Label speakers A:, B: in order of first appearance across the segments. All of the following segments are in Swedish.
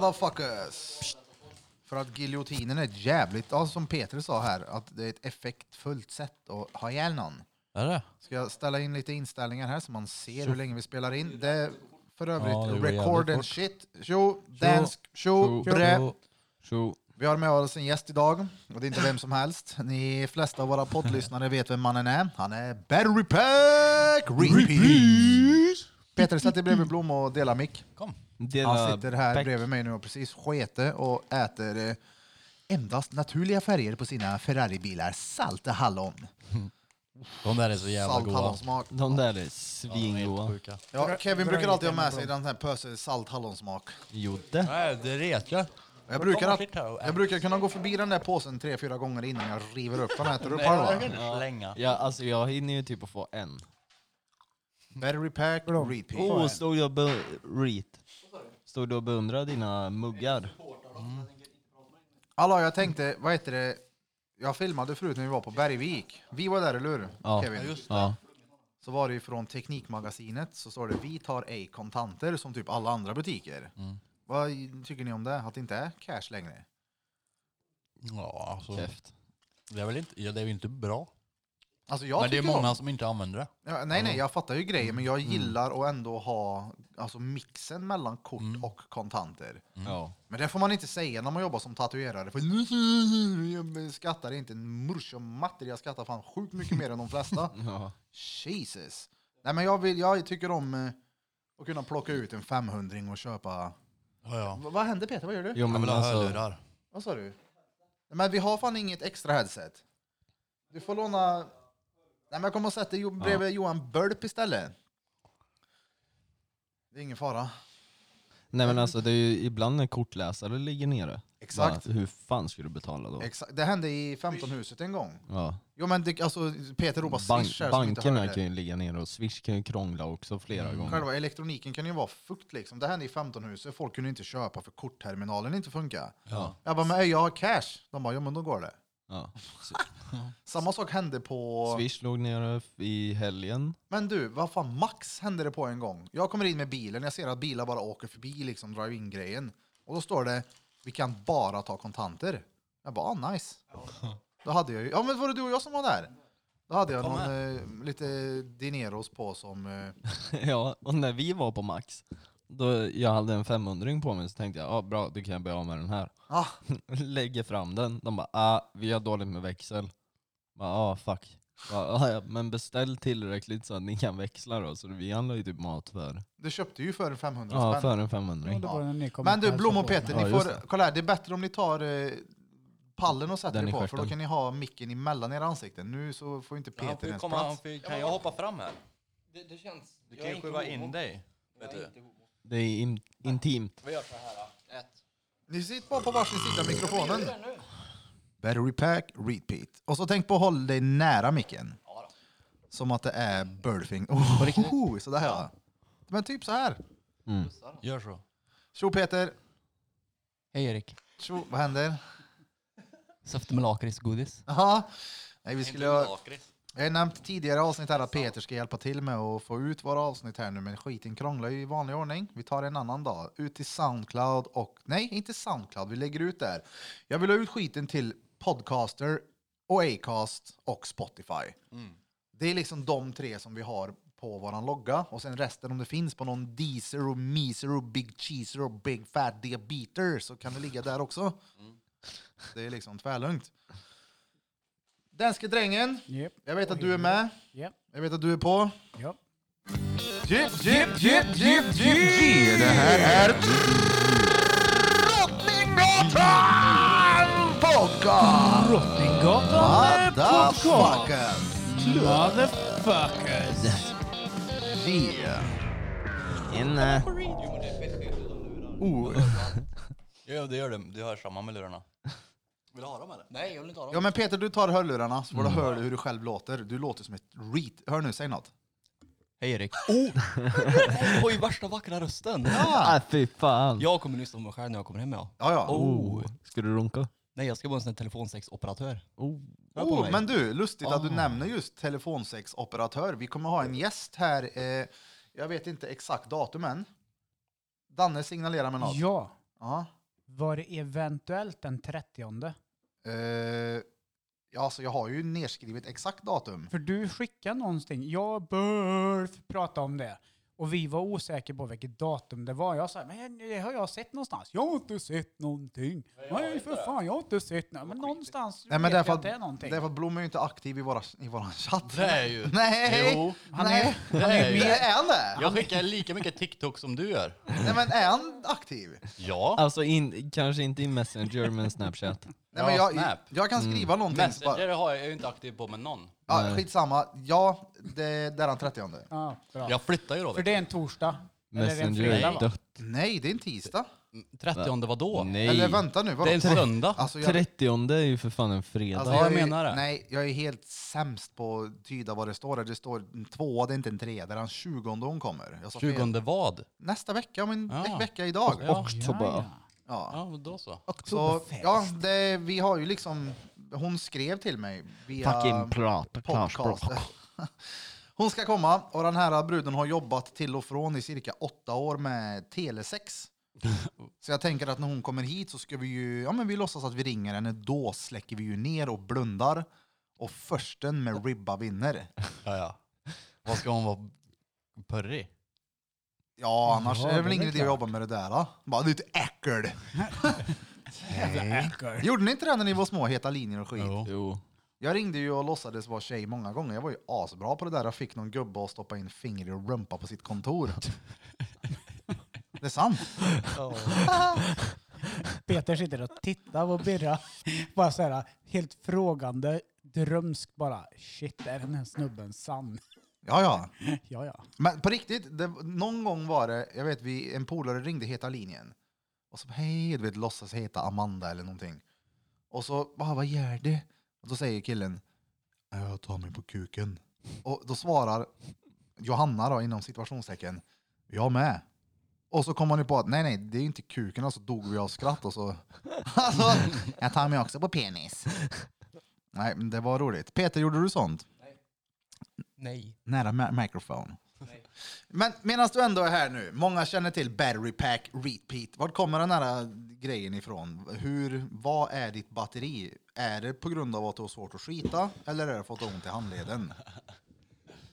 A: motherfuckers! För att giljotinen är ett jävligt, ja, som Peter sa här, att det är ett effektfullt sätt att ha ihjäl någon.
B: Är det?
A: Ska jag ställa in lite inställningar här så man ser hur länge vi spelar in. Det är för övrigt
B: Ja, det går
A: record
B: jävligt
A: and
B: fort.
A: shit. Tjo, dansk, tjo, bre.
C: Tjo.
A: Vi har med oss en gäst idag, och det är inte vem som helst. Ni flesta av våra poddlyssnare vet vem mannen är. Han är Barry Pack Repeat! Peter, sätt dig bredvid Blom och dela mick.
B: Kom.
A: Han sitter här bredvid mig nu och precis skete och äter eh, endast naturliga färger på sina Ferrari-bilar. Salta hallon.
B: De där är så jävla
A: Salt
B: goda.
A: hallonsmak.
C: De där är
B: Ja, de är helt
C: svingoa.
B: sjuka.
A: Ja, Kevin brukar alltid ha med sig den här pösen salt hallonsmak.
C: Jodde.
B: Nej, det retar.
A: Jag brukar,
B: Kom
A: att,
B: och titta och ät.
A: jag brukar kunna gå förbi den där påsen tre, fyra gånger innan jag river upp den och äter upp
B: Nej, jag kan
A: halva.
B: inte slänga.
C: Ja, alltså jag hinner ju typ att få en.
A: Battery pack, repeat.
C: Oh, stod jag be- reet. Stod du och beundrade dina muggar?
A: Hallå, jag tänkte, vad heter det? Jag filmade förut när vi var på Bergvik. Vi var där, eller hur?
C: Ja.
A: Kevin?
C: Ja.
A: så var det ju från Teknikmagasinet så står det vi tar ej kontanter som typ alla andra butiker.
B: Mm.
A: Vad tycker ni om det? Att det inte är cash längre?
B: Ja, alltså,
C: Käft.
B: det är väl inte, ja, det är väl inte bra.
A: Alltså jag
B: men det är
A: tycker om-
B: många Mm. som inte använder det.
A: Ja, nej, nej, jag fattar ju grejen, men jag gillar att ändå ha alltså, mixen mellan kort
B: Mm.
A: och kontanter.
C: Ja.
A: Men det får man inte säga när man jobbar som tatuerare. För jag skattar inte en mors och matter. Jag skattar fan sjukt mycket mer än de flesta.
C: Ja.
A: Jesus. Nej, men jag, vill, jag tycker om eh, att kunna plocka ut en 500 och köpa...
B: Ja, ja.
A: V- vad händer Peter? Vad gör du?
C: Jo
B: Jag
C: men
B: vill ha
C: alltså,
B: hörlurar.
A: Vad sa du? Nej, Men vi har fan inget extra headset. Du får låna... Nej men jag kommer och sätta dig jo- bredvid Johan Bölp istället. Det är ingen fara.
C: nej men alltså det är ju ibland när kortläsare ligger nere.
A: Exakt.
C: Bara, hur fan ska du betala då?
A: Exa- det hände i 15-huset en gång.
C: Ja.
A: Jo men det, alltså Peter ropar
C: Bank,
A: swish här som inte
C: bankerna
A: hörde
C: kan
A: det.
C: ju ligga nere och Swish kan ju krångla också flera gånger.
A: Själva elektroniken kan ju vara fukt liksom. Det hände i 15-huset. Folk kunde inte köpa för kortterminalen inte funkar.
B: Ja.
A: Jag bara, men "Ey, jag har cash. De bara, jo men då går det.
C: Ja.
A: Samma sak hände på...
C: Swish låg nere f- i helgen.
A: Men du, vad fan, max hände det på en gång. Jag kommer in med bilen, jag ser att bilar bara åker förbi liksom drive-in-grejen. Och då står det, vi kan bara ta kontanter. Jag bara, ah, nice. Då hade jag ju, ja men var det du och jag som var där? Då hade jag
B: Kom
A: någon, eh, lite dineros på som, eh,
C: Ja, och när vi var på Max, då jag hade en 500 på mig så tänkte jag, ja ah, bra, då kan jag börja av med den här.
A: ah,
C: Lägger fram den, de bara, ah, vi har dåligt med växel. Ja, ah, fuck. Bara, ah, ja, men beställ tillräckligt så att ni kan växla då, så vi handlar ju typ mat för,
A: du köpte ju för en 500
C: ja,
A: spänn.
C: för en 500
D: Ja, det var
A: Ja.
D: när ni kom
A: Men
D: och
A: du, Blom och
D: hälsade på.
A: Peter,
C: Ja,
A: ni
C: just
A: får,
C: det.
A: kolla här, det är bättre om ni tar eh, pallen och sätter
C: Den
A: er
C: i
A: på, för då
C: stjärten.
A: kan ni ha micken emellan era ansikten. Nu så får inte
B: Han
A: Peter
B: får
A: ens
B: komma, han
A: plats.
B: får, kan jag hoppa fram här?
E: Det, det känns...
B: Du
E: jag
B: kan
E: är
B: ju
E: inte
B: skjuva
E: homo.
B: in dig.
E: Jag
B: Vet
E: är
B: du.
E: inte homo.
C: Det är in, intimt.
E: Vi gör så här. då. Ett.
A: Ni sitter bara på varsin sida av mikrofonen.
E: Gör det nu.
A: Battery pack, repeat. Och så tänk på att hålla dig nära micken. Som att det är birdfing. Oh, så där ja. Men typ så här.
B: Gör så.
A: Tjo Peter.
E: Hej Erik.
A: Tjo, vad händer?
E: Söfte med lakritsgodis.
A: Jaha. Nej, vi skulle...
B: Inte
A: Jag
B: lakrits.
A: har nämnt tidigare avsnitt här att Peter ska hjälpa till med att få ut våra avsnitt här nu, men skiten krånglar ju i vanlig ordning. Vi tar en annan dag. Ut till Soundcloud och... Nej, inte Soundcloud. Vi lägger ut där. Jag vill ha ut skiten till Podcaster och Acast och Spotify. Det är liksom de tre som vi har på våran logga och sen resten om det finns på någon Deezer och Meezer och Big Cheeser och Big Fat Diabeter så kan det ligga där också. Det är liksom tvärlugnt. Danske drängen,
D: Japp.
A: jag vet att du är med.
D: Japp.
A: Jag vet att du är på.
D: Japp.
A: Jip, jip, jip, jip, jip, jip. Det här är Drottninggatan Podcast!
D: Drottninggatan
A: Motherfuckers!
D: Motherfuckers!
A: Yeah.
C: In, eh,
A: Oh.
B: Ja, det gör det. Du hör samma med lurarna. Vill du ha dem eller?
E: Nej, jag vill inte ha dem.
A: Ja men Peter, du tar hörlurarna så får du höra hur du själv låter. Du låter som ett reet. Hör nu, säg något.
B: Hej Erik. Oh! Oj, värsta vackra rösten.
A: Ja,
C: ah, fy fan.
E: Jag kommer lyssna på mig själv när jag kommer hem. Ja.
A: ja. ja. Oh.
C: Oh. Ska du runka?
E: Nej, jag ska vara en sån här telefonsexoperatör.
C: Oh.
E: Hör på mig.
A: men du, lustigt att du nämner just telefonsexoperatör. Vi kommer ha en gäst här, eh, jag vet inte exakt datum än. Danne signalerar med något.
D: Ja,
A: Ja.
D: Var det eventuellt den 30?
A: Eh, ja, alltså jag har ju nedskrivet exakt datum.
D: För du skickade någonting. Jag bör prata om det. Och vi var osäkra på vilket datum det var. Jag sa, men det har jag sett någonstans? Jag har inte sett någonting. Nej, för fan, jag har inte sett någonting. Men någonstans
A: Nej, men
D: vet
A: därför
D: jag att
A: att,
D: det är någonting.
A: därför att Blom är ju inte aktiv i, våra, i våran chatt.
B: Det är ju.
A: Nej!
B: Jo.
D: han är,
A: Nej.
D: han är ju
B: Nej.
D: med.
A: Är han det?
B: Jag skickar lika mycket TikTok som du gör.
A: Nej men är han aktiv?
B: Ja.
C: Alltså in, kanske inte i Messenger men Snapchat.
A: Nej,
B: Ja,
A: men jag,
B: Snap. Mm.
A: jag kan skriva någonting. så
B: Messenger
A: Bara,
B: har jag, jag är ju inte aktiv på med någon.
A: ja,
C: Nej.
A: skitsamma. Ja, det, det är den 30.
D: Ja, bra.
B: Jag flyttar ju då.
D: För
B: vet
D: det är en torsdag. Eller är det en
C: Messenger
D: fredag
C: är
D: va?
C: dött.
A: Nej, det är en tisdag.
B: du. 30 vadå?
C: Nej.
A: Eller vänta nu, vadå?
B: Det är en söndag.
A: Alltså, jag,
C: 30 är ju för fan en fredag.
A: alltså,
B: Ja, jag
A: är-
B: menar det.
A: Nej, jag är helt sämst på att tyda vad det står. där. Det står en tvåa, det är inte en trea. Det är den 20 hon kommer. Jag sa fel.
B: 20 vad?
A: Nästa vecka, om en
B: Ja.
A: vecka idag.
B: Ja.
C: Oktober.
A: Ja.
B: Ja, då så.
A: Så,
D: Oktoberfest.
A: ja, det, vi har ju liksom, hon skrev till mig via
C: Fucking prat.
A: podcast. Hon ska komma och den här bruden har jobbat till och från i cirka åtta år med telesex. Så jag tänker att när hon kommer hit så ska vi ju, ja men vi låtsas att vi ringer henne, då släcker vi ju ner och blundar. Och försten med ribba vinner.
B: Ja, ja. Vad ska hon vara purrig?
A: Ja, annars
D: Ja,
A: är det
D: det
A: väl
D: är
A: ingen idé att
D: klart.
A: jobba med det där. Då. Bara, du är ett äckel.
D: Jävla äckel.
A: Gjorde ni inte det när ni var små, heta linjer och skit?
B: Jo.
C: Jo.
A: Jag ringde ju och låtsades vara tjej många gånger. Jag var ju asbra på det där. Jag fick någon gubbe att stoppa in finger i rumpa på sitt kontor. Det är sant.
D: Peter sitter och tittar på Birra. Bara så här, helt frågande, drömsk bara. Shit, är den här snubben sann?
A: Ja, ja.
D: Ja, ja.
A: Men på riktigt, det, någon gång var det, jag vet, vi, en polare ringde Heta linjen. Och så hej, du vet, låtsas heta Amanda eller någonting. Och så, "Va, vad gör du? Och då säger killen, jag tar mig på kuken. Och då svarar Johanna då, inom situationstecken, jag med. Och så kom man ju på att nej, nej, det är inte kuken, och så dog vi av skratt och så. Alltså, jag tar mig också på penis. Nej, men det var roligt. Peter, gjorde du sånt?
E: Nej.
A: Nära ma- microphone. Men medan du ändå är här nu, många känner till battery pack repeat. Var kommer den här äh, grejen ifrån? Hur, vad är ditt batteri? Är det på grund av att du har svårt att skita eller är det för att du har ont i handleden?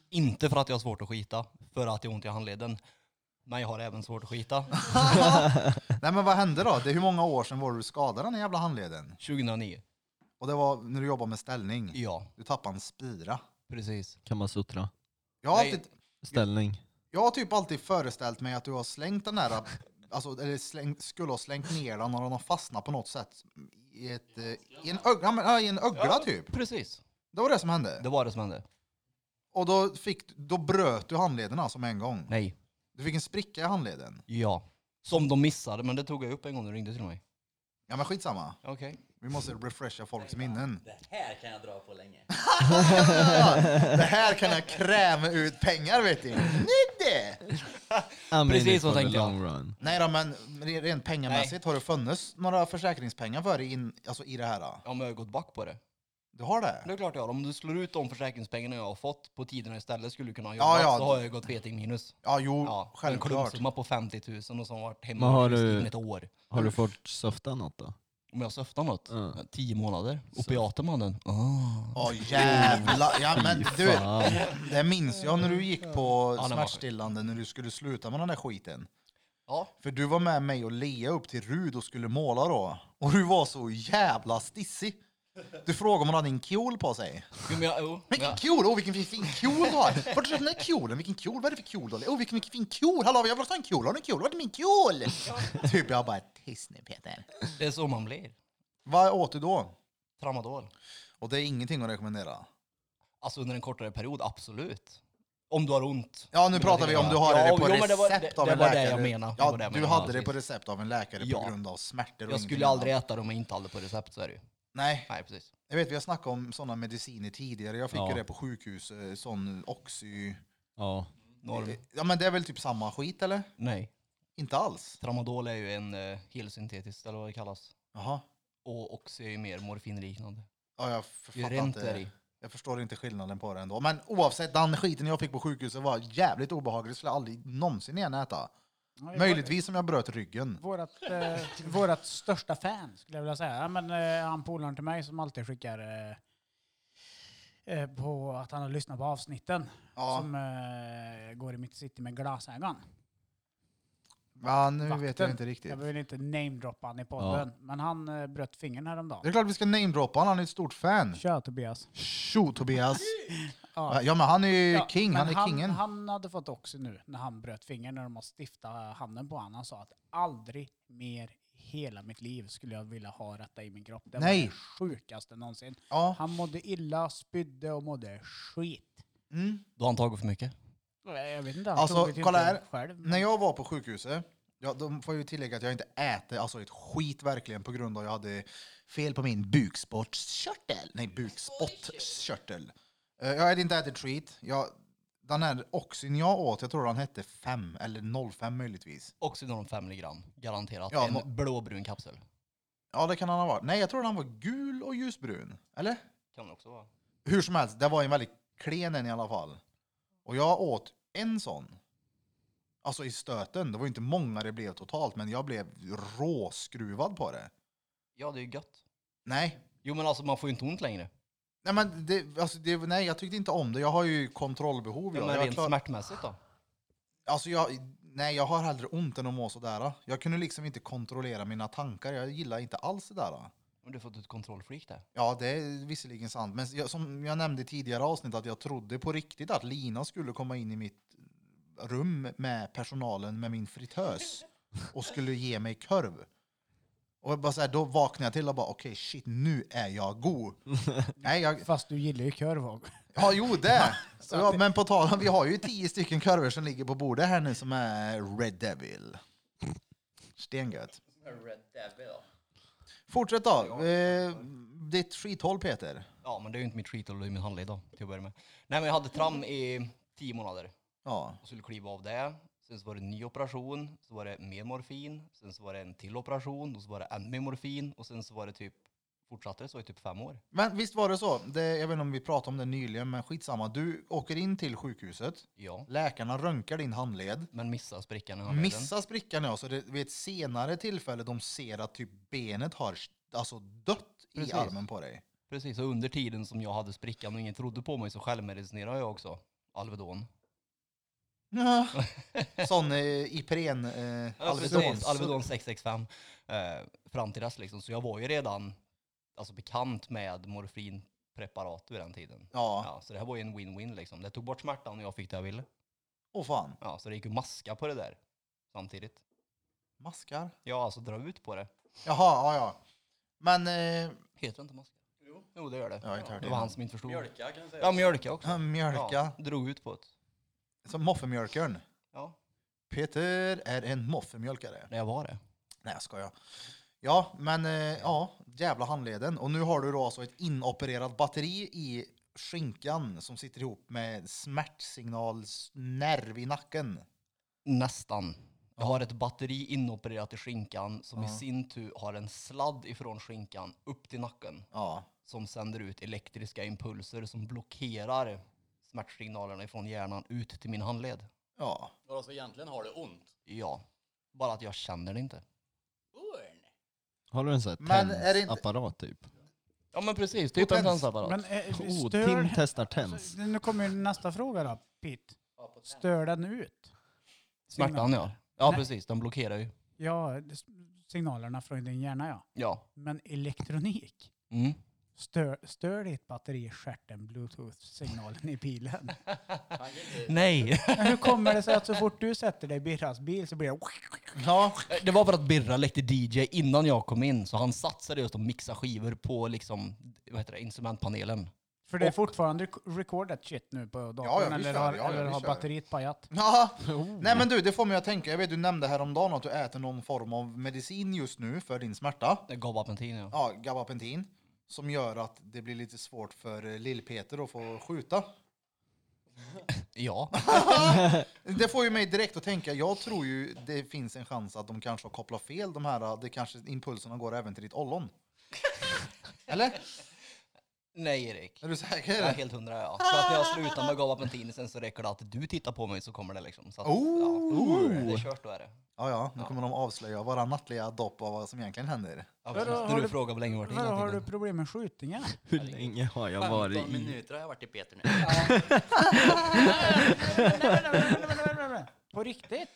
E: Inte för att jag har svårt att skita, för att jag har ont i handleden. Men jag har även svårt att skita.
A: Nej men vad hände då? Det är hur många år sedan var du skadade den här jävla handleden?
E: 2009.
A: Och det var när du jobbade med ställning.
E: Ja,
A: Du tappade en spira.
E: precis.
C: Kan man suttra.
A: Jag har,
E: Nej.
A: alltid,
C: Ställning.
A: jag har typ alltid föreställt mig att du har slängt den här, alltså, eller släng, skulle ha slängt ner den och den har fastnat på något sätt. I, ett, eh, i, en, ög, ja, men, ja, i en ögla typ.
E: Precis.
A: Det var det som hände.
E: Det var det som hände.
A: Och då, fick, då bröt du handleden alltså med en gång.
E: Nej.
A: Du fick en spricka i handleden.
E: Ja. Som de missade, men det tog jag upp en gång när du ringde till mig.
A: Ja men skitsamma.
E: Okej.
A: Vi måste refresha folks minnen.
B: Det här kan jag dra på länge.
A: Det här kan jag kräma ut pengar vet du. Nej, det.
C: I'm
E: Precis
C: in it
E: så
C: for the
E: tänkte jag.
C: long run.
A: Nej då men re- rent pengamässigt, har det funnits några försäkringspengar för dig in, alltså, i det här? Då?
E: Ja, men jag har gått back på det.
A: Du har
E: Det
A: det?
E: är klart jag har. Om du slår ut de försäkringspengarna jag har fått på tiderna istället skulle du kunna ha
A: Ja,
E: jobbat,
A: ja.
E: så har jag ju gått feting minus.
A: Ja jo,
E: Ja, En
A: självklart.
E: klumpsumma på 50 000 och som har varit hemma
C: Men har
E: i sjukskriven
C: du-
E: ett år.
C: Har du fått söfta något då?
E: Om jag söftar något?
C: Ja.
E: Tio månader? Opiater mannen? Oh.
A: Åh jävlar! Ja men du,
C: Fan.
A: det minns jag när du gick på
E: Ja, den var-
A: smärtstillande när du skulle sluta med den där skiten.
E: Ja.
A: För du var med mig och Lea upp till Rud och skulle måla då. Och du var så jävla stissig. Du frågade om hon hade en kjol på sig.
E: Jo, men jag, jo, men
A: Vilken
E: jag,
A: kjol! Åh, vilken fin, fin kjol du har! Vart har du köpt den där kjolen? Vilken kjol? Vad är det för kjol du har? Åh, vilken, vilken fin kjol! Hallå, jag vill också ha en kjol! Har du en kjol? Vart är min kjol? typ, jag bara, tyst nu Peter.
E: det är så man blir.
A: Vad åt du då?
E: Tramadol.
A: Och det är ingenting att rekommendera.
E: Alltså under en kortare period, absolut. Om du har ont.
A: Ja, nu pratar vi om du har
E: Ja,
A: det på
E: jo, men
A: recept
E: det var- det-
A: av
E: det
A: en
E: var
A: läkare.
E: det jag menade. Det
A: Ja,
E: var det jag
A: du
E: menade,
A: hade det på
E: precis.
A: recept av en läkare på
E: Ja.
A: grund av smärtor och
E: Jag
A: ingenting
E: skulle aldrig
A: annat.
E: äta dem jag inte hade på recept, så är det ju.
A: Nej,
E: Nej, precis.
A: Jag vet, vi har snackat om sådana mediciner tidigare. Jag fick
C: Ja.
A: ju det på sjukhus, eh, sån oxy...
C: Ja.
E: Norm.
A: Ja men det är väl typ samma skit eller?
E: Nej.
A: Inte alls?
E: Tramadol är ju en uh, helsyntetisk, eller vad det kallas.
A: Jaha.
E: Och Oxy är ju mer morfinliknande.
A: Ja, jag
E: Det är
A: författar
E: rent där
A: inte.
E: i.
A: Jag förstår inte skillnaden på det ändå. Men oavsett, den skiten jag fick på sjukhuset var jävligt obehaglig. Det skulle jag aldrig någonsin igen äta.
D: Ja, jag-
A: Möjligtvis om jag bröt ryggen.
D: Vårat, eh, vårat största fan skulle jag vilja säga. Ja, men, eh, han polaren till mig som alltid skickar eh, eh, på att han har lyssnat på avsnitten
A: Ja,
D: som eh, går i mitt city med glasögon.
A: ja nu vet jag
D: Vakten.
A: inte riktigt.
D: Jag vill inte namedroppa han i podden, men han eh, bröt fingern häromdagen.
A: Det är klart vi ska namedroppa honom, han är ett stort fan.
D: Kör Tobias.
A: Tjo Tobias! Ja men han är ju
D: Ja,
A: king,
D: men
A: han är kingen.
D: Han hade fått också nu när han bröt fingern när de har stiftat handen på honom. Han sa att aldrig mer i hela mitt liv skulle jag vilja ha detta i min kropp. Det
A: Nej.
D: var det sjukaste någonsin.
A: Ja.
D: Han mådde illa, spydde och mådde skit.
A: Mm.
E: Då har han tagit för mycket.
D: Jag vet inte, han
A: Alltså,
D: tog det ju
A: kolla
D: inte
A: här.
D: Själv, men-
A: När jag var på sjukhuset, ja, de får ju tillägga att jag inte äter alltså ett skit verkligen på grund av att jag hade fel på min bukspottkörtel. Nej, bukspottkörtel. Eh, Jag hade inte ätit skit. Jag, den här oxyn jag åt, jag tror den hette 5 eller 05 möjligtvis.
E: Oxydoron 5 milligram, garanterat.
A: Ja,
E: en
A: må-
E: blåbrun kapsel.
A: Ja, det kan han ha varit. Nej, jag tror den var gul och ljusbrun. Eller?
E: Kan det också vara.
A: Hur som helst, det var en väldigt klen en i alla fall. Och jag åt en sån. Alltså i stöten. Det var ju inte många det blev totalt, men jag blev råskruvad på det.
E: Ja, det är ju gött.
A: Nej.
E: Jo, men alltså man får ju inte ont längre.
A: Nej, men det, alltså det, nej, jag tyckte inte om det. Jag har ju kontrollbehov.
E: Ja,
A: jag.
E: men
A: jag
E: rent
A: klar,
E: smärtmässigt då?
A: alltså jag, nej, jag har hellre ont än att må sådär. Jag kunde liksom inte kontrollera mina tankar. Jag gillar inte alls det där.
E: Men du har fått ett kontrollfreak där.
A: Ja, det är visserligen sant. Men jag, som jag nämnde i tidigare avsnitt att jag trodde på riktigt att Lina skulle komma in i mitt rum med personalen med min fritös och skulle ge mig korv. Och jag bara så här, då vaknade jag till och bara okej shit nu är jag god. Nej, jag,
D: Fast du gillar ju korv
A: Ja, jo det. Ja, men på tal om, vi har ju tio stycken kurvor som ligger på bordet här nu som är Red Devil. Stengött. Fortsätt då. Eh, ditt skithåll Peter.
E: Ja, men det är ju inte mitt skit att i min handled då, till att börja med. Nej, men jag hade tram i tio månader
A: Ja.
E: och skulle kliva av det. Sen så var det en ny operation, så var det mer morfin, sen så var det en till operation, och så var det ännu mer morfin och sen så var det typ, fortsatte det så i typ fem år.
A: Men visst var det så, det, jag vet inte om vi pratade om det nyligen, men skitsamma. Du åker in till sjukhuset,
E: Ja,
A: läkarna röntgar din handled,
E: men missade sprickan i handleden.
A: missar sprickan ja, så det, vid ett senare tillfälle de ser att typ benet har alltså dött
E: Precis.
A: i armen på dig.
E: Precis, och under tiden som jag hade sprickan och ingen trodde på mig så självmedicinerade jag också. Alvedon.
A: Ja. Sån eh, Ipren, eh,
E: Ja,
A: Alvedon.
E: precis, Alvedon 665. Eh, fram till dess liksom. Så jag var ju redan alltså, bekant med morfinpreparat vid den tiden.
A: Ja,
E: Ja, så det här var ju en win-win liksom. Det tog bort smärtan och jag fick det jag ville.
A: åh fan.
E: Ja, så det gick ju maska på det där samtidigt.
A: Maskar.
E: Ja, alltså dra ut på det.
A: Jaha, ja ja. Men, eh,
E: Heter det inte maska? Jo. det gör det.
A: jag har inte hört
E: det var han
A: det.
E: som inte förstod.
B: Mjölka kan jag säga.
E: Ja, mjölka också.
A: Ja, Mjölka.
E: Ja, drog ut på det.
A: Som moffemjölkaren.
E: Ja,
A: Peter är en moffemjölkare.
E: när jag var det.
A: Nej jag skojar. Ja, men eh, ja, jävla handleden. Och nu har du då alltså ett inopererat batteri i skinkan som sitter ihop med smärtsignalsnerv i nacken.
E: Nästan. Jag har ett batteri inopererat i skinkan som i
A: Ja.
E: sin tur har en sladd ifrån skinkan upp till nacken
A: Ja,
E: som sänder ut elektriska impulser som blockerar smärtsignalerna ifrån hjärnan ut till min handled.
A: ja.
B: Ja, så egentligen har det ont.
E: Ja, bara att jag känner det inte.
B: Urn.
C: Har du en sån här
A: Men är det inte-
C: tensapparat typ?
E: Ja men precis, typ en
A: tens.
E: tensapparat.
D: Men eh,
C: Oh,
D: stör...
C: Tim testar tens.
D: Så, nu kommer ju nästa fråga då, Pitt. Stör den ut?
E: Smärtan ja. Ja
D: Nej.
E: precis, den blockerar ju.
D: Ja, det- signalerna från din hjärna ja.
E: Ja.
D: Men elektronik?
E: Mm.
D: Stör, stör ditt batteri i stjärten bluetooth-signalen i bilen?
E: Nej!
D: Men hur kommer det sig att så fort du sätter dig i Birras bil så blir det...
A: Ja,
E: Det var för att Birra lekte DJ innan jag kom in så han satsade just att mixa skivor på liksom, vad heter det, instrumentpanelen.
D: För det är
E: Och-
D: fortfarande rec- recordat shit nu på datorn
A: Ja, ja, vi
D: eller
A: kör,
D: har,
A: ja, ja,
D: eller
A: vi
D: har
A: kör.
D: batteriet pajat.
A: Ja. Nej men du, det får mig att tänka. Jag vet du nämnde häromdagen att du äter någon form av medicin just nu för din smärta.
E: Det gav apentin ja.
A: Ja, gabapentin. Som gör att det blir lite svårt för eh, lill-Peter att få skjuta.
E: Ja.
A: Det får ju mig direkt att tänka, jag tror ju det finns en chans att de kanske har kopplat fel de här, eh, det kanske impulserna går även till ditt ollon. Eller?
E: Nej Erik.
A: Är du säker?
E: Jag är helt hundra ja. Så att när jag slutar med gabapentin sen så räcker det att du tittar på mig så kommer det liksom. Så att,
A: Oh!
E: ja, det är kört då är det.
A: Ja, ja, nu kommer de avslöja våra nattliga dopp av vad som egentligen händer.
E: Ja,
D: Vadå,
E: precis.
D: har
E: när
D: du-
E: du frågar hur länge vart det
D: Vadå, har du
E: innan
D: problem med skjutningar?
C: Hur länge har jag varit
F: 15
C: i?
F: minuter har jag varit i Peter nu.
D: På riktigt?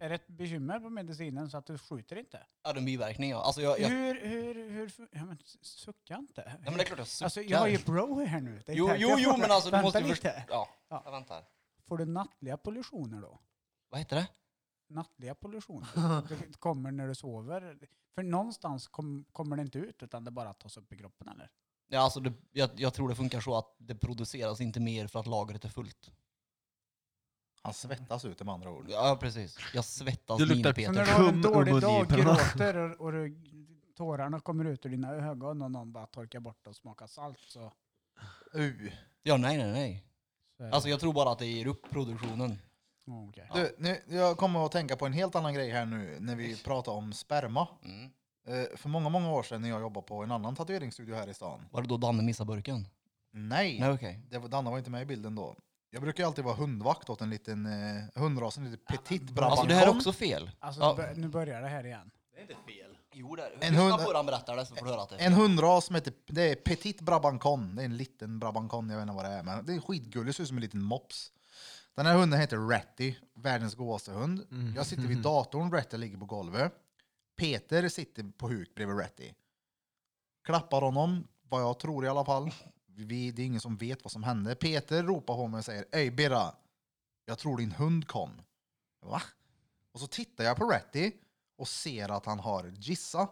D: Är det ett bekymmer på medicinen så att du skjuter inte?
E: Ja, det är biverkning ja. Alltså jag, jag,
D: Hur, hur, hur, fun- ja, men s- sucka inte.
E: ja men det är klart jag suckar.
D: Alltså jag har ju bro här nu. Det är
E: Jo,
D: därför
E: jo,
D: jag
E: jo
D: frågar.
E: men alltså du
D: Vänta
E: måste ju
D: lite.
E: förstå. Ja,
D: Ja.
E: jag väntar.
D: Får du nattliga pollutioner då?
E: Vad heter det?
D: Nattliga pollutioner? det kommer när du sover? För någonstans kom, kommer det inte ut utan det bara tas upp i kroppen eller?
E: Ja, alltså det, jag, jag tror det funkar så att det produceras inte mer för att lagret är fullt.
A: Han svettas ut med andra ord.
E: Ja, precis. Jag svettas
C: Det luktar-
D: Så
E: minipeter.
D: när du har en
C: Kum
D: dålig
C: Ubud
D: dag
C: i pennan.
D: gråter och, och du, tårarna kommer ut ur dina ögon och någon bara torkar bort och smakar salt så...
A: Uh.
E: Ja, nej, nej, nej.
D: så är
E: Alltså
D: det.
E: jag tror bara att det ger upp produktionen.
D: Ja, okej.
A: Du, nu, jag kommer att tänka på en helt annan grej här nu när vi pratar om sperma.
E: Mm.
A: Eh, för många, många år sedan när jag jobbade på en annan tatueringsstudio här i stan.
E: Var det då Danne missade burken?
A: Nej,
E: Nej, okej.
A: Det var, Danne var inte med i bilden då. Jag brukar ju alltid vara hundvakt åt en liten eh, hundras, en liten petit brabanton.
E: Alltså det här är också fel.
D: Alltså
E: Ja.
D: nu bör- nu börjar det här igen.
F: Det är inte fel.
E: Jo, det är
A: En Lyssna hund- på hur
E: han berättar det så får du höra att
A: En hundras som heter det är Petit Brabancon. Det är en liten Brabancon, jag vet inte vad det är. Men det är skitgullig, ser ut som en liten mops. Den här hunden heter Ratty, världens godaste hund. Jag sitter vid datorn, Ratty ligger på golvet. Peter sitter på huk bredvid Ratty. Klappar honom, vad jag tror i alla fall. Vi, det är ingen som vet vad som hände. Peter ropar på mig och säger Ey Birra, jag tror din hund kom. Va? Och så tittar jag på Ratty och ser att han har gissa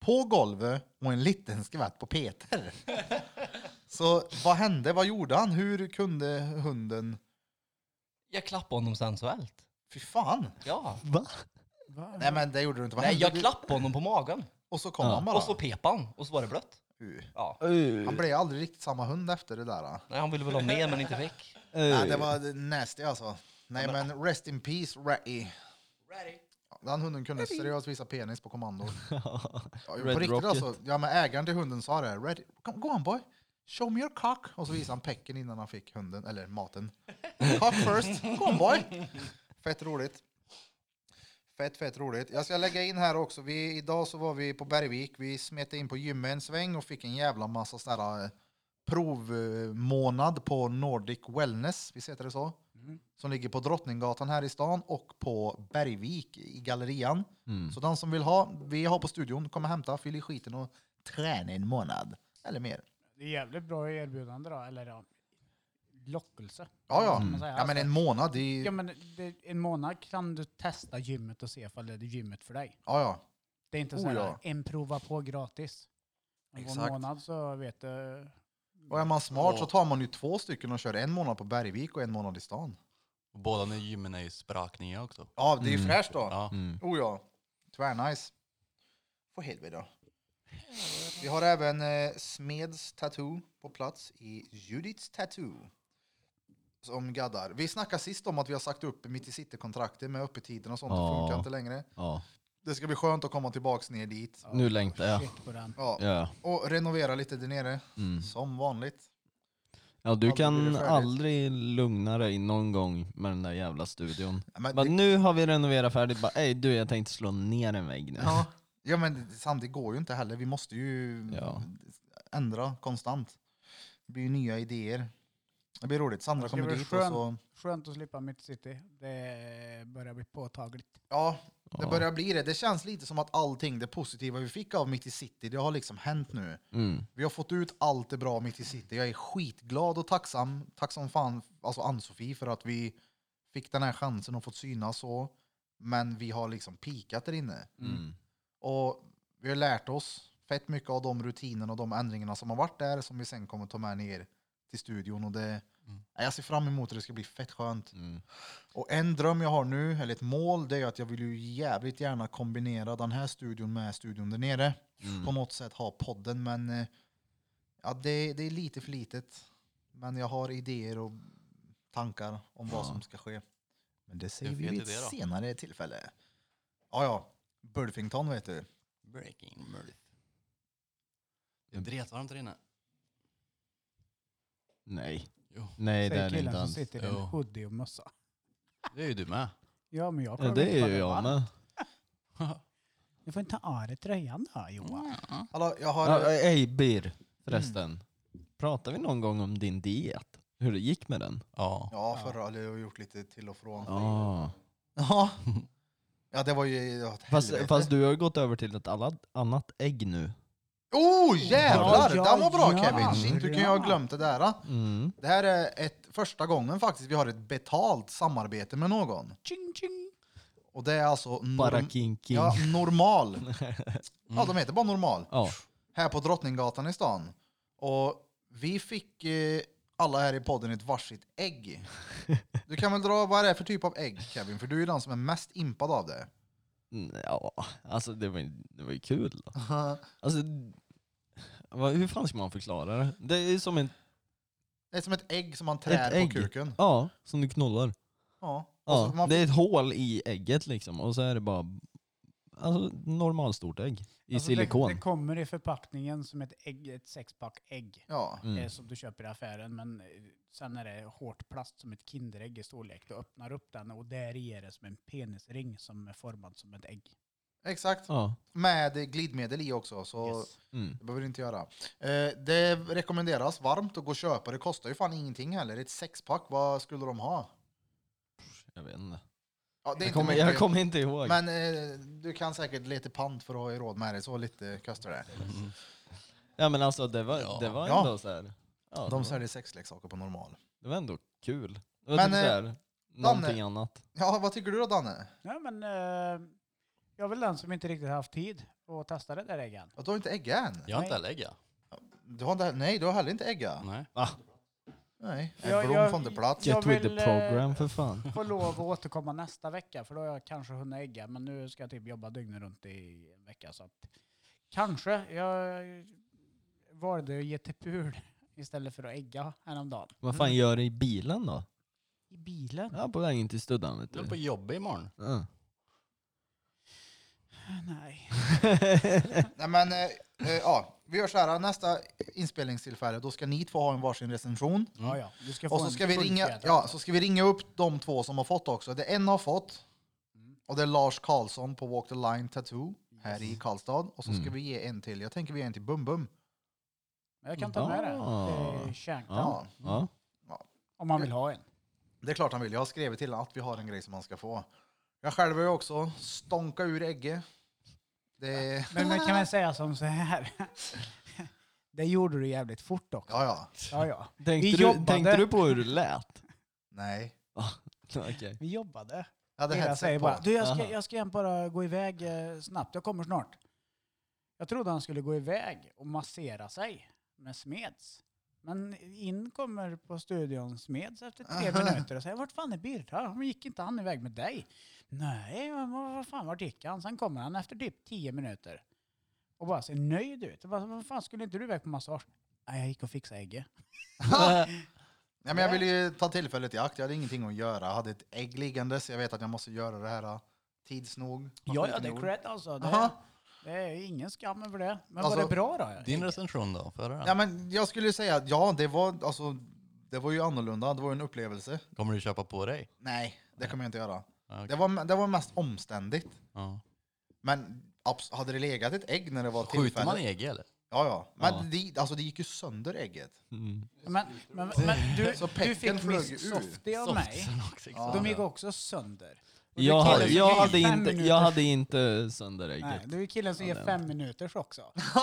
A: på golvet och en liten skvätt på Peter. Så vad hände? Vad gjorde han? Hur kunde hunden...
E: Jag klappade honom sensuellt.
A: Fy fan!
E: Ja.
D: Va?
A: Nej men det gjorde du inte. Vad
E: Nej,
A: hände?
E: jag klappade honom på magen.
A: Och så kom
C: Ja.
A: han bara.
E: Och så pepade han. Och så var det blött.
A: Uh.
E: Ja.
A: Han blev aldrig riktigt samma hund efter det där.
E: Nej, han ville väl ha mer men inte fick.
A: Nej, det var nasty alltså. Nej men rest in peace Ratty.
E: Ready.
A: Den hunden kunde seriöst visa penis på kommando. Ja, på
C: Red
A: riktigt
C: Rocket.
A: alltså. Ja men ägaren till hunden sa det. här, Red, come- go on boy. Show me your cock. Och så visade han pecken innan han fick hunden, eller maten. Cock first. Go on boy. Fett roligt. Fett, fett roligt. Jag ska lägga in här också. Vi, idag så var vi på Bergvik. Vi smet in på gymmet en sväng och fick en jävla massa sådana här eh, provmånad på Nordic Wellness. Visst heter det så? Som ligger på Drottninggatan här i stan och på Bergvik i gallerian.
C: Mm.
A: Så den som vill ha, vi har på studion, kom och hämta, fyll i skiten och träna en månad. Eller mer.
D: Det är jävligt bra erbjudande då, eller ja, lockelse.
A: Ja, ja.
D: Kan man säga. Alltså,
A: Ja, men en månad, det är,
D: Mm. Ja,
A: ja,
D: men det, en månad kan du testa gymmet och se ifall det är gymmet för dig.
A: ja.
D: Det är inte
A: Oh,
D: så här,
A: ja.
D: en prova på gratis. Men På en
A: Exakt.
D: månad så vet du.
A: Och är man smart så tar man ju två stycken och kör en månad på Bergvik och en månad i stan.
B: Båda när gymmen är ju sprakningar också.
A: Ja, det är ju
C: Mm.
A: fräscht då.
B: Ja.
C: Mm.
A: Oh ja, tvärnice. För helvete. Vi har även eh, Smeds Tattoo på plats i Judiths Tattoo. Som gaddar. Vi snackade sist om att vi har sagt upp mitt i city-kontraktet med öppettiderna och sånt. Det
C: Ja.
A: funkar inte längre.
C: Ja,
A: Det ska bli skönt att komma tillbaks ner dit.
C: nu längtar jag.
D: Shit på den.
A: Ja.
C: Ja,
A: Och renovera lite där nere.
C: mm.
A: Som vanligt.
C: ja du
A: Aldrig blir det
C: kan
A: färdigt.
C: aldrig lugna dig någon gång med den där jävla studion.
A: Ja, Men
C: Bara,
A: det,
C: nu har vi renoverat färdigt, bara ey du jag tänkte slå ner en vägg nu.
A: ja. ja men samtidigt går ju inte heller. Vi måste ju
C: Ja.
A: ändra konstant. Det blir ju nya idéer. Det blir roligt. Sandra
D: Det ska
A: kommer
D: bli
A: dit och
D: skönt.
A: så...
D: Skönt att slippa mitt city. Det börjar bli påtagligt.
A: Ja, det
C: Ja.
A: börjar bli det. Det känns lite som att allting det positiva vi fick av Mitt i City, det har liksom hänt nu.
C: Mm.
A: Vi har fått ut allt det bra av Mitt i City. Jag är skitglad och tacksam. Tack som fan, alltså Ann-Sofie, för att vi fick den här chansen och fått synas så. Men vi har liksom pikat där inne.
C: Mm.
A: Och vi har lärt oss fett mycket av de rutinerna och de ändringarna som har varit där som vi sen kommer ta med ner till studion. Och
B: Mm.
A: det, Nej, Jag ser fram emot det, det ska bli fett skönt.
C: Mm.
A: Och en dröm jag har nu, eller ett mål, det är att jag vill ju jävligt gärna kombinera den här studion med studion där nere.
B: Mm.
C: Mm.
A: På något sätt ha podden, men eh, ja, det, det är lite för litet. Men jag har idéer och tankar om vad som ska ske. Men det säger
B: Det är
A: vi
B: fet
A: vid ett
B: idé då.
A: senare tillfälle. Ja, ja. Burfington vet du.
F: Mm.
B: Breaking Murph. Det är dretvarmt där inne.
C: Nej.
F: Jo.
C: Nej det är det inte
D: Säger killen som
C: alls.
D: sitter i en
F: Jo.
D: hoodie och mössa.
F: Det är ju du med.
D: Ja, men jag
C: Ja,
D: klagar
C: det
D: inte på
C: är ju jag
D: varmt.
C: med.
D: Du får inte ta av dig tröjan då, Johan.
A: Hallå, jag har...
C: Ja, Ey Bir, förresten. Mm. Pratade vi någon gång om din diet? Hur det gick med den?
F: Ja.
A: Ja, förra eller jag har gjort lite till och från.
C: Ah.
A: Ja. Ja, det var ju åt
C: Fast,
A: helvete.
C: fast du har gått över till ett alla, annat ägg nu.
A: Oh jävlar!
D: Ja, ja,
A: den var bra
D: ja.
A: Kevin! Shit, hur kan jag ha
D: Ja.
A: glömt det där? då?
C: Mm.
A: Det här är ett, första gången faktiskt vi har ett betalt samarbete med någon.
D: Tjing, tjing.
A: Och det är alltså... norm-
C: Bara king king.
A: Ja,
C: Ja.
A: normal. Ja, de heter bara normal.
C: Ja.
A: Här på Drottninggatan i stan. Och vi fick eh, alla här i podden ett varsitt ägg. Du kan väl dra vad det är för typ av ägg Kevin? För du är ju den som är mest impad av det.
C: Mm, ja, alltså det var, ju- det var ju kul. Då. Alltså, vad, hur fan ska man förklara det? Det är ju som en...
A: Det är som ett ägg som man trär
C: ägg.
A: på kuken.
C: Ja, som du knullar.
A: Ja. Och så
C: Ja,
D: Alltså,
A: får man
C: Det är ett hål i ägget liksom, och så är det bara alltså, normalstort ägg i
D: Alltså,
C: silikon.
D: Det, det kommer i förpackningen som ett, ägg, ett sexpack ägg.
A: Ja.
C: Mm.
D: eh, Som du köper i affären, men eh, sen är det hårt plast som ett kinderägg i storlek. Du öppnar upp den och där i är det som en penisring som är formad som ett ägg.
A: Exakt.
C: Ja.
A: Med eh, glidmedel i också, så
D: Yes.
C: Mm.
A: det behöver du inte göra. Eh, det rekommenderas varmt att gå och köpa. Det kostar ju fan ingenting heller. Ett sexpack, vad skulle de ha?
C: Jag vet inte.
A: Ja, det är
C: Jag
A: inte
C: kommer,
A: mycket.
C: jag kommer inte ihåg.
A: Men eh, du kan säkert leta pant för att ha i råd med dig, så lite kostar det.
C: Ja men alltså det var, det var
A: Ja.
C: ändå så här. Ja,
A: De
C: det, var,
A: säljer sexleksaker på normal.
C: det var ändå kul. Det var
A: Men,
D: eh,
C: typ så här, någonting annat.
A: Ja, vad tycker du då Danne?
D: Nej, men eh, jag är väl den som inte riktigt har haft tid att testa det där äggen.
A: Att du har inte äggat än?
F: Jag har inte lägga.
A: Du har inte, nej, du har heller inte äggat?
F: Nej.
A: Nej.
D: Ja,
A: Är Blom
D: jag-
A: från det plats?
D: jag
C: Get with the
D: vill, eh,
C: program för fan.
D: Får lov att återkomma nästa vecka för då har jag kanske hunnit ägga. Men nu ska jag typ jobba dygnet runt i en vecka. Så att, kanske. Jag valde att ge till pul istället för att ägga häromdagen.
C: Vad fan gör du i bilen då?
D: I bilen?
C: Ja, på vägen till Studdan vet
F: Du
A: Mm.
F: är på
C: du.
F: jobb imorgon.
C: Ja.
D: Nej.
A: Nej men, eh, eh, ja, vi gör så här, nästa inspelningstillfälle, då ska ni två ha en varsin recension.
D: Ja, ja. Du ska få
A: Och så
D: en
A: ska, vi ringa,
D: fullfjädrad.
A: ja, så ska vi ringa upp de två som har fått också. Det en har fått, och det är Lars Karlsson på Walk the Line Tattoo här i Karlstad. Och så ska
C: Mm.
A: vi ge en till, jag tänker vi ger en till Bum Bum.
D: Men Jag kan ta med det.
C: Ja.
D: till kärnkraft.
A: Ja.
C: Ja.
D: Mm.
C: Ja.
D: Om man vill ha en.
A: Det är klart han vill, jag har skrivit till honom att vi har en grej som han ska få. Jag själv har ju också stånka ur ägget. Det,
D: Men man kan väl säga som så här. Det gjorde du jävligt fort också.
A: ja, ja.
D: Ja, ja. Vi
C: Tänkte, du,
D: jobbade.
C: tänkte du på hur det lät?
A: Nej.
C: Okej.
D: Vi jobbade.
A: Jag hade
D: Hela säger
A: headset
D: bara,
A: på.
D: du jag ska,
C: Aha.
D: jag ska bara gå iväg eh, snabbt, jag kommer snart. Jag trodde han skulle gå iväg och massera sig med Smeds. Men in kommer på studion Smeds efter tre minuter och säger vart fan är Birra? Hon gick inte han iväg med dig? Nej, men vad vad fan vart gick han? Sen kommer han efter typ tio minuter. Och bara ser nöjd ut. Jag bara, Vad fan skulle inte du iväg på massage? Nej, jag gick och fixade ägget.
A: Nej, men jag ville ju ta tillfället i akt, jag hade ingenting att göra. Jag hade ett ägg liggandes, jag vet att jag måste göra det här eh, tids nog.
D: Ja, ja, det är cred alltså. Det,
A: Aha.
D: det är ingen skam över det. Men
A: Alltså,
D: var det bra då?
F: Din recension då? Får jag höra
A: Ja,
F: den?
A: men jag skulle ju säga att ja, det var, alltså, det var ju annorlunda, det var ju en upplevelse.
F: Kommer du köpa på dig?
A: Nej, det kommer jag inte göra.
F: Ja, okej.
A: Det, var, det var mest omständigt.
F: Ja.
A: Men abs- hade det legat ett ägg när det var
F: Skjuter
A: tillfälle?
F: man i ägg eller?
A: Ja, ja. Men
C: Ja.
A: Det, alltså, det gick ju sönder ägget.
C: Mm.
D: Men, men, men du,
A: Så
D: du
A: pecken
D: fick
A: flög ur.
D: Miss Softie av mig.
F: Softsen också.
A: Ja.
F: liksom.
D: De gick också sönder. Och det
C: Jag,
D: är killen
C: hade- jag,
D: som ger
C: hade
D: fem
C: inte,
D: minuters-
C: jag hade inte sönder
D: Nej,
C: ägget.
D: du är killen som
C: Ja,
D: ger
C: det-
D: fem minuters också.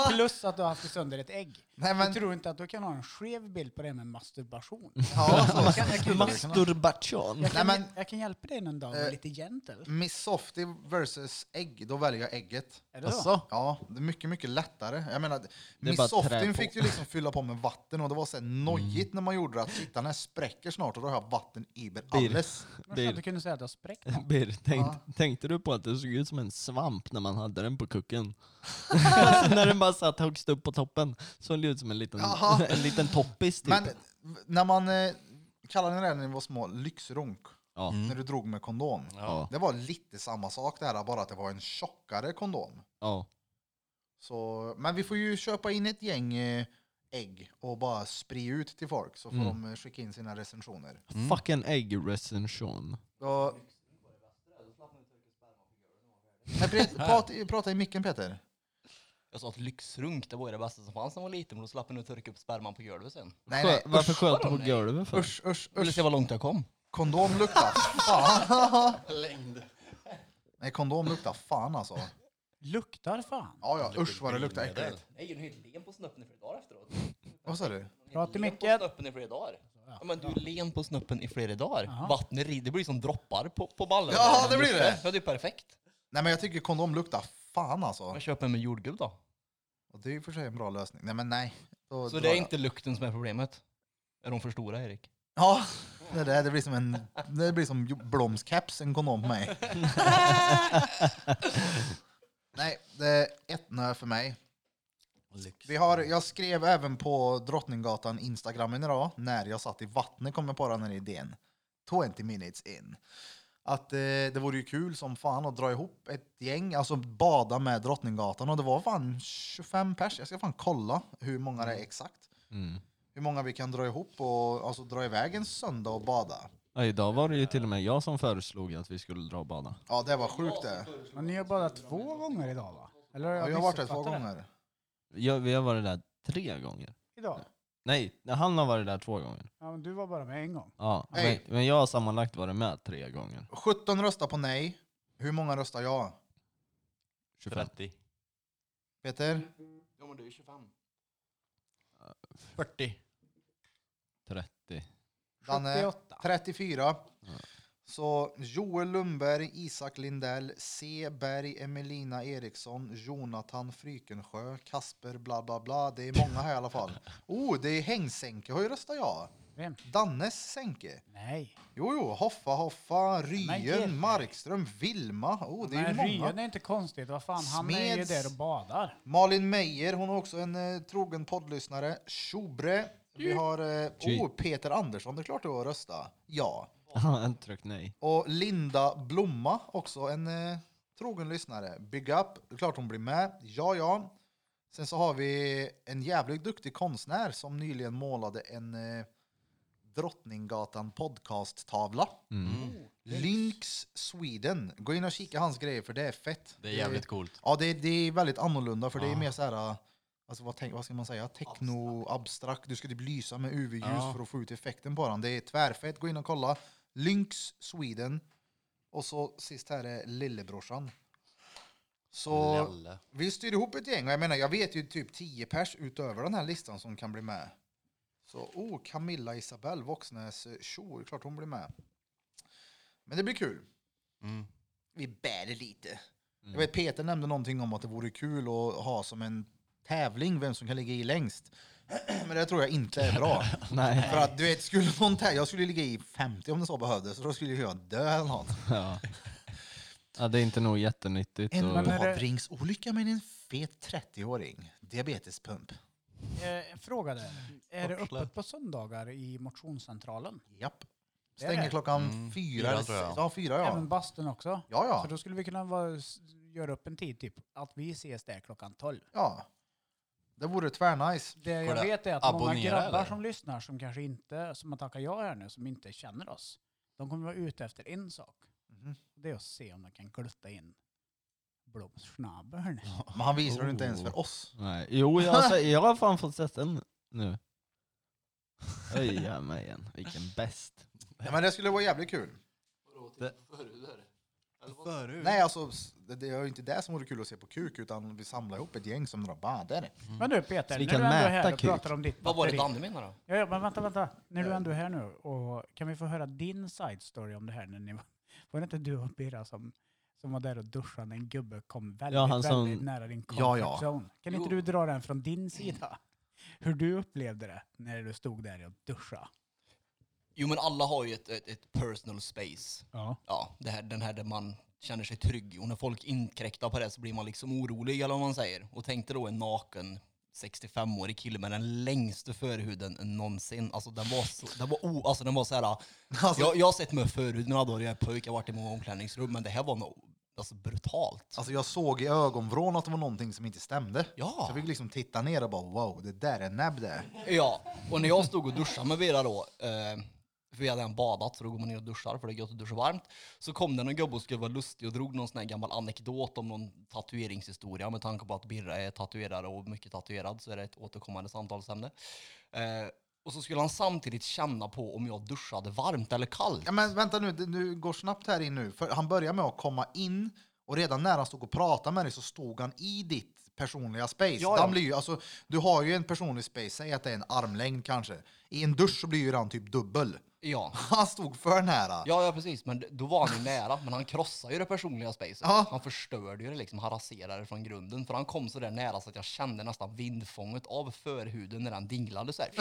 D: Plus att du har haft sönder ett ägg.
A: Nej,
D: Jag
A: men,
D: tror inte att du kan ha en skev bild på det här med masturbation.
C: Mm.
A: ja, så,
D: Jag kan, alltså, jag liksom. kan,
C: Masturbation.
D: jag kan,
A: Nej, men-
D: jag kan hjälpa dig någon dag
A: Eh,
D: med lite gentle.
A: Miss Softie versus ägg, då väljer jag ägget.
D: Är det så?
F: Jaså?
A: Ja, det är mycket, mycket lättare. Jag menar,
C: bara
A: Miss
C: att trä
A: Softin
C: på.
A: fick ju liksom fylla på med vatten och det var så här nojigt när man gjorde det att shit, den här spräcker snart och då har jag vatten iber
C: Blir-
A: alles.
D: Men skönt att du
C: Bir.
D: kunde säga att du har spräckt någon.
C: Bir, tänk,
A: Ja.
C: tänkte du på att det såg ut som en svamp när man hade den på kucken? alltså när den bara satt högst upp på toppen såg det ut som en liten,
A: Jaha.
C: en liten toppis typ.
A: Men när man, eh, kallade ni det när ni var små, lyxrunk?
C: ja.
A: När du drog med kondom?
C: Mm. Ja.
A: Det var lite samma sak där, bara att det var en tjockare kondom.
C: Ja.
A: Så, men vi får ju köpa in ett gäng eh, ägg och bara spri ut till folk så får
C: Mm.
A: de eh, skicka in sina recensioner.
F: Mm.
C: Fucking äggrecension.
A: Och... Nej, pre- prata, prata i micken Peter.
E: Jag sa att lyxrunk det var ju det bästa som fanns när jag var liten, men då slapp jag nu torka upp sperman på golvet sen.
A: Nej,
C: Skö-
A: nej. Äh,
C: Varför
A: usch,
C: sköt du
E: vadå
C: på
E: nej?
C: golvet för?
A: Usch, usch,
E: Vill du
A: usch.
E: se vad långt jag kom?
A: Kondom luktar fan.
B: Längd.
A: Nej, kondom luktar fan alltså.
D: Luktar fan.
A: Ja, ja, usch vad det luktar äckligt.
E: Nej, du är helt len på snuppen i flera dagar efteråt.
A: Vad sa du?
D: Prata i
E: Len på
D: micken.
E: snuppen i flera dagar. Ja, men du är len på snuppen i flera dagar.
D: Jaha.
E: Vattnet ri- det blir som droppar på, på ballen.
A: Ja, det blir det.
E: Ja, det är perfekt.
A: Nej, men jag tycker kondom luktar fan alltså.
E: Men köp en med jordgubb då.
A: Och det är ju för sig en bra lösning. Nej, men nej. Då
E: Så
A: drar
E: det är
A: jag.
E: inte lukten som är problemet. Är de för stora, Erik?
A: Ja, det, där, det blir som en... Det blir som Bloms-caps, en kondom på mig. nej, det är ett nö för mig. Vi har, jag skrev även på Drottninggatan Instagrammen idag, när jag satt i vattnet kom jag på den här idén. 20 minutes in. Att eh, det vore ju kul som fan att dra ihop ett gäng, alltså bada med Drottninggatan. Och det var fan 25 pers, jag ska fan kolla hur många det är exakt.
C: Mm.
A: Hur många vi kan dra ihop och alltså, dra iväg en söndag och bada.
C: Ja, idag var det ju till och med jag som föreslog att vi skulle dra och bada.
A: Ja, det var sjukt det.
D: Men ni har badat två gånger idag va? Eller har
A: Ja, jag har varit där två
D: missuppfattat det?
A: gånger.
C: Jag, vi har varit där tre gånger.
D: Idag?
C: Nej, han har varit där två gånger.
D: Ja, men du var bara med en gång.
C: Ja, men,
A: Nej.
C: men jag har sammanlagt varit med tre gånger.
A: 17 röstar på nej. Hur många röstar jag?
C: 25.
F: 30.
A: Peter?
E: Ja, men du är 25.
F: 40.
C: 30.
A: Danne?
D: 78.
A: 34. Så Joel Lundberg, Isak Lindell, C. Berg, Emelina Eriksson, Jonathan Frykensjö, Kasper bla bla bla. Det är många här i alla fall. Oh, det är Hängsänke har ju röstat ja.
D: Vem?
A: Dannes Sänke.
D: Nej.
A: Jo, jo, Hoffa, Hoffa,
D: Men Peter.
A: Ryen, Markström, Vilma. Oh, det är ju
D: men
A: många.
D: Ryan är inte konstigt. Vad fan, han är ju
A: Smeds.
D: där och badar.
A: Malin Meijer, hon är också en eh, trogen poddlyssnare. Tjobre. Vi har eh,
C: Tji.
A: oh, Peter Andersson, det är klart du har röstat. Ja.
C: Han tryckte nej.
A: Och Linda Blomma, också en eh, trogen lyssnare. Big Up, det är klart hon blir med. Ja, ja. Sen så har vi en jävligt duktig konstnär som nyligen målade en eh, Drottninggatan podcast-tavla.
F: Mm.
A: Lynx Sweden. Gå in och kika hans grejer för det är fett.
F: Det är jävligt coolt.
A: Ja, det, det är väldigt annorlunda för det är mer så här, alltså, vad, tänk, vad ska man säga, techno, abstrakt. Du ska typ lysa med UV-ljus
F: Ja.
A: för att få ut effekten på den. Det är tvärfett, gå in och kolla. Lynx Sweden. Och så sist här är lillebrorsan. Så
F: Lalle.
A: vi styr ihop ett gäng och jag menar, jag vet ju typ 10 pers utöver den här listan som kan bli med. Så, oh, Camilla Isabel Voxnäs eh, Tjo, det är klart hon blir med. Men det blir kul.
F: Mm.
A: Vi bär det lite.
D: Mm.
A: Jag vet Peter nämnde någonting om att det vore kul att ha som en tävling vem som kan ligga i längst. Men det tror jag inte är bra.
C: Nej.
A: För att du vet, skulle någon tä- jag skulle ligga i 50 om det så behövdes, så då skulle jag dö eller något.
C: Ja. ja, det är inte nog jättenyttigt.
A: En
C: Och,
D: men- är det-
A: badringsolycka med en fet 30-åring. Diabetespump.
D: Eh, fråga där. Är det öppet på söndagar i motionscentralen?
A: Japp.
D: Det är det.
A: Stänger klockan
F: Mm,
A: fyra.
F: fyra
A: eller
F: tror jag.
A: sex. Ja, fyra ja.
D: Även bastun också?
A: Ja,
D: Så
A: ja.
D: då skulle vi kunna vara, s- göra upp en tid, typ att vi ses där klockan 12.
A: ja. Det vore tvärnice.
D: Det jag
F: Går det
D: vet är att många
F: abonnera,
D: grabbar
F: eller?
D: som lyssnar, som kanske inte, som har tackat ja här nu, som inte känner oss, de kommer vara ute efter en sak.
A: Mhm.
D: Det är att se om de kan glutta in blomschnabeln.
A: Men han visar det inte ens
F: Oh.
A: för oss.
C: nej. Jo, jag, har se- jag har fan fått sett den nu. Öja mig igen, vilken bäst.
A: Ja, men det skulle vara jävligt kul.
F: Förut.
A: Nej, alltså s- det- det är ju inte det som vore kul att se på kuk, utan vi samlar ihop ett gäng som drar badare.
D: Men du Peter,
C: Så vi
D: när
C: kan
D: du ändå är
C: mäta
D: här och
C: kuk.
D: pratar om ditt
E: Vad var det
D: batteri-
E: Danne menade då?
D: Ja, ja, men vänta, vänta. När du ändå är här nu, och kan vi få höra din side story om det här? När ni var, var det inte du och Birra som, som var där och duschade när en gubbe kom väldigt,
C: Ja, han som-
D: väldigt nära din comfort
A: Ja, ja.
D: zone? Kan inte du dra den från
C: Mm.
D: din sida? Hur du upplevde det när du stod där och duschade?
E: Jo, men alla har ju ett, ett, ett personal space.
D: Ja.
E: Ja, det här, den här där man känner sig trygg. Och när folk inkräktar på det så blir man liksom orolig, eller vad man säger. Och tänkte då en naken 65-årig kille med den längsta förhuden någonsin. Alltså den var så, den var, o, alltså, den var så här...
A: Alltså,
E: Jag, jag har sett mig förut när jag var pojk, jag har varit i många omklädningsrum, men det här var nog... alltså brutalt.
A: Alltså jag såg i ögonvrån att det var någonting som inte stämde. Så
E: Ja,
A: jag fick liksom titta ner och bara wow, det där är näbb det.
E: ja. Och när jag stod och duschade med Vera då, eh, för vi hade redan badat så då går man ner och duschar för det är gött att duscha varmt. Så kom det någon gubbe och skulle vara lustig och drog någon sån här gammal anekdot om någon tatueringshistoria med tanke på att Birra är tatuerare och mycket tatuerad så är det ett återkommande samtalsämne. Eh, och så skulle han samtidigt känna på om jag duschade varmt eller kallt.
A: Ja, men vänta nu, det- du går snabbt här in nu. För han börjar med att komma in och redan när han stod och pratade med dig så stod han i ditt personliga space.
E: Ja, ja.
A: Han blir ju, alltså, du har ju en personlig space, säg att det är en armlängd kanske. I en dusch så blir ju den typ dubbel.
E: Ja.
A: Han stod för nära.
E: Ja, ja, precis. Men då var han ju nära. Men han krossade ju det personliga spacet.
A: Ja.
E: Han förstörde ju det liksom. Han raserade det från grunden. För han kom så där nära så att jag kände nästan vindfånget av förhuden när han dinglade så här.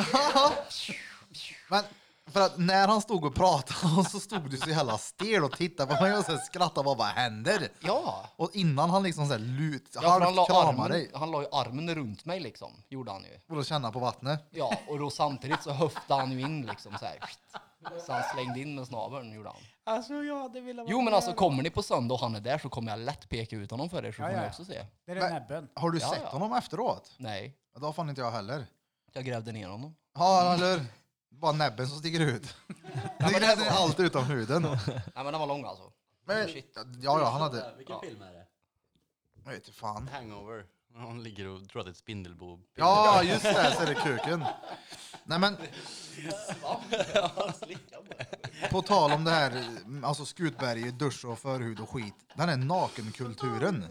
A: Men för att när han stod och pratade så stod du så jävla stel och tittade på mig och sen skrattade bara, vad händer?
E: Ja!
A: Och innan han liksom så här lut,
E: ja för han,
A: halvt
E: la
A: kramade dig.
E: armen, han la ju armen runt mig liksom. Gjorde han ju.
A: Och då känna på vattnet.
E: Ja, och då samtidigt så höftade han ju in liksom så här. Så han slängde in med snabeln gjorde han.
D: Alltså jag hade velat vara
E: Jo men
D: med
E: alltså
D: då.
E: kommer ni på söndag och han är där så kommer jag lätt peka ut honom för er så
D: Ja,
E: får
D: ja,
E: ni
D: ja.
E: också se.
D: Det är den
A: Men-
D: näbben.
A: Har du
E: Ja,
A: sett
E: ja.
A: honom efteråt?
E: Nej,
A: Ja, Det har fan inte jag heller.
E: jag grävde ner honom.
A: Ja, eller Bara näbben som sticker ut. Det grävde allt utom huden.
E: Nej men den var lång alltså.
A: Men,
E: Shit.
A: ja, ja, han hade...
F: Vilken film är det?
A: Jag vet inte fan.
F: Hangover. När hon ligger och tror att det är ett spindelbo.
A: Ja, just det, så är det kuken. Nej men, på tal om det här, alltså Skutberg, dusch och förhud och skit. Den här nakenkulturen.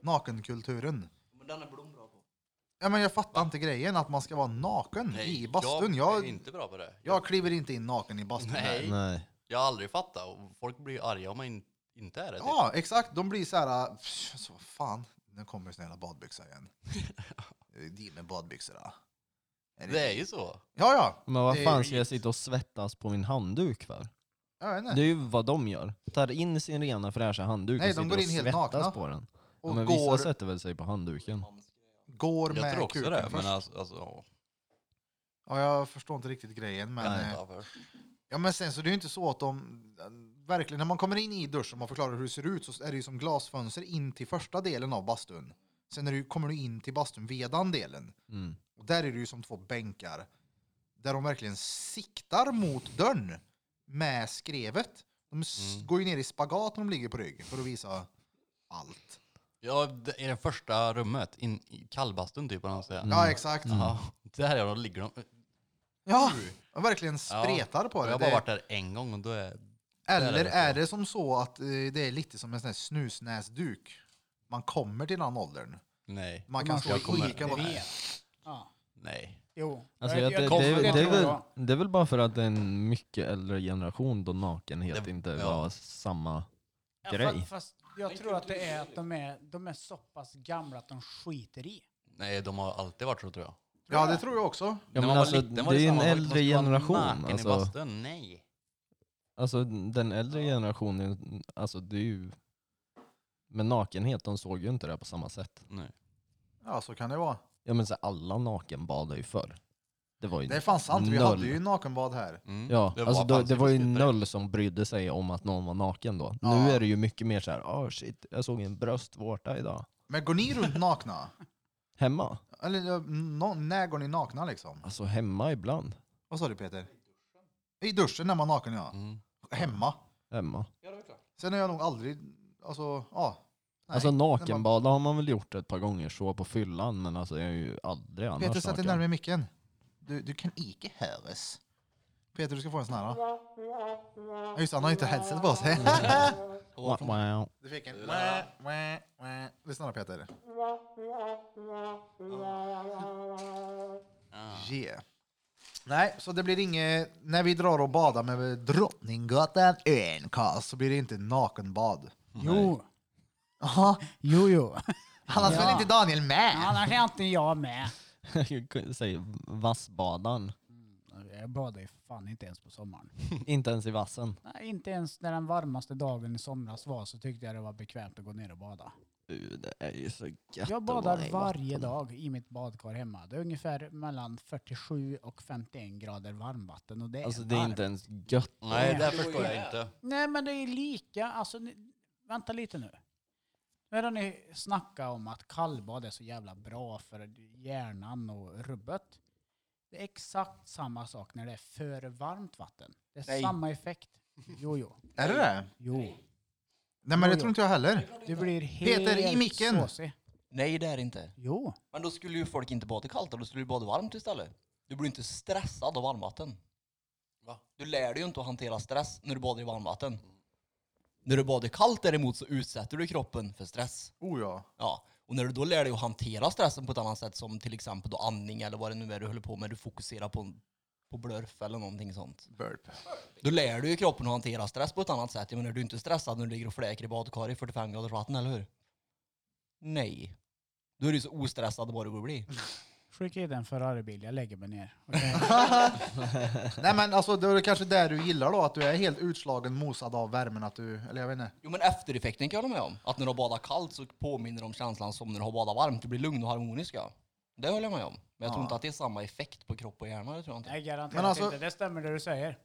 A: Nakenkulturen.
E: Men den är Blom bra på.
A: Ja, men jag fattar inte grejen att man ska vara naken i bastun.
B: Jag är
A: Jag,
B: inte bra på det.
A: jag kliver inte in naken i bastun. här.
F: Nej,
C: Nej.
F: jag har aldrig fattat. Och folk blir arga om man in, inte är det. typ.
A: Ja, exakt. De blir så här, "Pff, så vad fan, nu kommer sina jävla badbyxor igen. Ge mig badbyxorna. äh. Är
F: Det är ju så.
A: Ja, ja.
C: Men vad
A: Det är
C: fan ska jag sitta och svettas på min handduk för?
A: Jag vet
C: Det
A: inte.
C: är ju vad de gör. Tar in sin rena fräscha handduk
A: Nej,
C: och
A: de
C: sitter
A: går in
C: och
A: helt
C: svettas
A: nakna.
C: på den. Ja,
A: Och
C: men
A: går,
C: vissa sätter väl sig på handduken.
A: går
B: Jag tror
A: med
B: också
A: kuken
B: det,
A: först.
B: men alltså... alltså ja.
A: Ja, jag förstår inte riktigt grejen. Men,
B: Jag
A: eh,
B: vet inte varför.
A: ja, men sen så det är ju inte så att de... Verkligen, när man kommer in i duschen och man förklarar hur det ser ut så är det ju som glasfönster in till första delen av bastun. Sen är det, ju- kommer du in till bastun via den delen.
C: Mm.
A: Och där är det ju som två bänkar. Där de verkligen siktar mot dörren med skrevet. De s-
F: Mm.
A: går ju ner i spagat när de ligger på rygg för att visa allt.
F: Ja, det är det första rummet. In, I kallbastun typ, vad man säger.
A: Ja, exakt.
F: Ja, där är de, ligger de.
A: Mm. Ja, de verkligen spretar på
F: Jag
A: det.
F: har bara
A: det
F: varit där en gång och då är...
A: eller
F: där är det
A: är det som så att eh, det är lite som en sån här snusnäsduk? Man kommer till den åldern.
F: Nej,
A: Man kan
D: Man
A: stå i
D: ska komma
A: skiten. och-
D: ner. Ja.
F: nej.
D: Jo.
C: Alltså,
D: Jag-
C: jag, det,
D: jag-
C: det,
D: jag
C: det,
D: tror
C: det, är väl,
D: jag.
C: det är väl bara för att det är en mycket äldre generation då nakenhet
F: Det-
C: inte
F: ja.
C: var samma
D: Ja,
C: grej.
D: fa- Fast jag tror att det är att de är, de är så pass gamla att de skiter i.
F: Nej, de har alltid varit så tror jag.
A: Ja, det tror jag också.
C: Ja,
F: När
C: men
F: man var
C: alltså,
F: liten var
C: det är ju en
F: samma sak. Man
C: äldre
F: skulle vara
C: generation,
F: naken
C: alltså.
F: i bastun, nej.
C: Alltså den äldre generationen, alltså det är ju... Med nakenhet, de såg ju inte det på samma sätt.
F: nej.
A: Ja, så kan det vara.
C: Ja men så alla nakenbadade ju förr. Det var ju
A: Det är fan sant. Vi
C: noll.
A: hade ju nakenbad här.
F: Mm.
C: Ja,
F: Det
C: alltså då,
F: fan
C: det var ju
F: superskutt där.
C: noll som brydde sig om att någon var naken då. Nu är det ju mycket mer så här, ah shit, jag såg en bröstvårta idag.
A: Men går ni runt nakna?
C: Hemma?
A: Eller eh, nå- när går ni nakna liksom?
C: Alltså hemma ibland.
A: Vad sa du Peter? I duschen när man är naken ja.
F: Mm.
A: Hemma.
C: Hemma.
A: Sen har jag nog aldrig, alltså ja. Nej.
C: alltså
A: när
C: nakenbada har man väl gjort ett par gånger så på fyllan, men alltså jag är ju aldrig
A: man-
C: annars
A: Peter sätt dig
C: naken.
A: närmare micken. Du, du kan icke höras. Peter du ska få en sån här. Då. Ja, Just det, han har ju inte headset på sig.
C: Wow, wow.
A: du fick en. Wah, wah, wah. Lyssna då Peter. Yeah. Nej, så det blir inget, när vi drar och badar med Drottninggatan ön Karls, så blir det inte nakenbad.
D: Jo.
A: Jaha,
D: Jo, jo.
A: annars
D: Ja.
A: väl inte Daniel med?
D: Annars är inte jag med.
C: Säg vassbadan.
D: Jag badar ju fan inte ens på sommaren.
C: inte ens i vassen.
D: Nej, inte ens när den varmaste dagen i somras var så tyckte jag det var bekvämt att gå ner och bada.
C: Uh, Det är ju så gött
D: Jag
C: att vara
D: badar
C: i
D: varje
C: vatten.
D: dag i mitt badkar hemma. Det är ungefär mellan 47 och 51 grader varmvatten och det är
C: Alltså det är
D: varmt.
C: inte ens gött.
F: Nej, det förstår jag inte.
D: Nej men det är lika, alltså ni- vänta lite nu. Nu har ni snackat om att kallbad är så jävla bra för hjärnan och rubbet. Det är exakt samma sak när det är för varmt vatten. Det är
E: Nej.
D: samma effekt. Jo, jo.
A: Är det det?
D: jo.
A: Nej men det
D: Jo,
A: tror inte jag heller.
D: Det blir helt
A: Peter, i micken.
D: såsig.
E: Nej, det är det inte.
D: Jo.
E: Men då skulle ju folk inte bada kallt, då skulle du bada varmt istället. Du blir inte stressad av varmvatten.
B: Va?
E: Du lär dig ju inte att hantera stress när du badar i varmvatten. När du badar kallt däremot så utsätter du kroppen för stress.
A: Oh ja.
E: Ja. Och när du då lär dig att hantera stressen på ett annat sätt, som till exempel då andning eller vad det nu är du håller på med, du fokuserar på, på blurf eller någonting sånt.
A: Burp.
E: Då lär du ju kroppen att hantera stress på ett annat sätt. Jag menar, du är inte stressad när du ligger och fläker i badkar i 45 graders vatten, eller hur? Nej. Då är du ju så ostressad det bara du blir.
D: Skicka hit en Ferrari-bil, jag lägger mig ner. Okej.
A: Nej men alltså det är kanske det du gillar då, att du är helt utslagen, mosad av värmen att du, eller jag vet inte.
E: Jo men eftereffekten kan jag hålla med om. Att när du har badat kallt så påminner det om känslan som när du har badat varmt. Du blir lugn och harmonisk ja. Det håller jag med om. Men jag tror
A: Ja.
E: inte att det är samma effekt på kropp och hjärna. Det tror jag inte.
D: Nej, garanterat
A: Men alltså-
D: inte. Det stämmer det du säger.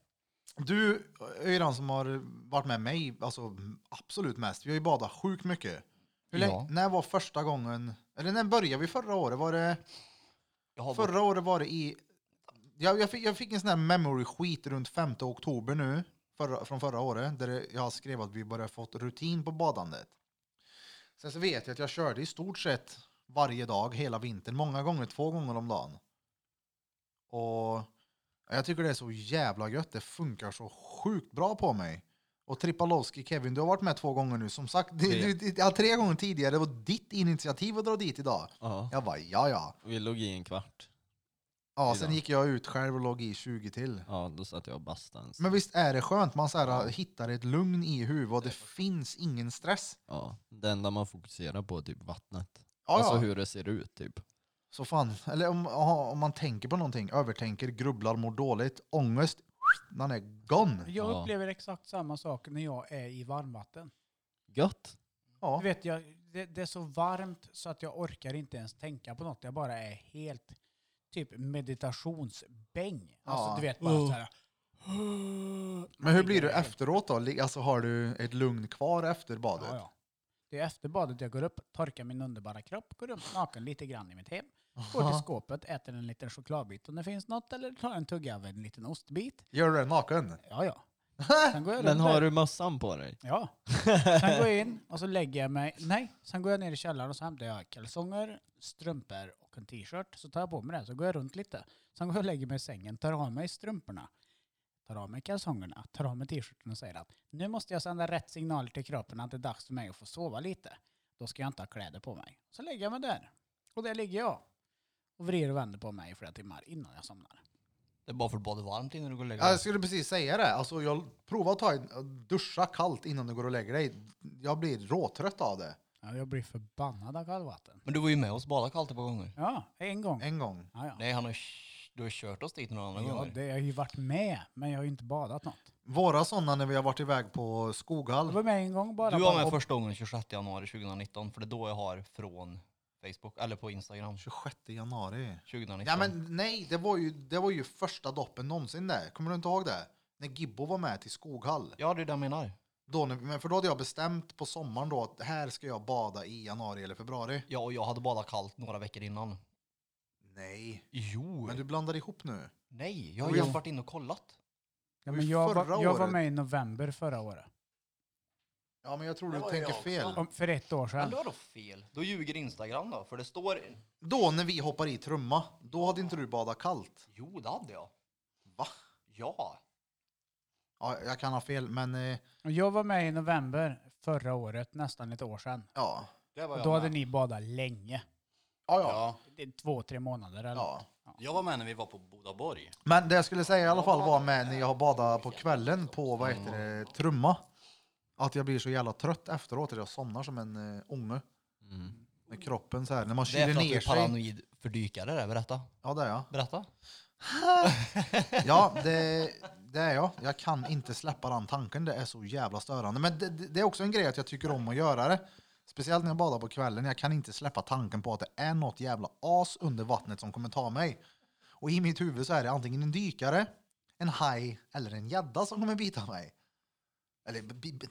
A: Du är ju den som har varit med mig, alltså absolut mest. Vi har ju badat sjukt mycket. Hur länge,
E: Ja.
A: När var första gången, eller när började vi förra året? Var det,
E: Jag har
A: förra året var det i, jag, jag, fick, jag fick en sån här memory-skit runt 5 oktober nu, förra, från förra året, där det- jag skrev att vi började fått rutin på badandet. Sen så vet jag att jag körde i stort sett varje dag hela vintern, många gånger, två gånger om dagen. Och jag tycker det är så jävla gött, det funkar så sjukt bra på mig. Och Tripalowski, Kevin, du har varit med två gånger nu. Som sagt, det,
C: Tre.
A: du, det- ja, tre gånger tidigare. Det var ditt initiativ att dra dit idag.
C: Ja.
A: Jag bara, ja ja.
C: Vi låg i en kvart.
A: Ja,
C: Idag.
A: sen gick jag ut själv och låg i 20 till.
C: Ja, då satt jag och bastade en
A: Men
C: stund.
A: visst är det skönt, man så här, hittar ett lugn i huvudet och det finns ingen stress.
C: Ja, det enda man fokuserar på är typ vattnet.
A: Ja,
C: alltså
A: ja.
C: hur det ser ut typ.
A: Så fan, eller om, ja, om man tänker på någonting, övertänker, grubblar, mår dåligt, ångest, man är gone.
D: Jag
C: Ja.
D: upplever exakt samma sak när jag är i varmvatten.
C: Gött!
A: Ja.
D: Du vet, jag, det, det är så varmt så att jag orkar inte ens tänka på något. Jag bara är helt typ meditationsbäng. Alltså
A: Ja.
D: du vet, bara
C: Uh.
E: Oh.
D: så här.
A: Men hur blir du efteråt då? Li- Alltså har du ett lugn kvar efter
D: Ja,
A: badet?
D: ja. Det är efter badet jag går upp, torkar min underbara kropp, går runt naken lite grann i mitt hem. Går till skåpet, äter en liten chokladbit om det finns något eller tar en tugga av en liten ostbit.
A: Gör du det naken?
D: Ja, ja. Sen går jag
C: Men
D: runt där.
C: har du mössan på dig?
D: Ja. Sen går jag in och så lägger jag mig. Nej, sen går jag ner i källaren och så hämtar jag kalsonger, strumpor och en t-shirt. Så tar jag på mig det, så går jag runt lite. Sen går jag och lägger mig i sängen, tar av mig strumporna, tar av mig kalsongerna, tar av mig t-shirten och säger att nu måste jag sända rätt signaler till kroppen att det är dags för mig att få sova lite. Då ska jag inte ha kläder på mig. Så lägger jag mig där. Och där ligger jag. Och vrider och vänder på mig i flera timmar innan jag somnar.
E: Det är bara för att bada varmt innan du går och lägger
A: Ja,
E: dig.
A: Jag skulle precis säga det. Alltså, jag provar att ta en, duscha kallt innan du går och lägger dig. Jag blir råtrött av det.
D: Ja, jag blir förbannad av kallvatten.
E: Men du var ju med oss och badade kallt ett par gånger.
D: Ja, en gång.
A: En gång.
D: Ja, ja.
E: Nej, han har, du har kört oss dit några andra
D: Ja,
E: gånger.
D: det jag har ju varit med, men jag har ju inte badat något.
A: Våra sådana när vi har varit iväg på
D: Jag
A: Skoghall.
D: var med en gång bara.
E: Du var
D: bara-
E: med första gången 26 januari 2019, för det är då jag har från Facebook, eller på Instagram.
A: 26 januari. Liksom.
E: 2019.
A: Ja, men nej, det var, ju, det var ju första doppen någonsin där. Kommer du inte ihåg det? När Gibbo var med till Skoghall.
E: ja, det är det jag menar.
A: Då, när- men för då hade jag bestämt på sommaren då att här ska jag bada i januari eller februari.
E: Ja, och jag hade badat kallt några veckor innan.
A: Nej.
E: Jo!
A: Men du blandar ihop nu.
E: Nej, jag
A: Det
E: har
A: var ju-
E: just varit inne och kollat.
D: ja,
A: var
D: men
A: ju
D: jag, var,
A: förra
D: jag var
A: året.
D: med i november förra året.
A: Ja, men jag tror
E: Det
A: du
E: var
A: tänker
E: jag
A: fel.
D: Om, för ett år
E: Men
D: sedan.
E: du har då fel. Då ljuger Instagram då, för det står...
A: Då när vi hoppar i trumma, då hade inte du badat kallt.
E: Jo, det hade jag.
A: Va?
E: Ja.
A: Ja, jag kan ha fel, men eh,
D: Och Jag var med i november förra året, nästan ett år sedan.
A: ja.
B: Det var
D: Och
B: jag
D: då
B: med.
D: hade ni badat länge.
A: Ja, ja.
B: Ja,
D: Det är Två, tre månader eller?
A: ja.
B: jag var med när vi var på Bodaborg.
A: Men det jag skulle säga i alla fall var med när jag har badat på kvällen på vad heter det, trumma. Att jag blir så jävla trött efteråt, att jag somnar som en eh, unge.
C: Mm.
A: Med kroppen så här, när man
E: Det är
A: kyler
E: för att du
A: ner
E: är
A: sig.
E: paranoid fördykare där. Berätta.
A: Ja, det är jag.
E: Berätta.
A: Ja, det, det är jag. Jag kan inte släppa den tanken. Det är så jävla störande. Men det, det det är också en grej att jag tycker om att göra det. Speciellt när jag badar på kvällen. Jag kan inte släppa tanken på att det är något jävla as under vattnet som kommer ta mig. Och i mitt huvud så är det antingen en dykare, en haj eller en gädda som kommer bita mig. Eller bi- bi-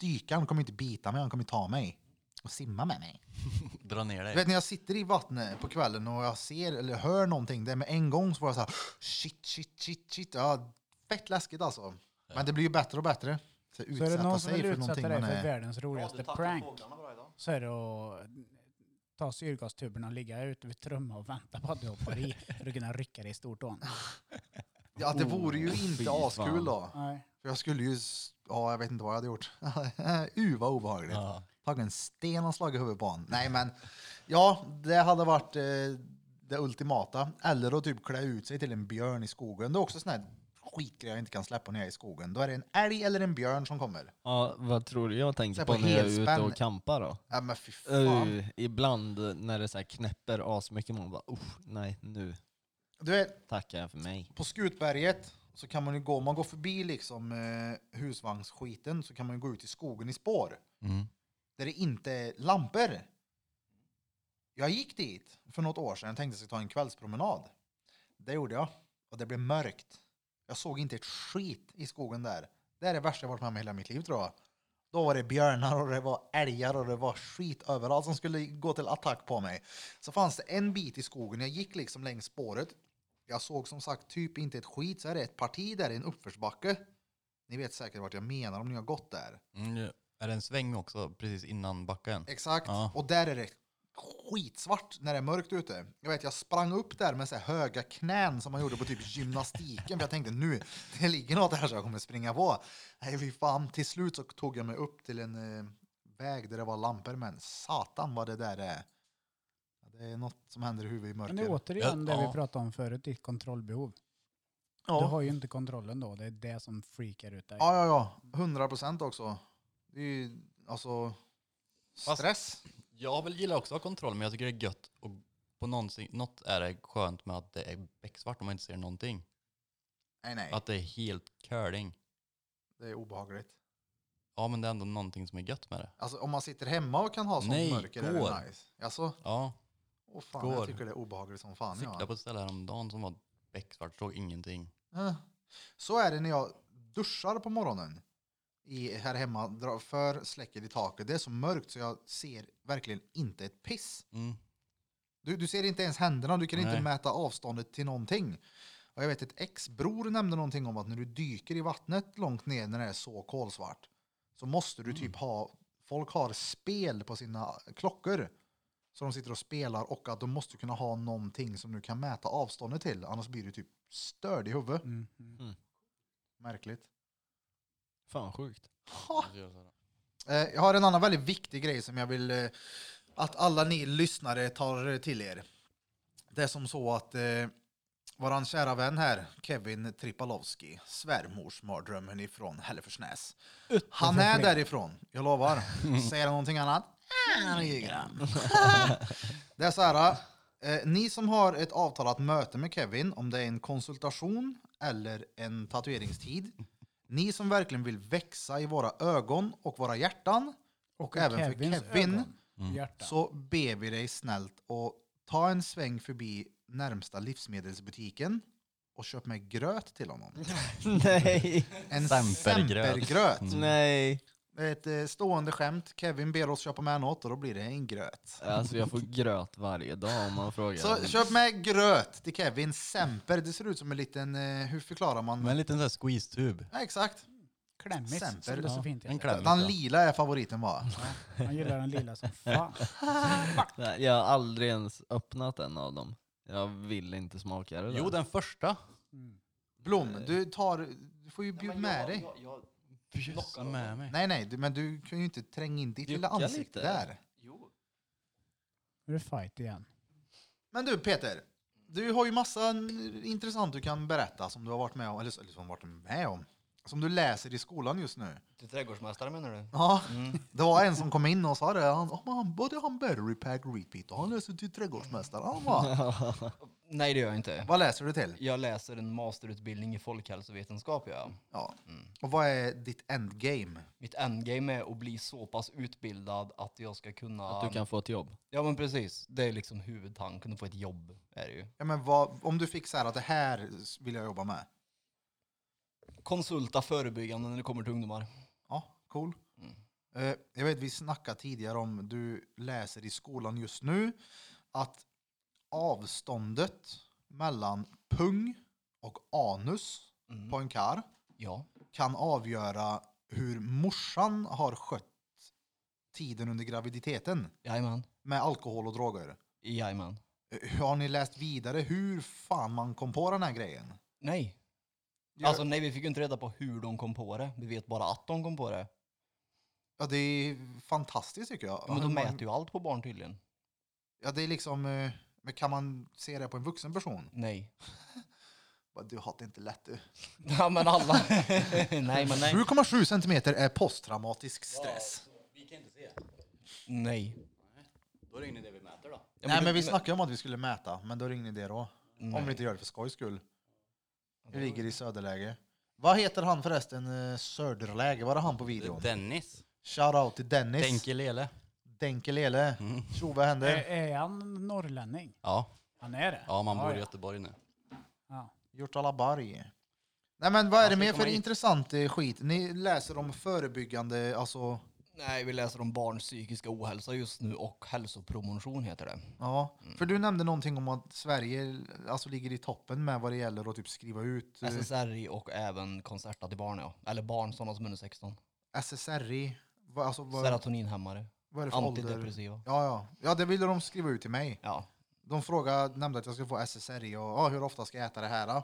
A: dyka, han kommer inte bita mig, han kommer ta mig. Och simma med mig.
F: Dra ner
A: Du
F: dig.
A: vet när jag sitter i vattnet på kvällen och jag ser eller hör någonting, det är med en gång så får jag så här shit, shit, shit, shit. Ja, fett läskigt alltså. Men det blir ju bättre och bättre. Så
D: Så är det någon som vill utsätta dig
A: man
D: för
A: är-
D: världens
B: Ja, du
D: roligaste
B: tacklar
D: prank
B: fåglarna bra idag.
D: så är det att ta syrgastuberna och ligga ute vid Trumma och vänta på att du hoppar i för att kunna rycka dig i stortån.
A: Ja, det vore ju
C: Oh, fy
A: inte
C: fan.
A: askul då.
D: Nej.
A: För jag skulle ju, s- ja jag vet inte vad jag hade gjort. uh, vad obehagligt.
F: Ja.
A: Tagit en sten och slagit huvudet på honom. Nej men, ja det hade varit eh, det ultimata. Eller att typ klä ut sig till en björn i skogen. Det är också sån här skitgrej jag inte kan släppa när jag är i skogen. Då är det en älg eller en björn som kommer.
C: Ja, vad tror du jag tänker
A: Säg
C: på,
A: på
C: när jag är ute
A: helspänn.
C: och campar då?
A: Ja men fy fan.
C: Uh, ibland när det så här knäpper asmycket, man bara usch, nej nu
A: Du vet,
C: tackar jag för mig.
A: på Skutberget så kan man ju gå, om man går förbi liksom eh, husvagnsskiten så kan man ju gå ut i skogen i spår.
F: Mm.
A: Där det inte är lampor. Jag gick dit för något år sedan och tänkte att jag skulle ta en kvällspromenad. Det gjorde jag och det blev mörkt. Jag såg inte ett skit i skogen där. Det är det värsta jag varit med om i hela mitt liv tror jag. Då var det björnar och det var älgar och det var skit överallt som skulle gå till attack på mig. Så fanns det en bit i skogen, jag gick liksom längs spåret. Jag såg som sagt typ inte ett skit, så är det ett parti där i en uppförsbacke. Ni vet säkert vart jag menar om ni har gått där.
F: Mm, ja. Är det en sväng också, precis innan backen?
A: Exakt.
F: Ja.
A: Och där är det skitsvart när det är mörkt ute. Jag vet, jag sprang upp där med så här höga knän som man gjorde på typ gymnastiken. för jag tänkte nu, det ligger något här som jag kommer springa på. Nej, fy fan. Till slut så tog jag mig upp till en eh, väg där det var lampor, men satan vad det där är. Ja, Det är något som händer i huvudet i
D: Men det är
A: mörker.
D: återigen
F: Ja,
D: det vi
F: ja.
D: pratade om förut, ditt kontrollbehov. Du
A: Ja,
D: har ju inte kontrollen då, det är det som freakar ut dig.
A: ja, ja. ja. 100 procent också. Det är ju alltså
F: Fast-
A: stress.
F: Jag vill gilla också att ha kontroll, men jag tycker det är gött. Och på någonsin, något är det skönt med att det är becksvart och man inte ser någonting.
A: Nej, nej.
F: Att det är helt curling.
A: Det är obehagligt.
F: Ja, men det är ändå någonting som är gött med det.
A: Alltså om man sitter hemma och kan ha sånt
F: Nej,
A: mörker är
F: går.
A: det nice. Alltså,
F: Ja,
A: åh fan,
F: Går.
A: jag tycker det är obehagligt som fan.
F: cyklade
A: Ja.
F: på ett ställe häromdagen som var becksvart, såg ingenting.
A: Eh, Så är det när jag duschar på morgonen. I, här hemma, drar för släcker i taket. Det är så mörkt så jag ser verkligen inte ett piss.
F: Mm.
A: Du, du ser inte ens händerna, du kan inte
F: Nej.
A: mäta avståndet till någonting. Och jag vet ett ex-bror nämnde någonting om att när du dyker i vattnet långt ner när det är så kolsvart så måste du
F: Mm.
A: typ ha, folk har spel på sina klockor så de sitter och spelar och att de måste kunna ha någonting som du kan mäta avståndet till annars blir du typ störd i huvudet.
D: Mm. mm.
A: Märkligt.
C: Fan sjukt.
A: Eh, Jag har en annan väldigt viktig grej som jag vill eh, att alla ni lyssnare tar eh, till er. Det är som så att eh, våran kära vän här, Kevin Tripalowski, svärmorsmardrömmen ifrån Hälleforsnäs. Han är därifrån, jag lovar. Säger han någonting annat? Han ljuger han. Det är så här, eh, ni som har ett avtalat möte med Kevin, om det är en konsultation eller en tatueringstid, ni som verkligen vill växa i våra ögon och våra hjärtan, och, även
D: Kevins
A: för Kevin,
D: ögon, Mm. Hjärta.
A: så ber vi dig snällt att ta en sväng förbi närmsta livsmedelsbutiken och köp med gröt till honom.
C: nej,
A: En
F: Sempergröt.
A: sempergröt.
C: nej.
A: Det är ett eh, stående skämt. Kevin ber oss köpa med något och då blir det en gröt.
C: Alltså jag får gröt varje dag om man frågar.
A: Så köp med gröt till Kevin. Semper, det ser ut som en liten, eh, hur förklarar man?
F: Med en liten sån här squeeze-tub.
A: Nej, exakt.
D: Klämmigt, som
A: Semper,
D: det så fint
F: En
D: heter.
F: kläm.
A: Den lila är favoriten va?
D: Man gillar den lilla som fan.
C: Nej, Jag har aldrig ens öppnat en av dem. Jag vill inte smaka det där.
F: Jo, den första.
D: Mm.
A: Blom, du tar, du får ju bjuda med dig.
B: Jag,
F: Plocka med mig.
A: Nej, nej, du, men du kan ju inte tränga in ditt lilla
C: Jucka
A: ansikte
C: lite.
A: där.
B: jo.
D: Nu är det fight igen.
A: Men du Peter, du har ju massa n- intressant du kan berätta som du har varit med om, eller, s- eller som varit med om, som du läser i skolan just nu.
E: Till trädgårdsmästare menar du?
A: Ja,
E: Mm.
A: det var en som kom in och sa det, han, oh, han både han battery pack repeat och han läser till trädgårdsmästare. Han bara,
E: Nej, det gör jag inte.
A: vad läser du till?
E: Jag läser en masterutbildning i folkhälsovetenskap, ja.
A: Ja.
E: Mm.
A: Och vad är ditt endgame?
E: Mitt endgame är att bli så pass utbildad att jag ska kunna...
C: Att du kan få ett jobb.
E: Ja, men precis. Det är liksom huvudtanken, att få ett jobb. Är det ju.
A: Ja, men vad, om du fick så här att det här s- vill jag jobba med.
E: Konsulta förebyggande när det kommer till ungdomar.
A: Ja, cool.
E: Mm.
A: Eh, jag vet, vi snackade tidigare om, du läser i skolan just nu, att avståndet mellan pung och anus
E: Mm.
A: på en kar
E: Ja.
A: kan avgöra hur morsan har skött tiden under graviditeten
E: Jajamän.
A: med alkohol och droger.
E: Jajamän.
A: Eh, Har ni läst vidare hur fan man kom på den här grejen?
E: Nej.
A: Ja.
E: Alltså nej, vi fick ju inte reda på hur de kom på det. Vi vet bara att de kom på det.
A: Ja, det är fantastiskt tycker jag.
E: Ja, men de
A: Hur man-
E: mäter ju allt på barn tydligen.
A: Ja, det är liksom... eh, Men kan man se det på en vuxen person?
E: Nej.
A: Bara, Du har det inte lätt du.
E: Ja men alla. nej men nej.
A: 7,7 centimeter är posttraumatisk stress.
F: Vi kan inte se.
E: Nej.
F: Då är det ingen idé vi mäter då.
E: Ja,
A: Nej, men vi
E: du-
A: snackade om att vi skulle mäta, men då är det ingen idé då. Om vi
E: Nej.
A: inte gör det för skojs skull. Vi ligger i söderläge. Vad heter han förresten, eh, söderläge? Var det han på videon?
F: Dennis.
A: Shoutout till Dennis.
F: Denke Lele.
A: Denkelele.
E: Mm.
A: Tjo, vad händer?
D: Är, är han norrlänning?
F: Ja.
D: Han är det?
F: ja, man bor i
D: ja.
F: Göteborg nu.
D: Ja.
A: Hjortalaberg. Nej men vad är det mer för
F: komma hit.
A: intressant eh, skit? Ni läser om förebyggande, alltså
E: Nej, vi läser om barns psykiska ohälsa just nu och hälsopromotion heter det.
A: Ja, för du nämnde någonting om att Sverige alltså, ligger i toppen med vad det gäller att typ skriva ut eh,
E: SSRI och även koncerta till barn ja. Eller barn, sådana som är under 16.
A: SSRI. Vad, alltså, vad,
E: Serotoninhämmare.
A: vad är det för ålder?
E: Antidepressiva.
A: Ja, ja. ja, det ville de skriva ut till mig.
E: Ja.
A: De frågade, nämnde att jag skulle få SSRI och ja, hur ofta ska jag äta det här? då?"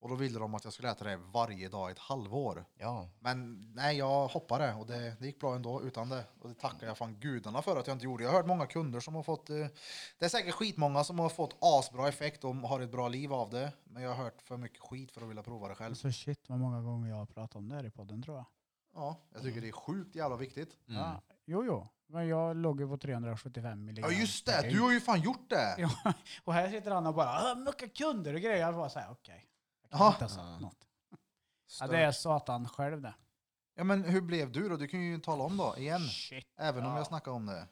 A: Och då ville de att jag skulle äta det varje dag i ett halvår.
E: Ja.
A: Men nej, jag hoppade och det, det gick bra ändå utan det. Och det tackar jag fan gudarna för att jag inte gjorde. Jag har hört många kunder som har fått, eh, det är säkert skitmånga som har fått asbra effekt och har ett bra liv av det. Men jag har hört för mycket skit för att vilja prova det själv.
D: Alltså shit vad många gånger jag har pratat om det här i podden tror jag.
A: Ja, jag
D: Mm.
A: tycker det är sjukt jävla viktigt.
C: Mm.
D: Ja, jo, jo. Men jag låg ju på 375 milligram.
A: Ja just det, du har ju fan gjort det!
D: Ja. Och här sitter han och bara "Ah, mycket kunder och grejer. Jag bara såhär, okej. Jag kan
A: Jaha.
D: inte ha sagt något. Ja, det
A: Stört.
D: är satan själv det.
A: Ja men hur blev du då? Du kan ju tala om då, igen.
D: Shit.
A: Även om
D: Ja.
A: jag snackar om det.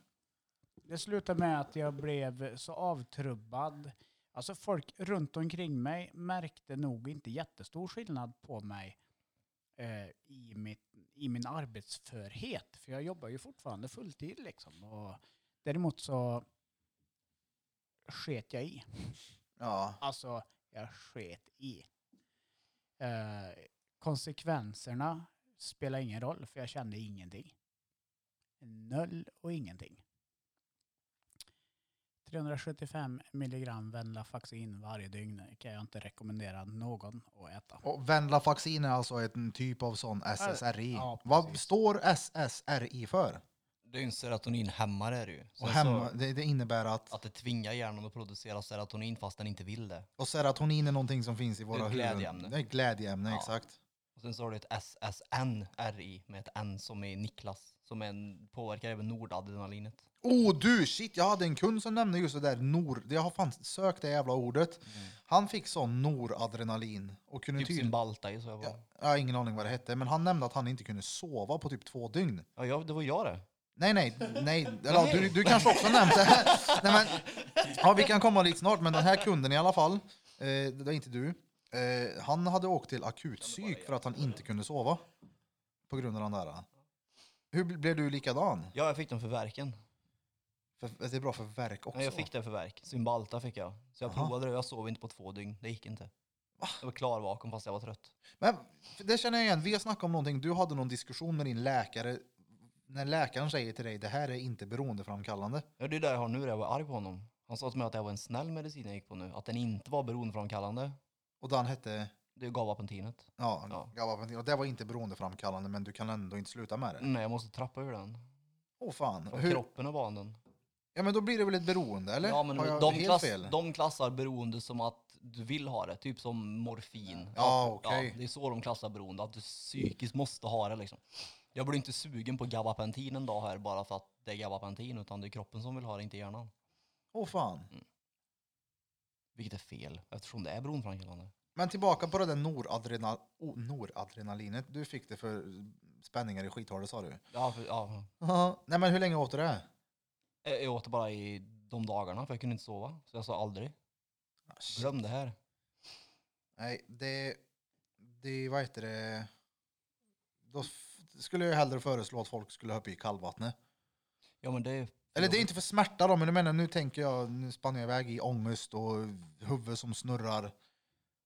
D: Det slutade med att jag blev så avtrubbad. Alltså folk runt omkring mig märkte nog inte jättestor skillnad på mig eh, i, mitt, i min arbetsförhet. För jag jobbar ju fortfarande fulltid liksom. Och däremot så sket jag i.
A: Ja.
D: Alltså, jag sket i. Eh, konsekvenserna spelar ingen roll, för jag kände ingenting. Noll och ingenting. 375 milligram Venlafaxin varje dygn kan jag inte rekommendera någon att äta.
A: Och Venlafaxin är alltså en typ av sån SSRI.
D: Ja,
A: Vad
D: precis.
A: står SSRI för?
E: Det är ju en serotoninhämmare är det ju. Så
A: Och
E: alltså,
A: hemma, det, det innebär att
E: Att det tvingar hjärnan att producera serotonin fast den inte vill det.
A: Och serotonin är någonting som finns i våra
E: Det är ett
A: huvuden.
E: glädjeämne.
A: Det är ett glädjeämne,
E: Ja.
A: exakt.
E: Och sen så har du ett SSNRI med ett N som är Niklas. Som är en, påverkar även nordadrenalinet.
A: Oh du, shit, jag hade en kund som nämnde just det där nor... Jag har fan sökt det jävla ordet. Han fick sån noradrenalin och kunde
E: Mm. Typ
A: tydligen...
E: Zimbalta i så jag bara.
A: Ja,
E: Ja.
A: jag har ingen aning vad det hette, men han nämnde att han inte kunde sova på typ två dygn.
E: jag- det var jag det.
A: Nej, nej, nej. Eller, ja, du, du kanske också nämnt det här. Nej, men, ja, vi kan komma dit snart, men den här kunden i alla fall, eh, det var inte du, eh, han hade åkt till akutpsyk för att han inte kunde sova på grund av den där. Hur bl- blev du likadan?
E: Ja, jag fick den för verken.
A: För, det är bra för verk också.
E: Ja, jag fick det för verk. Zimbalta fick jag. Så jag
A: Aha.
E: provade det och jag sov inte på två dygn. Det gick inte. Jag var klarvaken fast jag var trött.
A: Men, för det känner jag igen. Vi har snackat om någonting. Du hade någon diskussion med din läkare. När läkaren säger till dig det här är inte beroendeframkallande.
E: Ja, det är det jag har nu, jag var arg på honom. Han sa till mig att det var en snäll medicin jag gick på nu. Att den inte var beroendeframkallande.
A: Och den hette
E: Det gav apentinet.
A: ja,
E: Ja.
A: gabapentin. Och det var inte beroendeframkallande men du kan ändå inte sluta med det.
E: Nej, jag måste trappa ur den.
A: Åh fan.
E: För
A: Hur,
E: kroppen är van den.
A: ja men då blir det väl ett beroende eller?
E: Ja, men
A: har jag
E: de,
A: helt
E: klass,
A: fel?
E: de klassar beroende som att du vill ha det. Typ som morfin.
A: Ja,
E: Att-
A: okej.
E: det är så de klassar beroende. Att du psykiskt måste ha det liksom. Jag blir inte sugen på gabapentin en dag här bara för att det är gabapentin. Utan det är kroppen som vill ha det, inte hjärnan.
A: Åh fan.
E: Mm. Vilket är fel, eftersom det är beroendeframkallande.
A: Men tillbaka på det där noradrenal, oh, noradrenalinet. Du fick det för spänningar i skithålet sa du.
E: Ja, för, ja.
A: Ja. Nej men hur länge åt du det?
E: Eh, Jag åt det bara i de dagarna för jag kunde inte sova. Så jag sa aldrig. Glöm det här.
A: Nej, det, det, vad heter det, Då f- skulle jag hellre föreslå att folk skulle hoppa i kallvattnet.
E: Ja men det är...
A: Eller det är inte för smärta då, men du menar nu tänker jag, nu spann jag iväg i ångest och huvud som snurrar.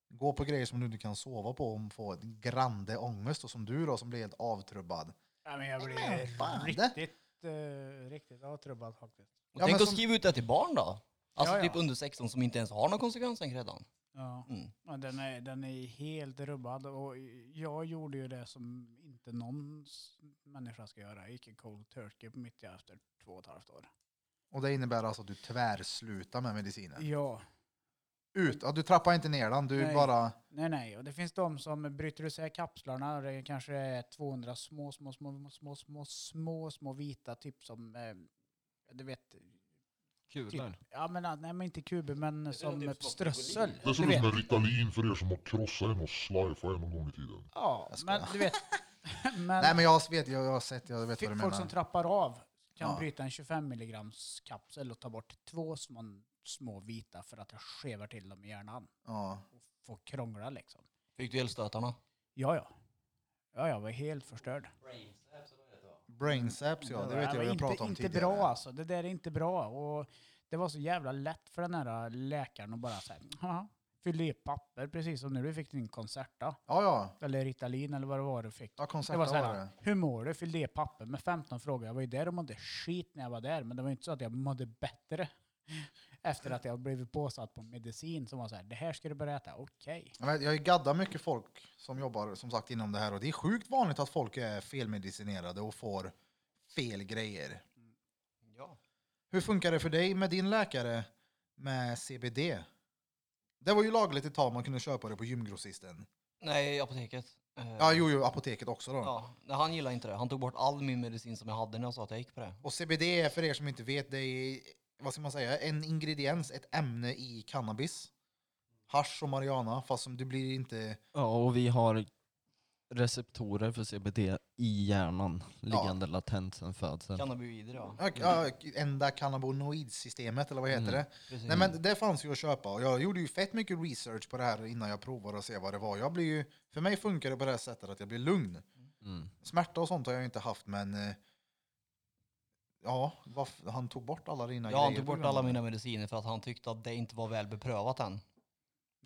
A: Gå på grejer som du inte kan sova på om få ett grande ångest och som du då som blir helt avtrubbad.
D: Ja, men jag
A: men
D: blir
A: fan, det-
D: riktigt, eh, riktigt avtrubbad faktiskt.
E: Och
A: Ja,
E: tänk
A: men
E: att
A: som-
E: skriva ut det till barn då. Alltså
D: Ja, ja.
E: typ under 16 som inte ens har någon konsekvenstänk redan.
D: Ja.
E: Mm.
D: Ja, den, är, den är helt rubbad och jag gjorde ju det som inte någon s- människa ska göra. Jag gick en cold turkey på mitt i efter två och ett halvt år.
A: Och det innebär alltså att du tvärslutar med medicinen.
D: Ja,
A: Ut, ja, du trappar inte ner den, du
D: Nej.
A: bara...
D: nej nej. Och det finns de som bryter isär kapslarna och det kanske är 200 små, små, små, små, små, små, små vita typ som, eh, du vet,
C: Kulor.
D: ja men nej men inte kuber men som strössel.
G: Det är
D: Du
G: som
D: vet.
G: en Ritalin för er som har krossat en och slajfat en någon gång i tiden.
D: Ja,
A: Jag skojar.
D: men du vet. men
A: Nej men jag vet, jag, jag har sett, jag vet vad du
D: fi- folk som
A: menar.
D: trappar av kan
A: Ja.
D: bryta en 25 milligrams kapsel och ta bort två små, små vita för att jag skevar till dem i hjärnan
A: Ja.
D: och får krångla liksom.
E: Fick du elstötarna?
D: Ja, ja. Ja, jag var helt förstörd.
A: Brainsaps ja, det
D: där
A: vet jag
D: var
A: vi har
D: inte,
A: pratat om
D: inte
A: tidigare.
D: bra alltså. Det där är inte bra. Och det var så jävla lätt för den här läkaren att bara säga, "Jaha." fyllde i ett papper precis som när du fick din Concerta.
A: Ja, ja.
D: Eller Ritalin eller vad det var du fick.
A: Ja,
D: Det var
A: konceptet var
D: såhär,
A: det.
D: hur mår du? Fyllde i ett papper med 15 frågor. Jag var ju där och mådde skit när jag var där, men det var ju inte så att jag mådde bättre efter att jag blivit påsatt på medicin som var såhär, det här ska du börja äta, okej.
A: Jag vet, jag gaddar mycket folk som jobbar som sagt inom det här och det är sjukt vanligt att folk är felmedicinerade och får fel grejer.
E: Ja.
A: Hur funkar det för dig med din läkare med CBD? Det var ju lagligt ett tag, man kunde köpa det på gymgrossisten.
E: Nej, apoteket. Eh,
A: Ja, jo, jo, apoteket också då.
E: Ja, nej, han gillade inte det. Han tog bort all min medicin som jag hade när jag sa att jag gick på det.
A: Och CBD är för er som inte vet, det är, vad ska man säga, en ingrediens, ett ämne i cannabis. Hasch och marijuana, fast som du blir inte...
C: Ja, och vi har receptorer för CBD i hjärnan, liggande latent sedan födseln.
E: Cannabinoider ja.
A: Ja, ja, Enda cannabinoidsystemet, eller vad heter det?
E: Precis.
A: Nej men det fanns ju att köpa och jag gjorde ju fett mycket research på det här innan jag provade och se vad det var. Jag blir ju, för mig funkar det på det här sättet att jag blir lugn.
C: Mm.
A: Smärta och sånt har jag ju inte haft men eh, ja, varf- han tog bort alla dina
E: Ja, han
A: grejer
E: tog
A: på
E: bort
A: grund av
E: alla
A: det.
E: mina mediciner för att han tyckte att det inte var väl beprövat än.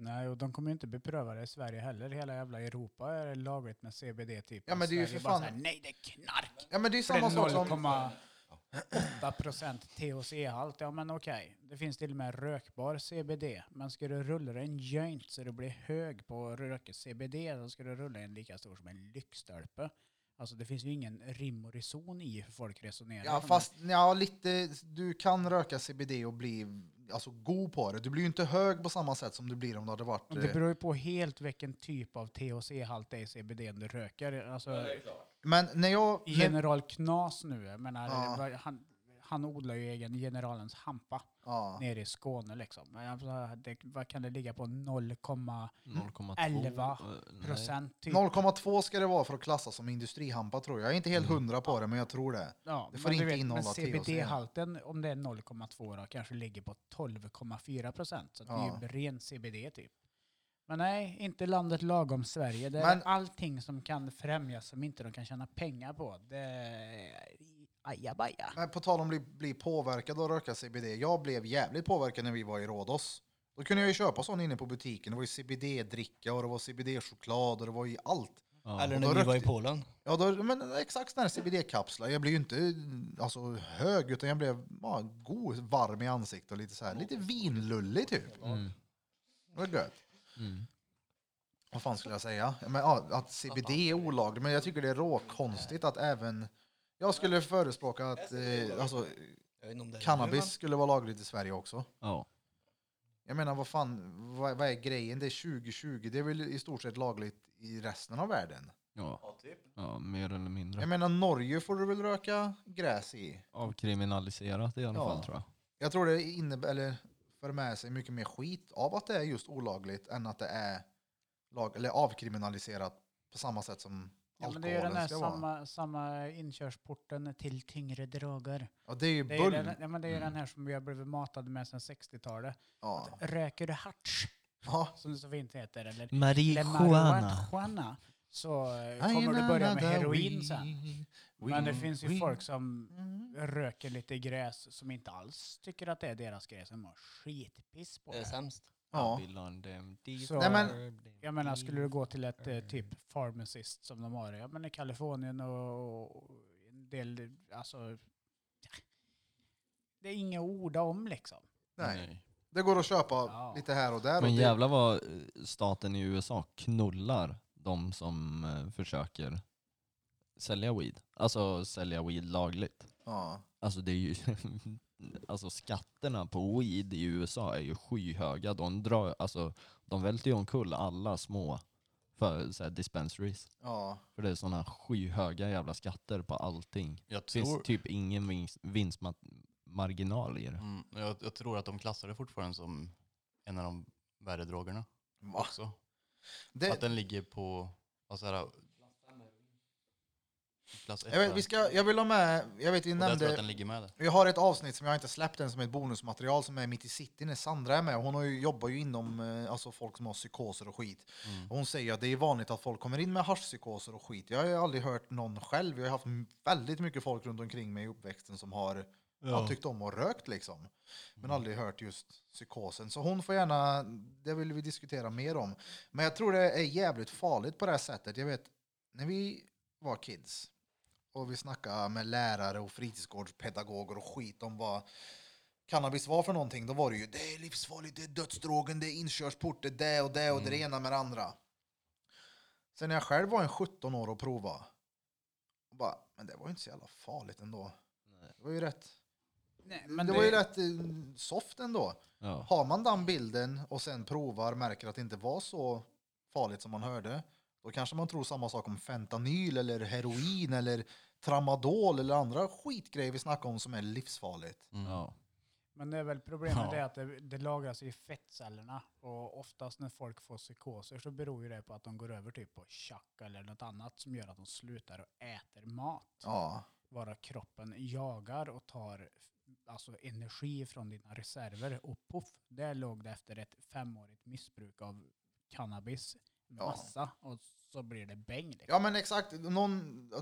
D: Nej, och de kommer ju inte bepröva det i Sverige heller. Hela jävla Europa är lagligt med CBD typ.
A: Ja, men det är ju
D: Sverige
A: för
D: bara
A: fan-
D: såhär, Nej, det är knark!
A: Ja men det är ju
D: För det
A: samma sak
D: är
A: som...
D: 0,8 procent THC-halt. Ja, men okej. Det finns till och med rökbar CBD. Men ska du rulla dig en joint så du blir hög på att röka CBD, då ska du rulla en lika stor som en lyktstolpe. Alltså det finns ju ingen rim och reson i hur folk resonerar.
A: Ja fast ja, lite, du kan röka CBD och bli alltså, god på det. Du blir ju inte hög på samma sätt som du blir om du hade varit...
D: Men Det
A: eh,
D: beror ju på helt vilken typ av THC-halt det är i CBD du röker. Alltså,
A: Men när jag... När,
D: General Knas nu, jag menar,
A: Ja.
D: vad- han, han odlar ju egen Generalens hampa
A: ja,
D: nere i Skåne liksom. Men jag menar, det, vad kan det ligga på? 0,11
C: 0,2. eh, nej.
D: procent typ.
A: 0,2 ska det vara för att klassas som industrihampa tror jag. Jag är inte helt
E: Mm.
A: hundra på det men jag tror det.
D: Ja,
A: det får
D: men du
A: inte innehålla
D: Men
A: THC.
D: CBD-halten, om det är 0,2 då, kanske ligger på 12,4 procent. Så att det är ju ren CBD typ. Men nej, inte landet lagom Sverige. Det är
A: Men-
D: allting som kan främjas som inte de kan tjäna pengar på. Det är ajabaja.
A: Men på tal om att bli, bli påverkad och röka CBD. Jag blev jävligt påverkad när vi var i Rhodos. Då kunde jag ju köpa sån inne på butiken. Det var ju CBD-dricka och det var CBD-choklad och det var ju allt.
C: Ja.
E: Eller
A: och
E: när
A: då
E: vi var i
A: rökte-
E: Polen.
A: Ja, då, men exakt sån här CBD-kapslar. Jag blev ju inte alltså, hög utan jag blev ja, god, varm i ansiktet och lite så här, lite vinlullig typ.
C: Mm.
A: Det var gött.
C: Mm.
A: Vad fan skulle jag säga? Ja, Men, ja, att CBD är olagligt, men jag tycker det är råkonstigt att även... Jag skulle förespråka att eh, alltså,
E: Jag vet inte om det är nu,
A: cannabis
E: men-
A: skulle vara lagligt i Sverige också.
C: Ja.
A: Jag menar, vad fan, vad, vad är grejen? Det är 2020, det är väl i stort sett lagligt i resten av världen?
C: Ja. ja, mer eller
A: Jag
C: mindre.
A: menar, Norge får du väl röka gräs i?
C: Avkriminaliserat i alla
A: Ja.
C: fall tror jag.
A: Jag tror det innebär, eller för med sig mycket mer skit av att det är just olagligt än att det är lag, eller avkriminaliserat på samma sätt som
D: Ja, men det är ju den
A: alkoholen
D: här
A: ska vara.
D: samma, samma inkörsporten till tyngre droger.
A: Ja, det är ju
D: Det är, ju
A: bull. Mm.
D: den, ja, men det är ju den här som vi har blivit matade med sedan 60-talet.
A: Ja.
D: Röker du harts,
A: Ja.
D: som det så fint heter, eller
C: Marijuana.
D: marijuana, så eh, kommer du börja med heroin sen. Men det finns ju folk som röker lite gräs som inte alls tycker att det är deras grej, som har skitpiss på
E: Det är
D: det.
E: sämst.
A: Ja.
D: Så,
A: Nej, men-
D: jag menar, skulle du gå till ett eh, typ pharmacist som de har ja, men i Kalifornien och och en del, alltså, ja. det är inga ord om liksom.
A: Nej. Det går att köpa
D: Ja.
A: lite här och där. och
C: Men
A: det-
C: jävlar vad eh, staten i USA knullar de som eh, försöker sälja weed. Alltså sälja weed lagligt.
A: Ja.
C: Alltså det är ju, alltså skatterna på weed i USA är ju skyhöga. De drar, alltså de välter ju omkull alla små för, så här, dispensaries.
A: ja.
C: För det är sådana skyhöga jävla skatter på allting.
F: Jag
C: Det finns
F: tror,
C: typ ingen vinst, vinstmarginal i det.
F: mm, jag, jag tror att de klassar det fortfarande som en av de värre drogerna
A: Va?
F: också. Att
A: Det,
F: den ligger på, alltså här, klass 1.
A: jag, vet, vi ska, jag vill ha med, jag vet vi
F: och där tror jag
A: nämnde
F: att den ligger med det.
A: Jag har ett avsnitt som jag inte släppt än som är ett bonusmaterial som är mitt i city när Sandra är med. Hon har ju, jobbar ju inom eh, alltså folk som har psykoser och skit. Och hon säger att det är vanligt att folk kommer in med haschpsykoser och skit. Jag har ju aldrig hört någon själv. Jag har haft m- väldigt mycket folk runt omkring mig i uppväxten som har ja. tyckt om och rökt liksom. Men aldrig hört just psykosen. Så hon får gärna, det vill vi diskutera mer om. Men jag tror det är jävligt farligt på det här sättet. Jag vet, när vi var kids, och vi snackade med lärare och fritidsgårdspedagoger och skit om vad cannabis var för någonting. Då var det ju det är livsfarligt, det är dödsdrogen, det är inkörsport, det är det och det och det ena med det andra. Sen när jag själv var en 17 år och provade, och bara, men det var ju inte så jävla farligt ändå. Det var ju rätt,
D: Nej, men
A: det var ju rätt eh, soft ändå.
C: Ja.
A: Har man den bilden och sen provar märker att det inte var så farligt som man hörde, då kanske man tror samma sak om fentanyl eller heroin eller tramadol eller andra skitgrejer vi snackar om som är livsfarligt.
C: Ja.
D: Men det är väl problemet är att det, det lagras i fettcellerna och oftast när folk får psykoser så beror ju det på att de går över typ på tjack eller något annat som gör att de slutar och äter mat.
A: Ja,
D: Bara kroppen jagar och tar alltså energi från dina reserver och poff, där låg det efter ett femårigt missbruk av cannabis
A: Ja.
D: massa och så blir det bäng. Liksom.
A: ja men exakt. Någon,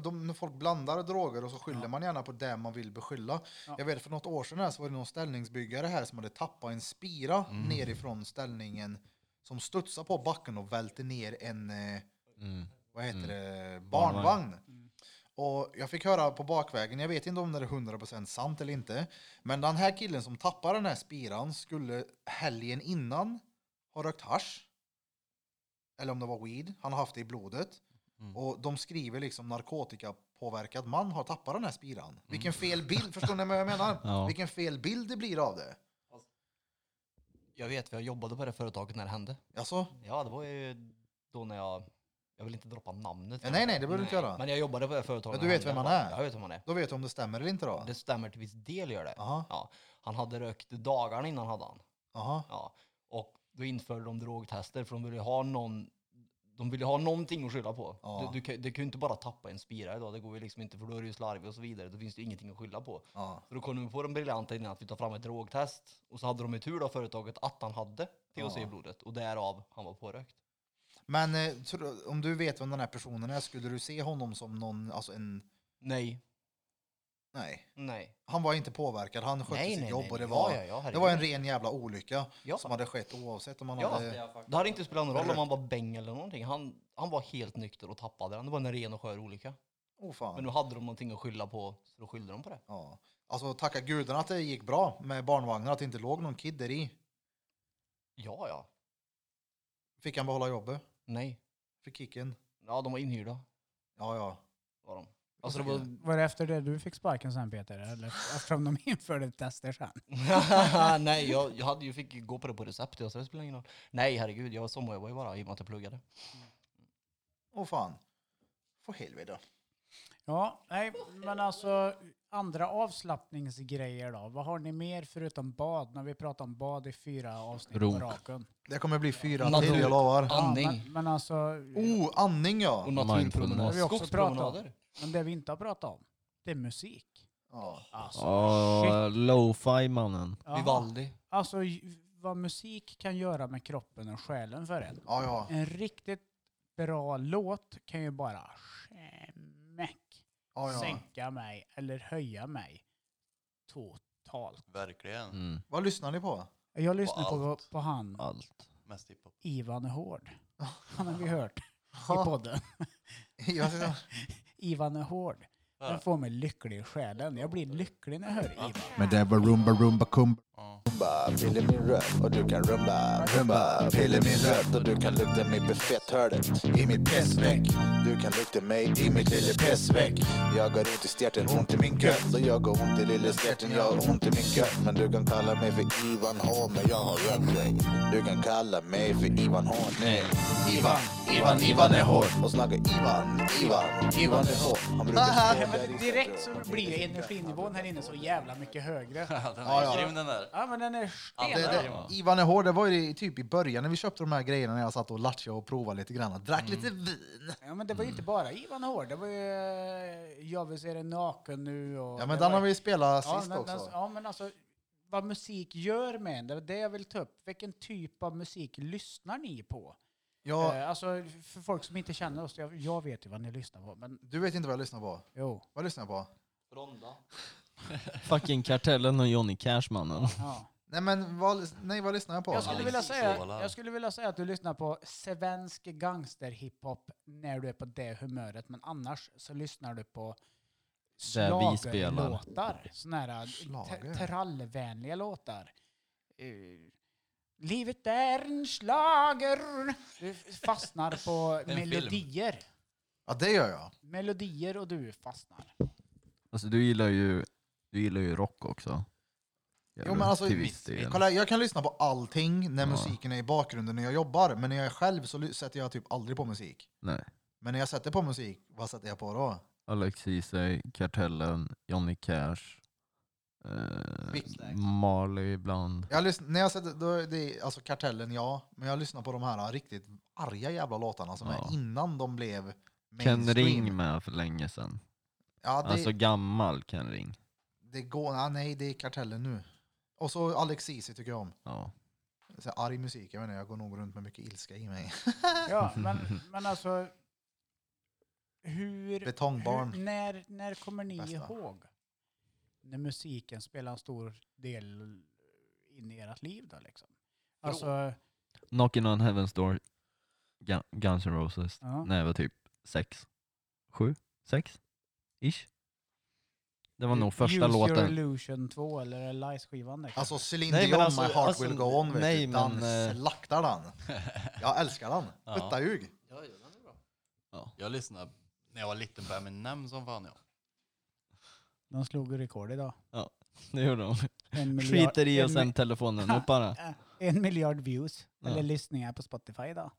A: de, när folk blandar droger och så skyller man gärna på det man vill beskylla.
D: Ja.
A: Jag vet för något år sedan här så var det någon ställningsbyggare här som hade tappat en spira nerifrån ställningen som studsade på backen och välte ner en eh,
C: Mm.
A: vad heter det,
C: Barnvagn.
A: barnvagn. Och jag fick höra på bakvägen, jag vet inte om det är 100% sant eller inte, men den här killen som tappar den här spiran skulle helgen innan ha rökt hasch. Eller om det var weed, han har haft det i blodet.
C: Mm.
A: Och de skriver liksom narkotikapåverkad man har tappat den här spiran. Vilken fel bild, förstår ni vad jag menar?
C: Mm. Ja.
A: Vilken fel bild det blir av det.
E: Jag vet, för jag jobbade på det företaget när det hände.
A: Alltså,
E: Ja, det var ju då när jag... Jag vill inte droppa namnet.
A: Ja, nej, nej, det behöver du inte göra.
E: Men jag jobbade på det
A: Men
E: företaget.
A: du
E: när
A: vet
E: det hände.
A: vem han är.
E: Jag vet vem han är.
A: då vet du om det stämmer eller inte då?
E: Det stämmer till viss del gör det.
A: Aha.
E: Ja. Han hade rökt dagarna innan hade han.
A: Aha.
E: Ja. Och då införde de drogtester för de ville ha någon de ville ha någonting att skylla på.
A: Ja.
E: Du, du, kan- du kan ju inte bara tappa en spira idag, det går ju liksom inte för då är du ju slarvig och så vidare. Då finns det ju ingenting att skylla på.
A: Ja.
E: Så då kom de på den briljanta idén att vi tar fram ett drogtest. Och så hade de ju tur då företaget att han hade THC i
A: Ja.
E: blodet och därav han var pårökt.
A: Men eh, tror- om du vet vem den här personen är, skulle du se honom som någon, alltså en,
E: Nej,
A: nej.
E: nej.
A: Han var inte påverkad, han skötte
E: nej,
A: sitt
E: nej,
A: jobb
E: nej,
A: och det
E: nej.
A: var,
E: Ja, ja, ja,
A: det
E: herregud.
A: var en ren jävla olycka
E: Ja.
A: som hade skett oavsett om han
E: Ja,
A: hade...
E: Det hade inte spelat någon roll om han var bäng eller någonting. Han, han var helt nykter och tappade den. Det var en ren och skör olycka.
A: Oh,
E: Men
A: fan.
E: nu hade de någonting att skylla på, så då skyllde de på det.
A: Ja. Alltså tacka gudarna att det gick bra med barnvagnar, att det inte låg någon kid där i.
E: Ja, ja.
A: Fick han behålla jobbet?
E: Nej.
A: Fick kicken?
E: Ja, de var inhyrda.
A: Ja, ja.
E: Var de. Alltså, det var...
D: Var det efter det du fick sparken sen Peter? Eller eftersom de införde tester sen?
E: Nej, jag, jag hade ju fick ju gå på det på recept, jag så det spelar ingen roll. Nej, herregud, jag sommarjobbade ju bara i och med att jag pluggade.
A: Åh fan. För helvete.
D: Ja, nej, men alltså andra avslappningsgrejer då? Vad har ni mer förutom bad? När vi pratar om bad i fyra avsnitt på
C: Runk.
D: raken.
A: Det kommer bli fyra
E: Natur-
A: till, jag lovar.
E: Andning.
D: Ja, men, men alltså,
A: Oh, andning ja!
E: Och
C: Mindfulness.
E: naturpromenader.
D: Vi har också pratat om.
E: Skogspromenader.
D: men det vi inte har pratat om, det är musik.
A: ja.
D: Alltså,
C: Oh, Lo-fi mannen.
D: ja.
E: Vivaldi.
D: Alltså j- vad musik kan göra med kroppen och själen för en.
A: Ja, ja.
D: En riktigt bra låt kan ju bara smäck
A: Ja, ja.
D: sänka mig eller höja mig totalt.
B: Verkligen.
C: Mm.
A: Vad lyssnar ni på?
D: Jag lyssnar på,
B: allt.
D: på han
C: Allt.
B: Mest hiphop.
D: Ivan är hård. Han har vi hört i podden.
A: Jag ska-
D: Ivan är hård. Den får mig lycklig i själen. Jag blir lycklig när jag hör Ivan.
A: Men det var rumba rumba kumba
H: Pille min röv och du kan rumba, rumba Pille min röv och du kan lukta mig buffetthörnet i mitt pessveck Du kan lukta mig i mitt lille pessveck Jag har ont i stjärten, ont i min gött Så jag har ont i lille stjärten, jag har ont i min gött Men du kan kalla mig för Ivan H, men jag har rökt dig Du kan kalla mig för Ivan H, nej Ivan, Ivan, Ivan är hård Och snacka Ivan, Ivan, Ivan är hård Han brukar stå
D: Ja,
H: där i
D: men direkt
H: centrum
D: så
H: och
D: blir ju
H: tänka,
D: energinivån här inne så jävla mycket högre.
B: Den
A: Ja, ja.
B: är grym den där.
D: Ja men den är
A: Det,
D: stenhård.
A: det, Ivan är hård, det var ju typ i början när vi köpte de här grejerna när jag satt och latchade och provade lite grann. Drack lite vin.
D: Mm. Ja men det var ju inte bara Ivan är hård. Det var ju eh, Jag vill se dig naken nu och...
A: Ja
D: det
A: men den
D: var-
A: har vi spelat
D: Ja,
A: sist
D: men,
A: också.
D: alltså- ja men alltså vad musik gör med en, det var det jag vill ta upp. Vilken typ av musik lyssnar ni på?
A: Ja,
D: Eh, alltså för folk som inte känner oss, jag, jag vet ju vad ni lyssnar på men
A: du vet inte vad jag lyssnar på?
D: jo.
A: Vad lyssnar jag på?
B: Ronda.
C: Fucking Kartellen och Johnny Cash mannen.
D: Ja.
A: Nej men vad, nej, vad lyssnar jag på?
D: Jag, skulle vilja säga,
B: Sola.
D: jag skulle vilja säga att du lyssnar på svensk gangsterhiphop när du är på det humöret men annars så lyssnar du på
C: Där vi spelar.
D: schlagerlåtar. Såna här eh,
A: Schlager?
D: t- trallvänliga låtar. Eh, Livet är en slager. Du fastnar på
B: film.
D: melodier.
A: Ja det gör jag.
D: Melodier och du fastnar.
C: Alltså du gillar ju, du gillar ju rock också. Gör
A: Jo,
C: du?
A: men alltså,
C: till
A: vi-
C: viss del.
A: Kolla, jag kan lyssna på allting när
C: Ja.
A: musiken är i bakgrunden när jag jobbar, men när jag är själv så ly- sätter jag typ aldrig på musik.
C: Nej.
A: Men när jag sätter på musik, vad sätter jag på då?
C: Alex Ceesay, Kartellen, Johnny Cash, eh,
A: Whipsnacks.
C: Marley ibland.
A: Jag lyssn- när jag sätter, då är det, alltså kartellen ja, men jag lyssnar på de här riktigt arga jävla låtarna som
C: Ja.
A: är innan de blev mainstream.
C: Ken Ring med för länge sedan.
A: Ja, det,
C: Alltså gammal Ken Ring.
A: det går, ja, nej det är kartellen nu. Och så Alex Ceesay tycker jag om.
C: Ja.
A: Så här arg musik, jag menar jag går nog runt med mycket ilska i mig.
D: Ja, men, men alltså... Hur,
A: Betongbarn.
D: hur, när, när kommer ni
A: Bästa.
D: ihåg när musiken spelar en stor del in i ert liv då liksom? Alltså,
C: Knocking on Heaven's Door, Gun- Guns N' Roses,
D: Ja.
C: när jag var typ sex, sju, sex, ish. Det var nog första
D: Use Your
C: låten.
D: Illusion 2 eller liksom. Lies-skivan där.
A: Alltså Celine
C: Nej, men
A: Dion,
C: alltså-
A: My Heart
C: alltså,
A: Will Go On, vet
C: nej,
A: du, den
C: men, eh,
A: slaktar den. Jag älskar den. Putta ljug.
F: Jag lyssnade när jag var liten på Eminem som fan jag.
D: De slog ju rekord idag.
C: Det gjorde de.
D: En miljard,
C: Skiter i och
D: en
C: sen telefonen upp bara.
D: mi- eh, en miljard views,
C: Ja.
D: eller lyssningar på Spotify idag.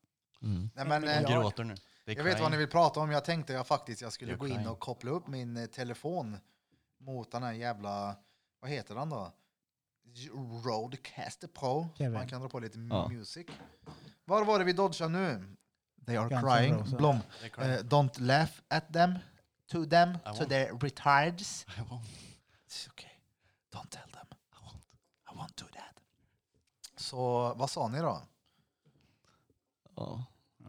C: Mm.
A: Nej, men,
D: Jag
A: eh,
D: Ja.
F: Gråter nu. Det är
A: Jag vet vad
F: crying.
A: ni vill prata om. Jag tänkte jag faktiskt jag skulle
F: Jag
A: gå in
F: kan.
A: och koppla upp min eh, telefon mot den här jävla, vad heter den då? J- Rodecaster Pro.
D: Kevin.
A: Man kan dra på lite
C: Ja.
A: music. Var var det vi dodgade nu? They are
D: Guns N' Roses.
A: crying. Blom.
F: Det är crying.
A: Eh, don't laugh at them. To them.
F: I
A: To
F: won't.
A: their retards.
F: I won't.
A: It's okay. Don't tell them. I won't. I won't do that. Så vad sa ni då?
C: Ja.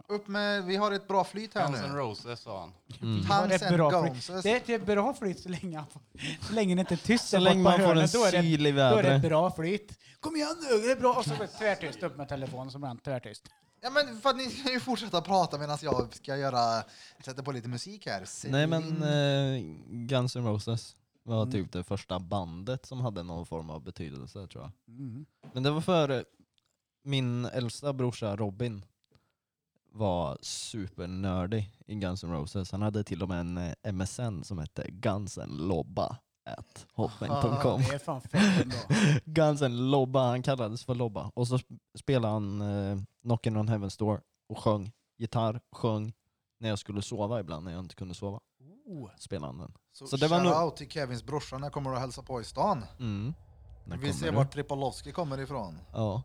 A: Upp med, vi har ett bra flyt här
F: Guns N'
A: nu.
F: Roses sa han.
C: Mm.
D: Det var
A: Guns
D: ett
A: and
D: bra
A: Roses.
D: flyt. Det är ett bra flyt så länge, han får- så länge det inte är tyst.
C: Så länge man får en
D: då är det
C: syl i
D: Då är det ett
C: vädret.
D: bra flyt. Kom igen nu, det är bra. Och så blir det tvärtyst upp med telefonen som brann tvärtyst.
A: Ja men för att ni ska ju fortsätta prata medan jag ska göra, sätta på lite musik här.
C: Nej
A: Celine-
C: men eh, Guns N' Roses var
D: Mm.
C: typ det första bandet som hade någon form av betydelse tror jag.
D: Mm.
C: Men det var för eh, min äldsta brorsa Robin var supernördig i Guns N' Roses. Han hade till och med en eh, MSN som hette Gunsenlobba at hotmail.com.
D: Det är fan fett ändå.
C: Gunsen Lobba, han kallades för Lobba. Och så sp- spelade han eh, Knockin' on Heaven's Door och sjöng gitarr, sjöng när jag skulle sova ibland när jag inte kunde sova.
D: Oh.
C: Spelade han den.
A: Så,
C: så det var nog-
A: shoutout till Kevins brorsa, när kommer du och hälsa på i stan?
C: Mm. När
A: Vi
C: kommer
A: ser
C: du?
A: vart Tripolowski kommer ifrån.
C: Ja.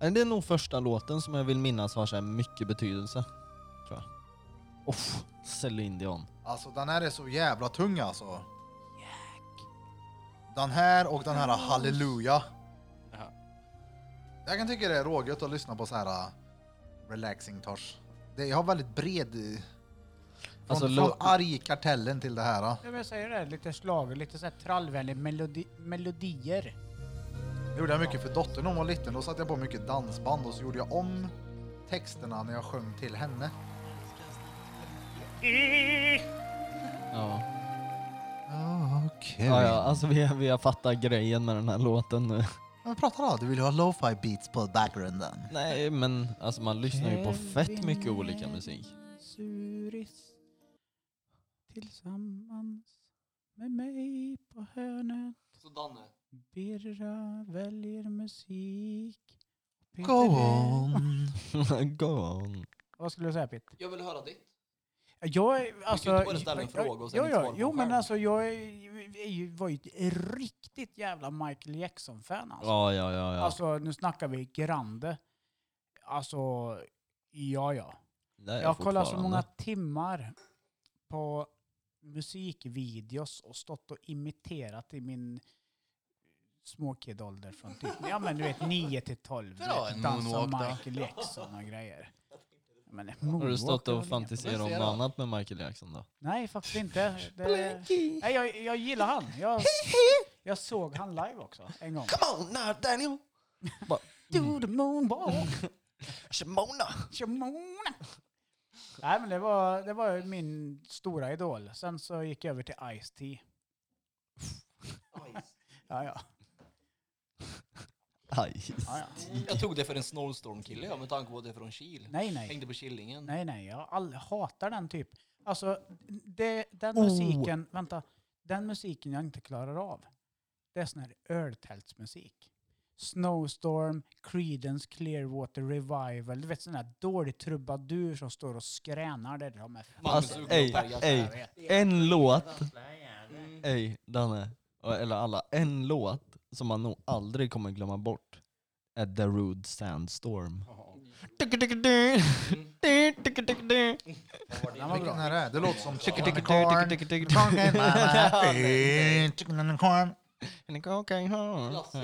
C: Men Det är nog första låten som jag vill minnas har så här mycket betydelse. Tror jag. Off, Celine Dion.
A: Alltså den här är så jävla tung alltså. Den här och den här Halleluja.
F: Ja.
A: Jag kan tycka det är rågött att lyssna på så här uh, eh, relaxing tors. det, jag har väldigt bred... eh, Från,
C: Alltså,
A: från
C: lo-
A: arg kartellen till det här. eh.
D: Ja, men jag säger det, lite slager, lite så här trallvänliga melodi melodier.
A: Det gjorde jag mycket för dottern när hon var liten. Då satte jag på mycket dansband och så gjorde jag om texterna när jag sjöng till henne.
C: Ja.
A: Ah, Okej.
C: Ja, ja, alltså vi, vi har fattat grejen med den här låten nu.
A: Men prata då, du vill ju ha lo-fi beats på bakgrunden.
C: Nej, men alltså man lyssnar ju på fett mycket olika musik.
D: Suris tillsammans med mig på hörnet.
E: Så Danne,
D: Birra väljer musik. Peter
A: Go on.
C: Go on.
D: Vad skulle du säga Pitt?
E: jag vill höra ditt.
D: Jag är, alltså...
E: ju inte bara ställa en fråga och sen
D: ja,
E: inte svara
D: ja,
E: på
D: Jo
E: den
D: men
E: själv.
D: alltså jag är, är ju, var ju ett riktigt jävla Michael Jackson-fan alltså.
C: Ja, ja, ja. ja.
D: Alltså nu snackar vi grande. Alltså, ja ja.
C: Det är
D: Jag kollar så
C: fortfarande.
D: många timmar på musikvideos och stått och imiterat i min småkidålder från typ, ja men du vet 9 till 12. du
F: Dra
D: vet,
F: en
D: dansa
F: moonwalk då.
D: Michael Jackson och grejer. Men
C: Har du
D: moonwalk,
C: stått
D: det var
C: och
D: väl
C: fantiserat om
F: inget.
C: något annat med Michael Jackson då?
D: inget- Nej faktiskt inte. Det, nej, jag, jag gillar han. Jag, jag såg han live också en gång. Mm.
F: Come on now Daniel!
D: Do the moonwalk.
F: Shimona!
D: Shimona. Nej men det var, det var ju min stora idol. Sen så gick jag över till Ice-T. ja, ja.
C: Aj.
D: ja, ja.
E: Jag tog det för en snowstorm-kille ja, med tanke på att det är från Kil.
D: Nej nej.
E: Hängde på Killingen.
D: Nej nej, jag all, hatar den typ. Alltså det, den
E: Oh.
D: musiken, vänta. Den musiken jag inte klarar av. Det är sån här öltältsmusik. Snowstorm, Creedence Clearwater Revival. Du vet sån här dålig trubadur som står och skränar. Det där med
E: Magnus
C: Alltså,
E: Uggla och
C: ej,
E: Per Gessle.
C: ej. En låt, ej Danne, eller alla, en låt som man nog aldrig kommer glömma bort är The Rude Sandstorm.
A: Den var bra. Vilken är det? Det låter som chicken and
C: Chicken
A: corn. Talking mama. Eh, Chicken and corn.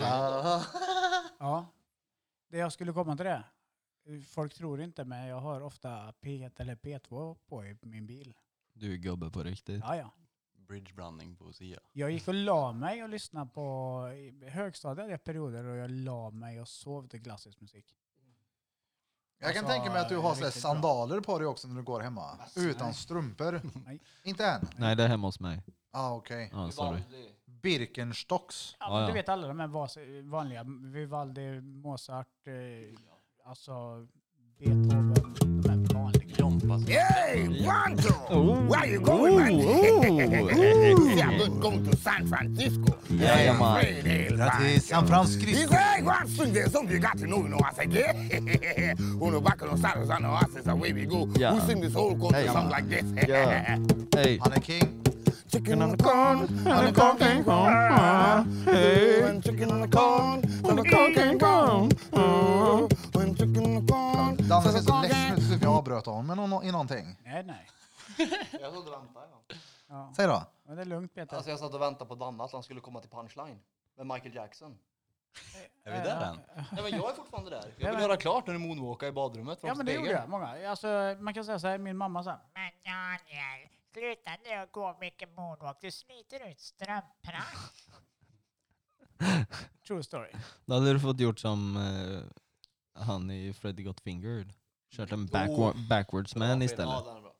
A: Ah.
D: Ja. Det jag skulle komma till det. Folk tror inte men jag har ofta P1 eller P2 på i min bil.
C: Du är gubbe på riktigt.
D: Ja, ja.
F: Bridgeblandning på Sia.
D: Jag gick och la mig och lyssnade på i högstadiet hade jag perioder och jag la mig och sov till klassisk musik.
A: Jag kan
D: Alltså,
A: tänka mig att du har sådär
D: riktigt bra.
A: sandaler på dig också när du går hemma. Utan strumpor.
D: Nej.
A: Inte än?
C: Nej det är hemma hos mig.
A: Ah, okej.
C: Ja, sorry.
A: Birkenstocks.
D: Ja,
C: Ja,
D: men
C: ja.
D: Du vet alla de här vas- vanliga, Vivaldi, Mozart, eh, alltså Beethoven, de här vanliga.
F: Jompa som
C: Where you going man? Oh, Jajamän.
A: Till San Francisco.
C: Ja. Hey. Ja. Hey.
A: Han är king.
I: Chicken on the corn, on the corn can come. Hey, when chicken on the corn, on the corn can come. Oh, When chicken on the corn,
A: Danne ser så ledsen ut så jag avbröt honom med någon, i någonting.
D: Nej, nej.
E: Jag satt och väntade. Ja.
D: Ja.
A: Säg då.
D: Men det är lugnt Peter.
E: Alltså jag satt och väntade på Danne att han skulle komma till punchline. Med Michael Jackson.
F: Är vi där än?
E: Nej men jag är fortfarande där. Jag
D: Nej,
E: vill
D: men-
E: höra klart när du moonwalkar i badrummet
D: Ja
E: framför
D: men det gjorde
E: spegeln.
D: jag, många. Alltså, man kan säga så här, min mamma sa
J: Men Daniel, sluta nu och gå mycket moonwalk. Du sliter ut strumporna.
D: true story.
C: Då hade du fått gjort som eh, han i Freddy Got Fingered. Kört en backward,
A: Oh.
C: backwards man istället.
E: Ja, den är bra.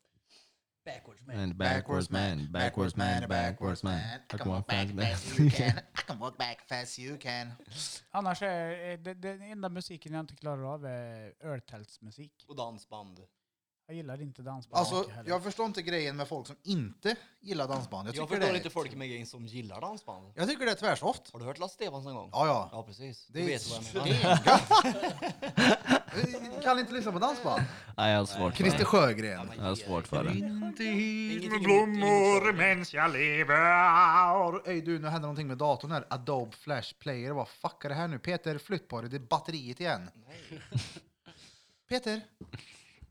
E: Backwards man.
C: And backwards man, backwards man, backwards man. I can walk fast man.
A: I can walk back fast you can.
D: Annars är eh, det, den enda musiken jag inte klarar av är öltältsmusik.
E: Och dansband.
D: Jag gillar inte dansband.
A: Alltså,
D: heller.
A: jag förstår inte grejen med folk som inte gillar dansband. Jag,
E: Jag,
A: tycker
E: förstår
A: det,
E: inte folk med grejen som gillar dansband.
A: Jag tycker det är tvärsoft.
E: Har du hört Lasse Stefans någon gång?
A: Ja, ja.
E: Ja, precis.
A: Det
E: du
A: är
E: vet vad jag menar.
A: Kan inte lyssna på dansband.
C: Nej, jag har svårt för
A: Christer
C: det.
A: Sjögren.
C: Jag har svårt för det.
E: Ingenting nytt, ingenting nytt.
A: Öj du, nu hände någonting med datorn här. Adobe Flash Player. Vad fuck är det här nu? Peter, flytt på dig. Det är batteriet igen. Peter?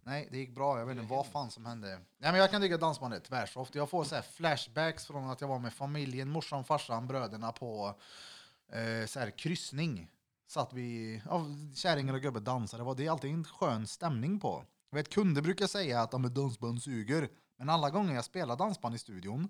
A: Nej, det gick bra. Jag vet inte vad fan som hände. Nej, men jag kan tycka att dansband är tvärsoft. Jag får så här flashbacks från att jag var med familjen, morsan, farsan, bröderna på eh, så här kryssning. Satt vi, ja, kärringar och gubbe dansade. Det var- Det är alltid en skön stämning på. Jag vet, kunder brukar säga att "Ja, men dansband suger. Men alla gånger jag spelar dansband i studion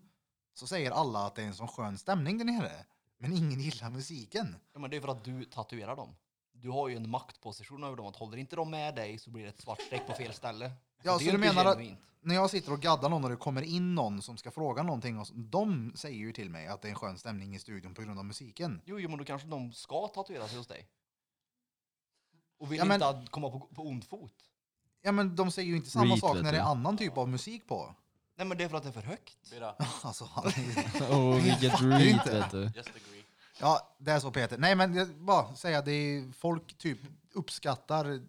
A: så säger alla att det är en sån skön stämning där nere. Men ingen gillar musiken.
E: Ja, men det är för att du tatuerar dem. Du har ju en maktposition över dem. Att håller inte de med dig så blir det ett svart streck på fel ställe.
A: Ja, så
E: det är
A: du
E: ju inte
A: menar att
E: genuint.
A: när jag sitter och gaddar någon och det kommer in någon som ska fråga någonting, och så, de säger ju till mig att det är en skön stämning i studion på grund av musiken.
E: Jo, jo, men då kanske de ska tatuera sig hos dig. Och vill
A: Ja, men-
E: inte att komma på, på ont fot.
A: Ja men de säger ju inte samma
C: Reet,
A: sak
C: vet
A: när det är
C: du.
A: annan typ av musik på.
E: Nej, men det är för att det är för högt.
A: Alltså, han är-
C: Och vilket
A: fattar
C: reet
A: inte.
C: vet du.
B: Just agree.
A: Ja, det är så Peter. Nej men jag bara säga det är, folk typ uppskattar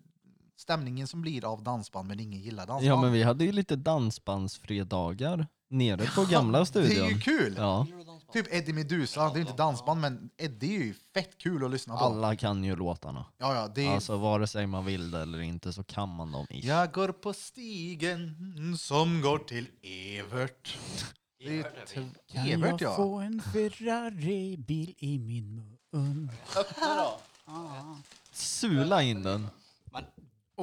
A: stämningen som blir av dansband men ingen gillar dansband.
C: Ja men vi hade ju lite dansbandsfredagar nere på gamla studion.
A: Det är ju kul!
C: Ja,
A: Typ Eddie Meduza, det är ju inte dansband men Eddie är ju fett kul att lyssna på.
D: Alltså,
C: alla kan ju låtarna.
A: Ja, ja, det är...
C: Alltså vare sig man vill det eller inte så kan man dem. ish.
A: Jag går på stigen som går till Evert. Det är tv- Evert
D: jag
A: ja.
D: få en Ferrari-bil i min mun?
C: Sula in den.
A: Och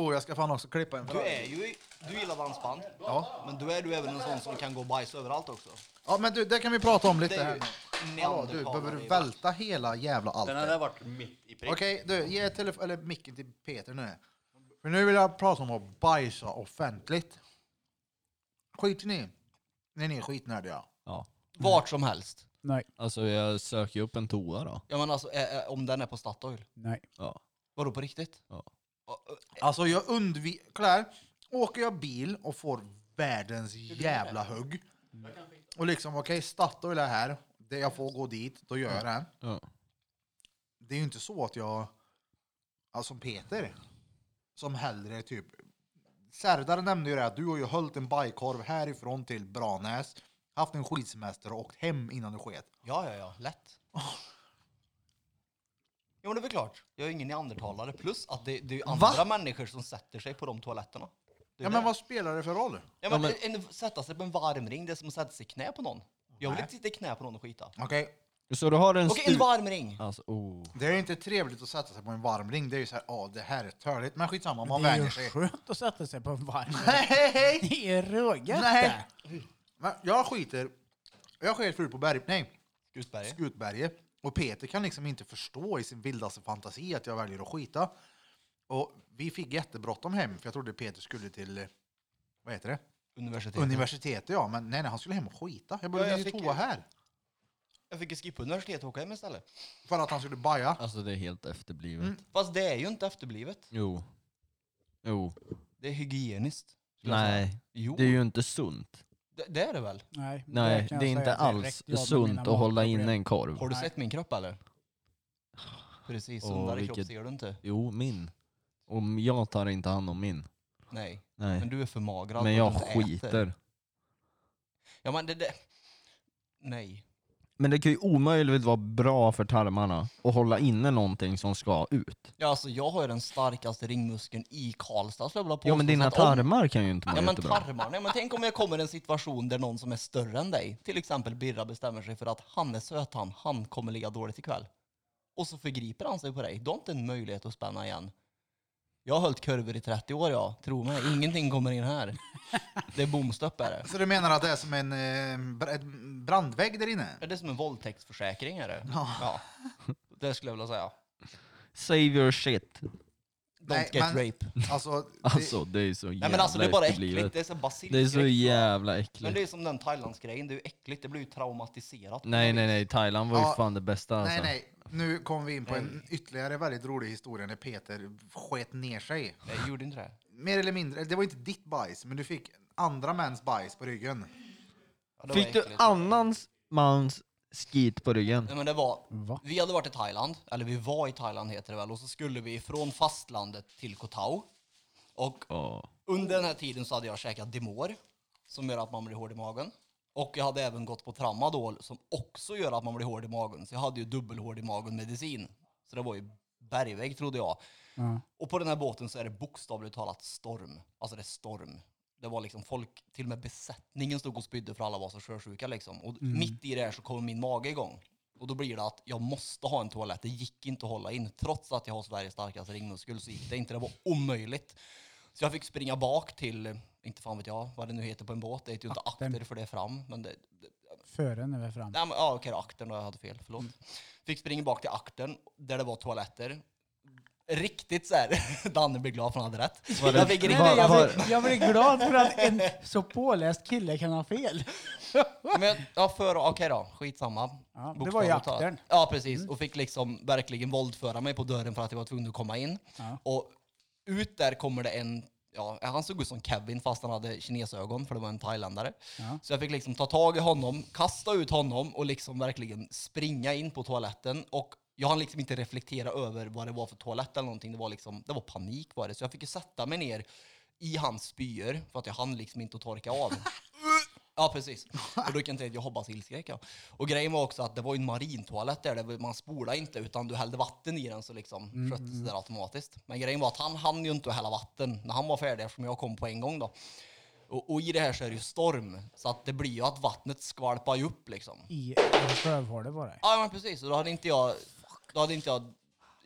A: Oh, jag ska fan också klippa en
E: Du
A: Ferrari.
E: är ju... Du gillar dansband.
A: Ja.
E: Men du är du även en sån som kan gå och bajsa överallt också.
A: ja men du, det kan vi prata om
E: Det
A: lite
E: är
A: här
E: ju
A: nu. Hallå,
E: neandertalare
A: du behöver
E: i
A: du
E: världen.
A: välta hela jävla
B: Den hade
A: allt.
B: varit mitt i prick.
A: Okej, du ge telefon eller micken till Peter nu. För nu vill jag prata om att bajsa offentligt. Skiter ni? Nej, ni är skitnödiga.
C: Ja.
E: Vart som helst.
D: Nej,
C: Alltså jag söker ju upp en toa då.
E: Ja, men alltså, ä- ä- om den är på Statoil.
D: nej.
C: Ja.
E: Vadå på riktigt?
C: Ja.
E: Och- och-
A: Alltså jag undviker... Kolla här. Åker jag bil och får världens jävla hugg. Och liksom, okej, Statoil är här. Det jag får gå dit, då gör jag det.
C: Ja.
A: Det är ju inte så att jag... Alltså som Peter. Som hellre typ... Serdar nämnde ju det att du har ju höljt en bajkorv härifrån till Branäs. Haft en skidsemester och åkt hem innan du sket.
E: Ja, ja, ja. Lätt. Jo, men det är väl klart. Jag är ingen neandertalare. Plus att det, det är ju andra människor som sätter sig på de toaletterna. Det är
A: Ja
E: det.
A: men vad spelar det för roll?
E: ja, men, En, sätta sig på en varmring, det är som att sätta sig i knä på någon. Jag vill
A: Nej.
E: inte sitta i knä på någon och skita.
A: Okej,
C: Så du har en
E: Okej, en
C: stu...
E: varmring!
C: Alltså, oh.
A: det är inte trevligt att sätta sig på en varm ring. Det är ju så här, ja det här är törligt. Men skitsamma, man
D: Det är
A: vänjer
D: ju
A: sig.
D: skönt att sätta sig på en varm
A: Hej, hej, hej!
D: Det är rågött
A: Nej.
D: det.
A: Men jag skiter. Jag sket förut på berg, nej,
E: Gudberg.
A: Skutberget. Och Peter kan liksom inte förstå i sin vildaste fantasi att jag väljer att skita. Och vi fick jättebråttom hem för jag trodde Peter skulle till, eh, vad heter det?
E: Universitetet.
A: Universitetet ja, men nej, nej han skulle hem och skita. Jag
E: Ja,
A: behövde
E: jag
A: ju
E: fick
A: toa
E: ju-
A: här.
E: jag fick ju skippa universitetet och åka hem istället.
A: För att han skulle baja.
C: alltså det är helt efterblivet.
A: Mm.
E: Fast det är ju inte efterblivet.
C: Jo. Jo.
E: Det är hygieniskt. skulle jag säga.
C: Nej,
E: Jo,
C: det är ju inte sunt.
E: det, det är det väl.
D: Nej,
C: Nej,
D: kan
C: det är
D: jag
C: inte
D: säga direkt,
C: alls
D: jag med mina
C: sunt att hålla
D: magproblem.
C: inne en korv.
E: Har du
D: Nej.
E: sett min kropp eller? Precis,
C: Åh,
E: sundare kropp
C: vilket-
E: ser du inte.
C: Jo, min. Om jag tar inte hand om min.
E: Nej, men
C: Nej.
E: du är förmagrad.
C: Men
E: och
C: jag
E: du inte äter.
C: skiter.
E: Ja, men det, det... Nej.
C: Men det kan ju omöjligt vara bra för tarmarna att hålla inne någonting som ska ut.
E: Ja, alltså, jag har ju den starkaste ringmuskeln i Karlstad skulle jag vilja påstå.
C: Ja men dina
E: Så att om-
C: tarmar kan ju inte vara
E: Ja men
C: jättebra.
E: tarmarna, ja, men tänk om jag kommer i en situation där någon som är större än dig, till exempel Birra bestämmer sig för att han är söt han, han kommer ligga dåligt ikväll. Och så förgriper han sig på dig. Du har inte en möjlighet att spänna igen. Jag har hållit kurvor i 30 år ja, tro mig. Ingenting kommer in här. Det är bomstopp är det.
A: Så du menar att det är som en eh, br- ett brandvägg där inne?
E: Ja, Det är som en våldtäktsförsäkring är det.
A: Ja.
E: Ja. Det skulle jag vilja säga.
C: Save your shit.
E: Don't
A: Nej,
E: get
A: men-
E: rape.
A: Alltså, det,
C: Alltså det är så jävla
E: Nej men alltså det är bara äckligt.
C: efterblivet.
E: Det är så
C: Det är så
E: basilskräck.
C: jävla
E: Men det
C: äckligt.
E: är som den Thailandsgrejen, det är ju äckligt. Det blir ju traumatiserat.
C: Nej nej nej, Thailand var ju
A: Ja.
C: fan det bästa alltså.
A: nej, nej. Nu kom vi in på en ytterligare väldigt rolig historia när Peter sket ner sig.
E: Nej, jag gjorde inte det.
A: Mer eller mindre, det var inte ditt bajs, men du fick andra mäns bajs på ryggen.
E: Ja, det var
C: Fick du
E: äckligt.
C: annans mans skit på ryggen?
E: Nej men det var,
D: Va?
E: vi hade varit i Thailand, eller vi var i Thailand heter det väl, och så skulle vi från fastlandet till Koh Tao. Och
C: Ja.
E: under den här tiden så hade jag käkat Dimor, som gör att man blir hård i magen. Och jag hade även gått på Tramadol, som också gör att man blir hård i magen. Så jag hade ju dubbelhård i magen-medicin. Så det var ju bergvägg trodde jag.
D: Ja.
E: Och på den här båten så är det bokstavligt talat storm. Alltså det är storm. Det var liksom folk, till och med besättningen stod och spydde för alla var så sjösjuka liksom. Och mitt i det här så kommer min mage igång. Och då blir det att jag måste ha en toalett. Det gick inte att hålla in. Trots att jag har Sveriges starkaste ringmuskel så gick det inte. Det var omöjligt. Så jag fick springa bak till, eh, inte fan vet jag vad det nu heter på en båt, det heter ju inte akter för det är fram. Men det,
D: Före när vi är fram.
E: Nej, men, ja, okej, då, aktern då, jag hade fel. Förlåt. Fick springa bak till aktern där det var toaletter. Riktigt så här. Danne blir glad för han hade rätt.
D: Var det-
E: jag fick
D: Nej,
E: riktigt-
D: nej, jag, blir, jag blir glad för att en så påläst kille kan ha fel.
E: Men, ja, för, okej då, skitsamma.
D: Ja, det var Mm.
E: Bokstavligt
D: ju
E: talat.
D: aktern.
E: Ja, precis. Och fick liksom verkligen våldföra mig på dörren för att jag var tvungen att komma in.
D: Ja.
E: Och ut där kommer det en, ja, han såg ut som Kevin fast han hade kinesögon för det var en thailändare.
D: Ja.
E: Så jag fick liksom ta tag i honom, kasta ut honom och liksom verkligen springa in på toaletten. Och jag hann liksom inte reflektera över vad det var för toalett eller någonting. Det var liksom, det var panik var det. Så jag fick ju sätta mig ner i hans spyor för att jag hann liksom inte att torka av. Ja, precis. Och då kan jag säga att jag hoppas ilskrek jag. Och grejen var också att det var ju en marintoalett där, där man spolade inte utan du hällde vatten i den så liksom sköttes det där automatiskt. Men grejen var att han hann ju inte att hälla vatten när han var färdig eftersom jag kom på en gång då. Och, och i det här så är det ju storm, så att det blir ju att vattnet skvalpar ju upp liksom.
D: I en rövhåle var det.
E: Ja, men precis. Och då hade inte jag, då hade inte jag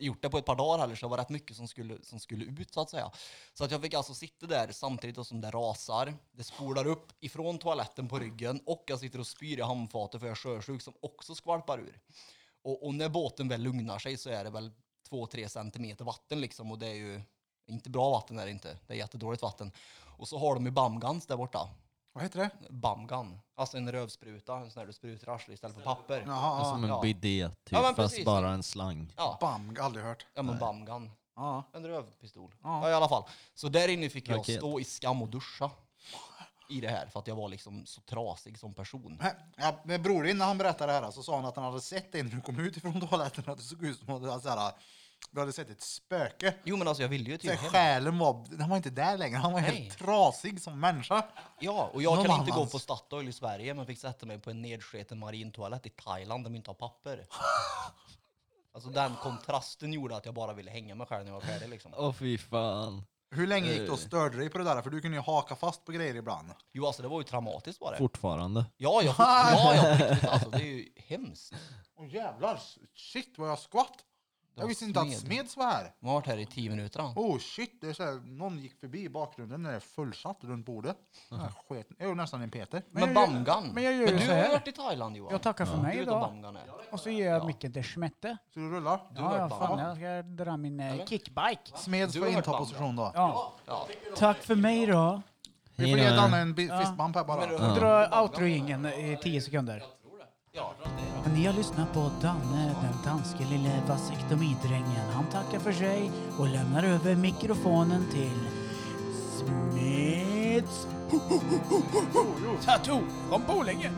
E: gjort det på ett par dagar heller, så det var rätt mycket som skulle, som skulle ut så att säga. Så att jag fick alltså sitta där samtidigt då som det rasar. Det spolar upp ifrån toaletten på ryggen och jag sitter och spyr i handfatet för jag är sjösjuk som också skvalpar ur. Och, och när båten väl lugnar sig så är det väl två, tre centimeter vatten liksom och det är ju inte bra vatten är det inte. Det är jättedåligt vatten. Och så har de ju bamgans där borta.
A: Vad heter det?
E: Bamgan. Alltså en rövspruta, en sån där du sprutar i arslet istället för papper.
A: Jaha,
C: Som en
E: Ja.
C: bidé typ,
E: Ja, men
C: fast
E: precis.
C: bara en slang.
E: Ja.
A: Bam, aldrig hört.
E: Ja men bamgan.
A: Ja.
E: En rövpistol.
A: Ja.
E: Ja. i alla fall. Så där inne fick jag
C: Raket.
E: stå i skam och duscha. I det här för att jag var liksom så trasig som person.
A: Nej, Ja, men bror din när han berättade det här så sa han att han hade sett dig när du kom ut ifrån toaletten att det såg ut som att du hade, så här, du hade sett ett spöke.
E: Jo men alltså jag ville ju
A: Så här,
E: typ hem.
A: själen var, han var inte där längre, han var
E: Nej.
A: helt trasig som människa.
E: Ja, och jag
A: Någon
E: kan inte gå
A: annans.
E: på Statoil i Sverige men fick sätta mig på en nedsketen marintoalett i Thailand där de inte har papper. Alltså den kontrasten gjorde att jag bara ville hänga mig själv när jag var färdig liksom.
C: Åh fy fan.
A: Hur länge gick du och störde dig på det där? För du kunde ju haka fast på grejer ibland.
E: Jo alltså det var ju traumatiskt var det.
C: Fortfarande.
E: Ja, jag, ja, ja, på riktigt, alltså det är ju hemskt.
A: Åh jävlar, shit vad jag skvatt!
E: var
A: Jag visste inte att
E: smed.
A: Smeds var här.
E: Man har varit här i tio minuter. han.
A: Oh shit, det är så här, någon gick förbi i bakgrunden när det är fullsatt runt bordet. Den här sketen- Det är ju nästan en Peter.
D: Men
E: Men
D: jag gör-
E: Bamgan.
D: men jag gör ju
E: du
D: så
E: har
D: här.
E: ju varit i Thailand Johan.
D: Jag tackar för
E: Du
D: mig
E: vet vad
D: idag.
E: Bamgan är.
D: Och så ger jag
E: Ja.
D: mycket till Smette.
A: Så du rullar?
E: har
D: Ja, ja,
E: hört
D: fan,
E: Bamgan.
D: jag ska dra min eh,
E: Eller?
D: kickbike.
A: Smeds
E: Du
A: får
E: har hört
A: inta
E: Bamga.
A: position då.
D: Ja.
E: Ja.
D: Tack för mig då.
A: Vi får ge Danne en bi- fistbump här bara.
E: Men-
D: Dra outro-jingeln i tio sekunder.
E: Ja.
D: Ni har lyssnat på Danne, den danske lille vasektomidrängen. Han tackar för sig och lämnar över mikrofonen till Smeds... Tattoo från Borlänge.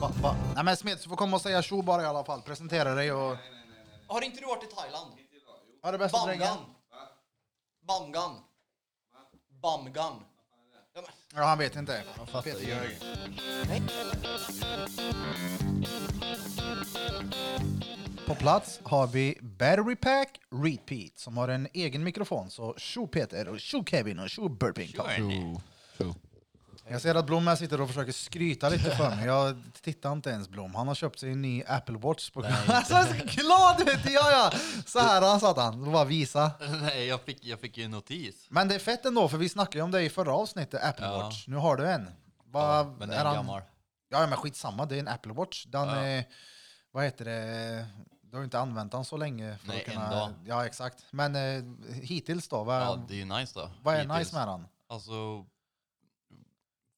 A: Va, va? Nej men Smeds, du får komma och säga tjo bara i alla fall. Presentera dig och...
E: Har inte du varit i Thailand?
A: Ha det bästa drängen.
E: Bamgan. Bamgan. Bamgan. Ja, men-
A: Ja, han vet inte. Peter. På plats har vi Battery Pack Repeat som har en egen mikrofon. Så tjo Peter och tjo Kevin och tjo Burping. Tom.
C: True. True.
A: Jag ser att Blom här sitter och försöker skryta lite för mig. Jag tittar inte ens Blom. Han har köpt sig en ny Apple Watch. På... Alltså, han ser så glad ut! Ja, ja. Så här han satt han. Det var visa.
F: Nej, jag fick, jag fick ju en notis.
A: Men det är fett ändå, för vi snackade ju om det i förra avsnittet, Apple
F: Ja.
A: Watch. Nu har du en. Va,
F: men den är
A: han-
F: gammal.
A: Ja, ja, men skitsamma, det är en Apple Watch. Den är, vad heter det, du har ju inte använt den så länge. För
F: Nej,
A: att kunna,
F: en dag.
A: Ja, exakt. Men eh, hittills då, vad,
F: Ja, det är ju nice då.
A: vad är
F: Hittills.
A: nice med den?
F: Alltså,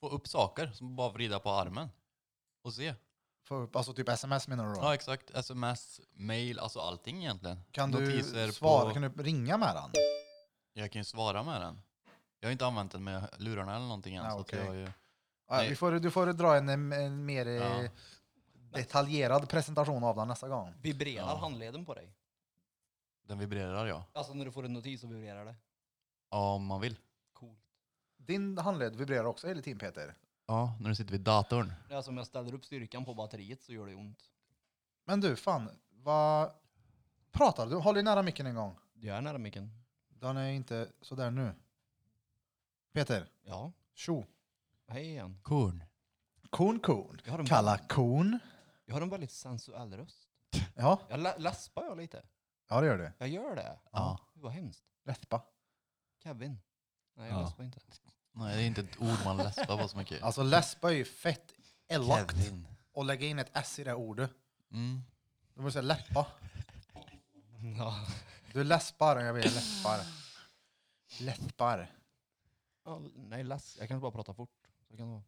F: få upp saker som bara vrida på armen och se.
A: För, alltså typ sms menar du då?
F: Ja, exakt. Sms, mail, alltså allting egentligen.
A: kan du
F: Notiser
A: svara,
F: på-
A: kan du ringa med den?
F: Jag kan ju svara med den. Jag har inte använt den med lurarna eller någonting än.
A: Ah,
F: så att
A: okej.
F: jag har ju...
A: Ja,
F: Nej.
A: vi får, du får dra en, eh, en mer eh,
F: Ja.
A: detaljerad presentation av den nästa gång.
E: Vibrerar
F: Ja.
E: handleden på dig?
F: Den vibrerar ja.
E: Alltså när du får en notis så vibrerar det.
F: Ja, Om man vill.
E: Coolt.
A: Din handled vibrerar också hela tiden Peter.
F: Ja, när du sitter vid datorn.
E: Det är alltså om jag ställer upp styrkan på batteriet så gör det ont.
A: Men du, fan, vad pratar du? Håll dig nära micken en gång.
E: Jag är nära micken.
A: Den är inte sådär nu. Peter,
E: Ja.
A: tjo.
E: Hej igen.
F: Korn.
A: Korn, korn.
E: Jag har en,
A: Kalla korn.
E: Jag har en väldigt sensuell röst.
A: Ja,
E: Jag la- läspar jag lite.
A: ja det gör du.
E: Jag gör det.
A: Ja.
E: Det var hemskt.
A: Läspa.
E: Kevin. Nej,
C: Ja.
E: jag läspar inte.
F: Nej, det är inte ett ord man läspar på så mycket.
A: Alltså läspa är ju fett elakt.
F: Kevin.
A: Och lägga in ett s i det ordet.
F: Mm.
A: Då måste jag läppa.
E: Ja.
A: Du läspar, jag vet, läppar. Läppar.
E: Ja, nej, läs. Jag kan bara prata fort. Så kan det vara.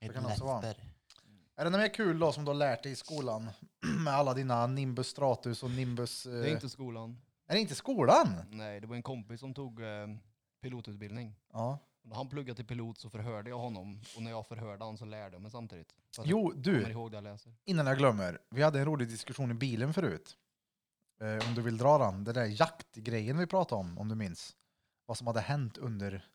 A: Det kan också vara. Är det något mer kul då som du har lärt dig i skolan? Med alla dina Nimbus Stratus och Nimbus... eh,
E: Det är inte skolan.
A: är det inte skolan?
E: Nej, det var en kompis som tog eh, pilotutbildning.
A: Ja.
E: När han pluggade till pilot så förhörde jag honom och när jag förhörde honom så lärde jag mig samtidigt. Så att jag
A: Jo,
E: kommer
A: du,
E: ihåg det jag läser.
A: innan jag glömmer. Vi hade en rolig diskussion i bilen förut. Eh, om du vill dra den. Den där jaktgrejen vi pratade om, om du minns. Vad som hade hänt under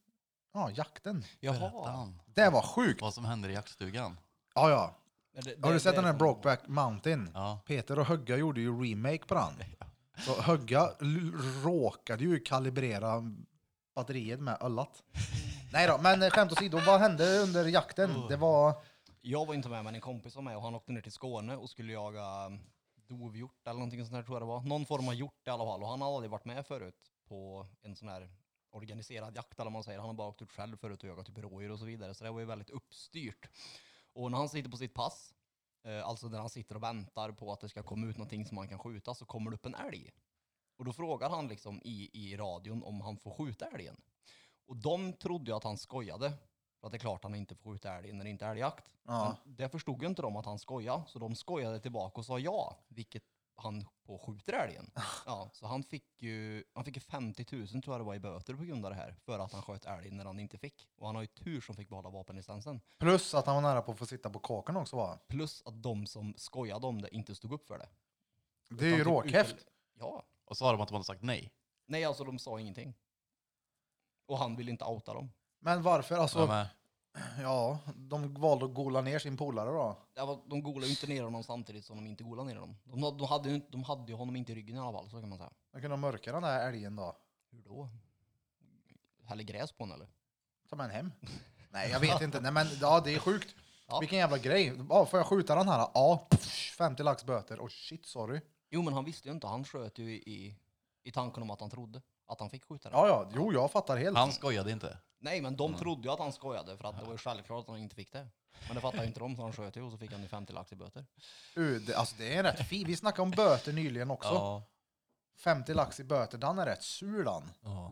A: ja, jakten.
F: Berätta han.
A: Det var sjukt!
F: Vad som händer i jaktstugan.
A: Ja, ja.
E: Men det-
A: Har du
E: det-
A: sett
E: det
A: den här
E: kommer jag ihåg.
A: Brokeback Mountain?
F: Ja.
A: Peter och Högga gjorde ju remake på den. Så Högga l- råkade ju kalibrera batteriet med öllat. Nej då, men eh, skämt åsido, vad hände under
E: Mm.
A: jakten? Det var...
E: Jag var inte med men en kompis var med och han åkte ner till Skåne och skulle jaga um, dovhjort eller någonting sånt där tror jag det var. Någon form av hjort i alla fall och han hade aldrig varit med förut på en sån här organiserad jakt eller vad man säger. Han har bara åkt ut själv förut och jagat typ rådjur och så vidare så det var ju väldigt uppstyrt. Och när han sitter på sitt pass, eh, alltså när han sitter och väntar på att det ska komma ut någonting som han kan skjuta så kommer det upp en älg. Och då frågar han liksom i, i radion om han får skjuta älgen. Och de trodde ju att han skojade. För att det är klart han inte får skjuta älg när det inte är älgjakt.
A: Ja.
E: Men det förstod ju inte de att han skojade. Så de skojade tillbaka och sa ja. Vilket han på skjuter älgen. Ja, så han fick ju han fick ju 50 000 tror jag det var i böter på grund av det här. För att han sköt älg när han inte fick. Och han har ju tur som fick behålla vapenlicensen.
A: Plus att han var nära på att få sitta på kakan också va?
E: Plus att de som skojade om det inte stod upp för det.
A: Det är ju
E: Utan typ
A: råkhäft.
E: utan- Ja.
F: Och så har de att de hade sagt nej.
E: Nej, alltså de sa ingenting. Och han ville inte outa dem.
A: Men varför? Alltså,
F: Ja, men,
A: ja, de valde att gola ner sin polare då.
E: Det var, de golade ju inte ner honom samtidigt som de inte golade ner honom. De, de, hade, ju inte- de hade ju honom inte i ryggen i alla fall, så kan man säga.
A: De kunde mörka den där älgen då.
E: Hur då? Häller gräs på honom eller?
A: Ta med en hem. Nej, jag vet inte. Nej, men ja, det är sjukt.
E: Ja.
A: Vilken jävla grej. Ja, får jag skjuta den här? Ja. 50 lax böter. Oh shit, sorry.
E: Jo, men han visste ju inte. Han sköt ju i, i, i tanken om att han trodde att han fick skjuta den.
A: Ja, ja. Jo, jag fattar helt.
F: han skojade inte.
E: Nej, men de trodde ju att han skojade för att det var ju självklart att han inte fick det. Men det fattade ju inte de, så han sköt ju och så fick han ju 50 lax i böter.
A: Uh, det, alltså det är en rätt fin. Vi snackade om böter nyligen också.
F: Ja.
A: 50 lax i böter. Den är rätt sur den.
F: Ja.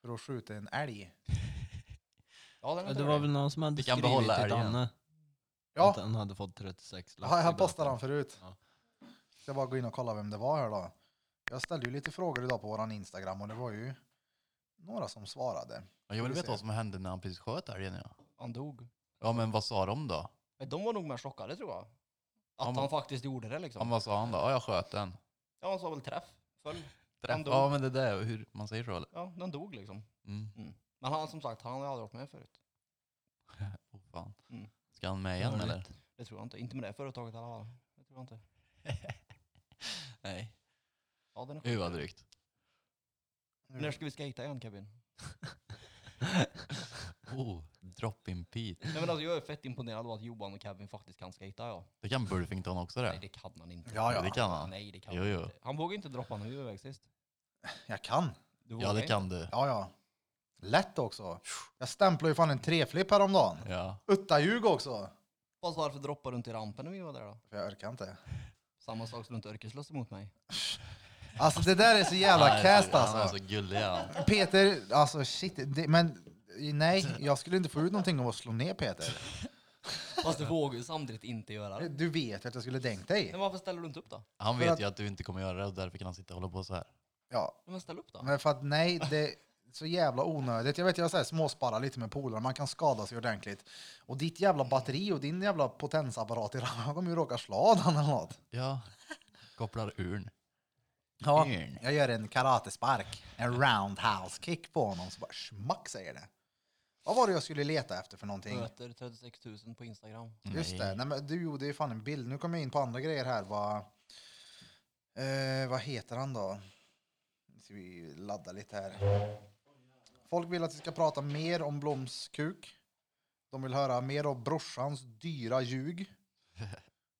A: För att skjuta en älg.
E: Ja, den är
C: Det
E: tur
C: var väl någon som hade
F: Vi kan
C: skrivit till
F: behålla älgen.
C: Danne att
A: Ja,
C: han hade fått 36 lax
A: jag,
C: i
A: jag
C: böter.
A: postade den förut.
F: Ja.
A: Ska bara gå in och kolla vem det var här då. Jag ställde ju lite frågor idag på våran Instagram och det var ju några som svarade.
F: Jag vill
A: Vi
F: veta
A: ser.
F: vad som hände när han precis sköt älgen. Ja.
E: Han dog.
F: ja, men vad sa de då?
E: Men de var nog mer chockade tror jag. Att
F: Han
E: han,
F: var-
E: faktiskt gjorde det liksom.
F: Ja, men vad sa han då? Ja, jag sköt den.
E: Ja, han sa väl träff, följ.
F: Träff.
E: dog.
F: Ja, men det där är hur man säger så. Eller?
E: Ja, den dog liksom.
F: Mm.
E: Men han som sagt, han har ju aldrig varit med förut.
F: Oh, fan.
E: Mm.
F: Ska han med igen eller?
E: Det tror jag inte. Inte med det företaget i alla fall. Det tror jag inte.
F: Nej.
E: Ja, den är
F: Gud
E: sjuk.
F: vad drygt.
E: När ska vi skejta igen Kevin?
F: Oh, drop in Pete.
E: Nej men alltså jag är fett imponerad av att Johan och Kevin faktiskt kan skejta ja.
F: Det kan Burfington också
E: Nej
F: det.
E: det kan han inte.
A: Ja, ja.
F: Det kan han.
E: Nej det kan
F: Jo,
E: han
F: jo.
E: inte. Han vågar inte droppa någon huvudväg sist.
A: Jag kan.
F: Ja,
E: Du vågar
F: det
E: inte.
F: kan du.
A: Ja, ja. Lätt också. Jag stämplade ju fan en treflipp häromdagen.
F: Ja.
A: Utta ljug också.
E: Fast varför droppar du inte i rampen när vi var där då?
A: För jag orkar inte.
E: Samma sak som du inte orkar slåss emot mig.
A: Alltså det där är så jävla
F: Nej,
A: cast
F: Han är
A: alltså.
F: så gullig han.
A: Peter, alltså shit. Det, men nej, jag skulle inte få ut någonting av att slå ner Peter.
E: Fast du vågar ju samtidigt inte göra det.
A: Du vet ju att jag skulle tänkt dig.
E: Men varför ställer du inte upp då?
F: Han
A: För
F: vet
A: att-
F: ju att du inte kommer göra det och därför kan han sitta och hålla på så här.
A: Ja,
E: Men ställ upp då.
A: men för att nej, det är så jävla onödigt. Jag vet, jag så här småsparrar lite med polare, man kan skada sig ordentligt. Och ditt jävla batteri och din jävla potensapparat i ramen kommer ju råka slå av den eller något.
F: Ja. Kopplar urn.
A: Ja,
F: Urn.
A: jag gör en karatespark, en roundhouse kick på honom, så bara smack säger det. Vad var det jag skulle leta efter för någonting?
E: Böter 36 000 på Instagram.
A: Just det, nej, men du gjorde ju fan en bild. Nu kommer jag in på andra grejer här. Vad, eh, vad heter han då? Nu ska vi ladda lite här. Folk vill att vi ska prata mer om Bloms kuk. De vill höra mer om brorsans dyra ljug.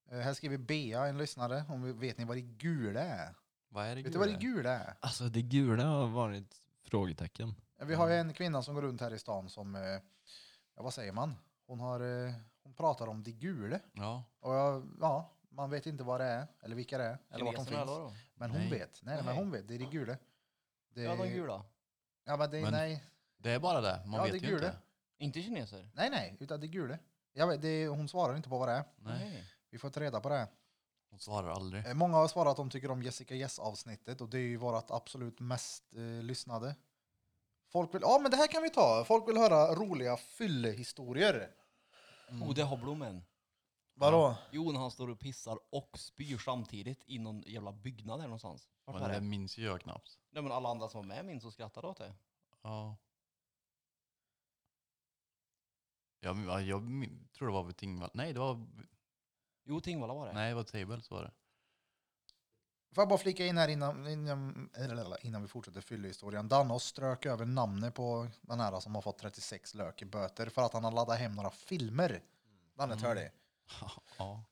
A: Eh, här skriver Bea, en lyssnare, om vi, vet ni vad det gula är?
F: Vad är det
A: Vet du vad det
F: gula?
A: gula är?
C: Alltså det gula har varit frågetecken.
A: Vi har ju en kvinna som går runt här i stan som, eh, ja vad säger man? Hon, har, eh, hon pratar om de gule.
F: Ja.
A: Och jag, ja, man vet inte vad det är, eller vilka det är, eller vart de
F: Kineserna
A: finns.
F: eller vadå?
A: Men hon
F: Nej.
A: vet. Nej, men
F: Nej.
A: hon vet. Det är de gula. Det
E: Ja, de
A: är-
E: gula.
A: Ja, men det är,
F: Men-
A: nej.
F: Det är bara det, man
A: Ja, det
F: vet
A: är
F: ju
A: gula.
F: inte.
E: Inte kineser?
A: Nej, nej, utan det är gula. Jag vet, det är, hon svarar inte på vad det är.
E: Nej.
A: Vi får ta reda på det.
F: Hon svarar aldrig.
A: Eh, Många har svarat att de tycker om Jessica Yes-avsnittet och det är ju vårt absolut mest eh, lyssnade. Folk vill, ja men det här kan vi ta. Folk vill höra roliga fyllehistorier.
F: Mm.
E: Oh, det har Blommen.
A: Vadå?
E: Jo, när han står och pissar och spyr samtidigt i någon jävla byggnad här någonstans. Vart var
F: Men det
E: det?
F: minns ju jag knappt.
E: Nej, men alla andra som var med minns och skrattade åt det.
F: Ja. Jag, jag, jag min- tror det var vid Tingvall. Nej, det var...
E: Jo, Tingvalla var det.
F: Nej, det var Tables var det.
A: Får jag bara flika in här innan, innan, eller, innan vi fortsätter fyllehistorien. Danos strök över namnet på den här som har fått 36 lök i böter för att han har laddat hem några filmer. Danne hör dig.
F: Ja.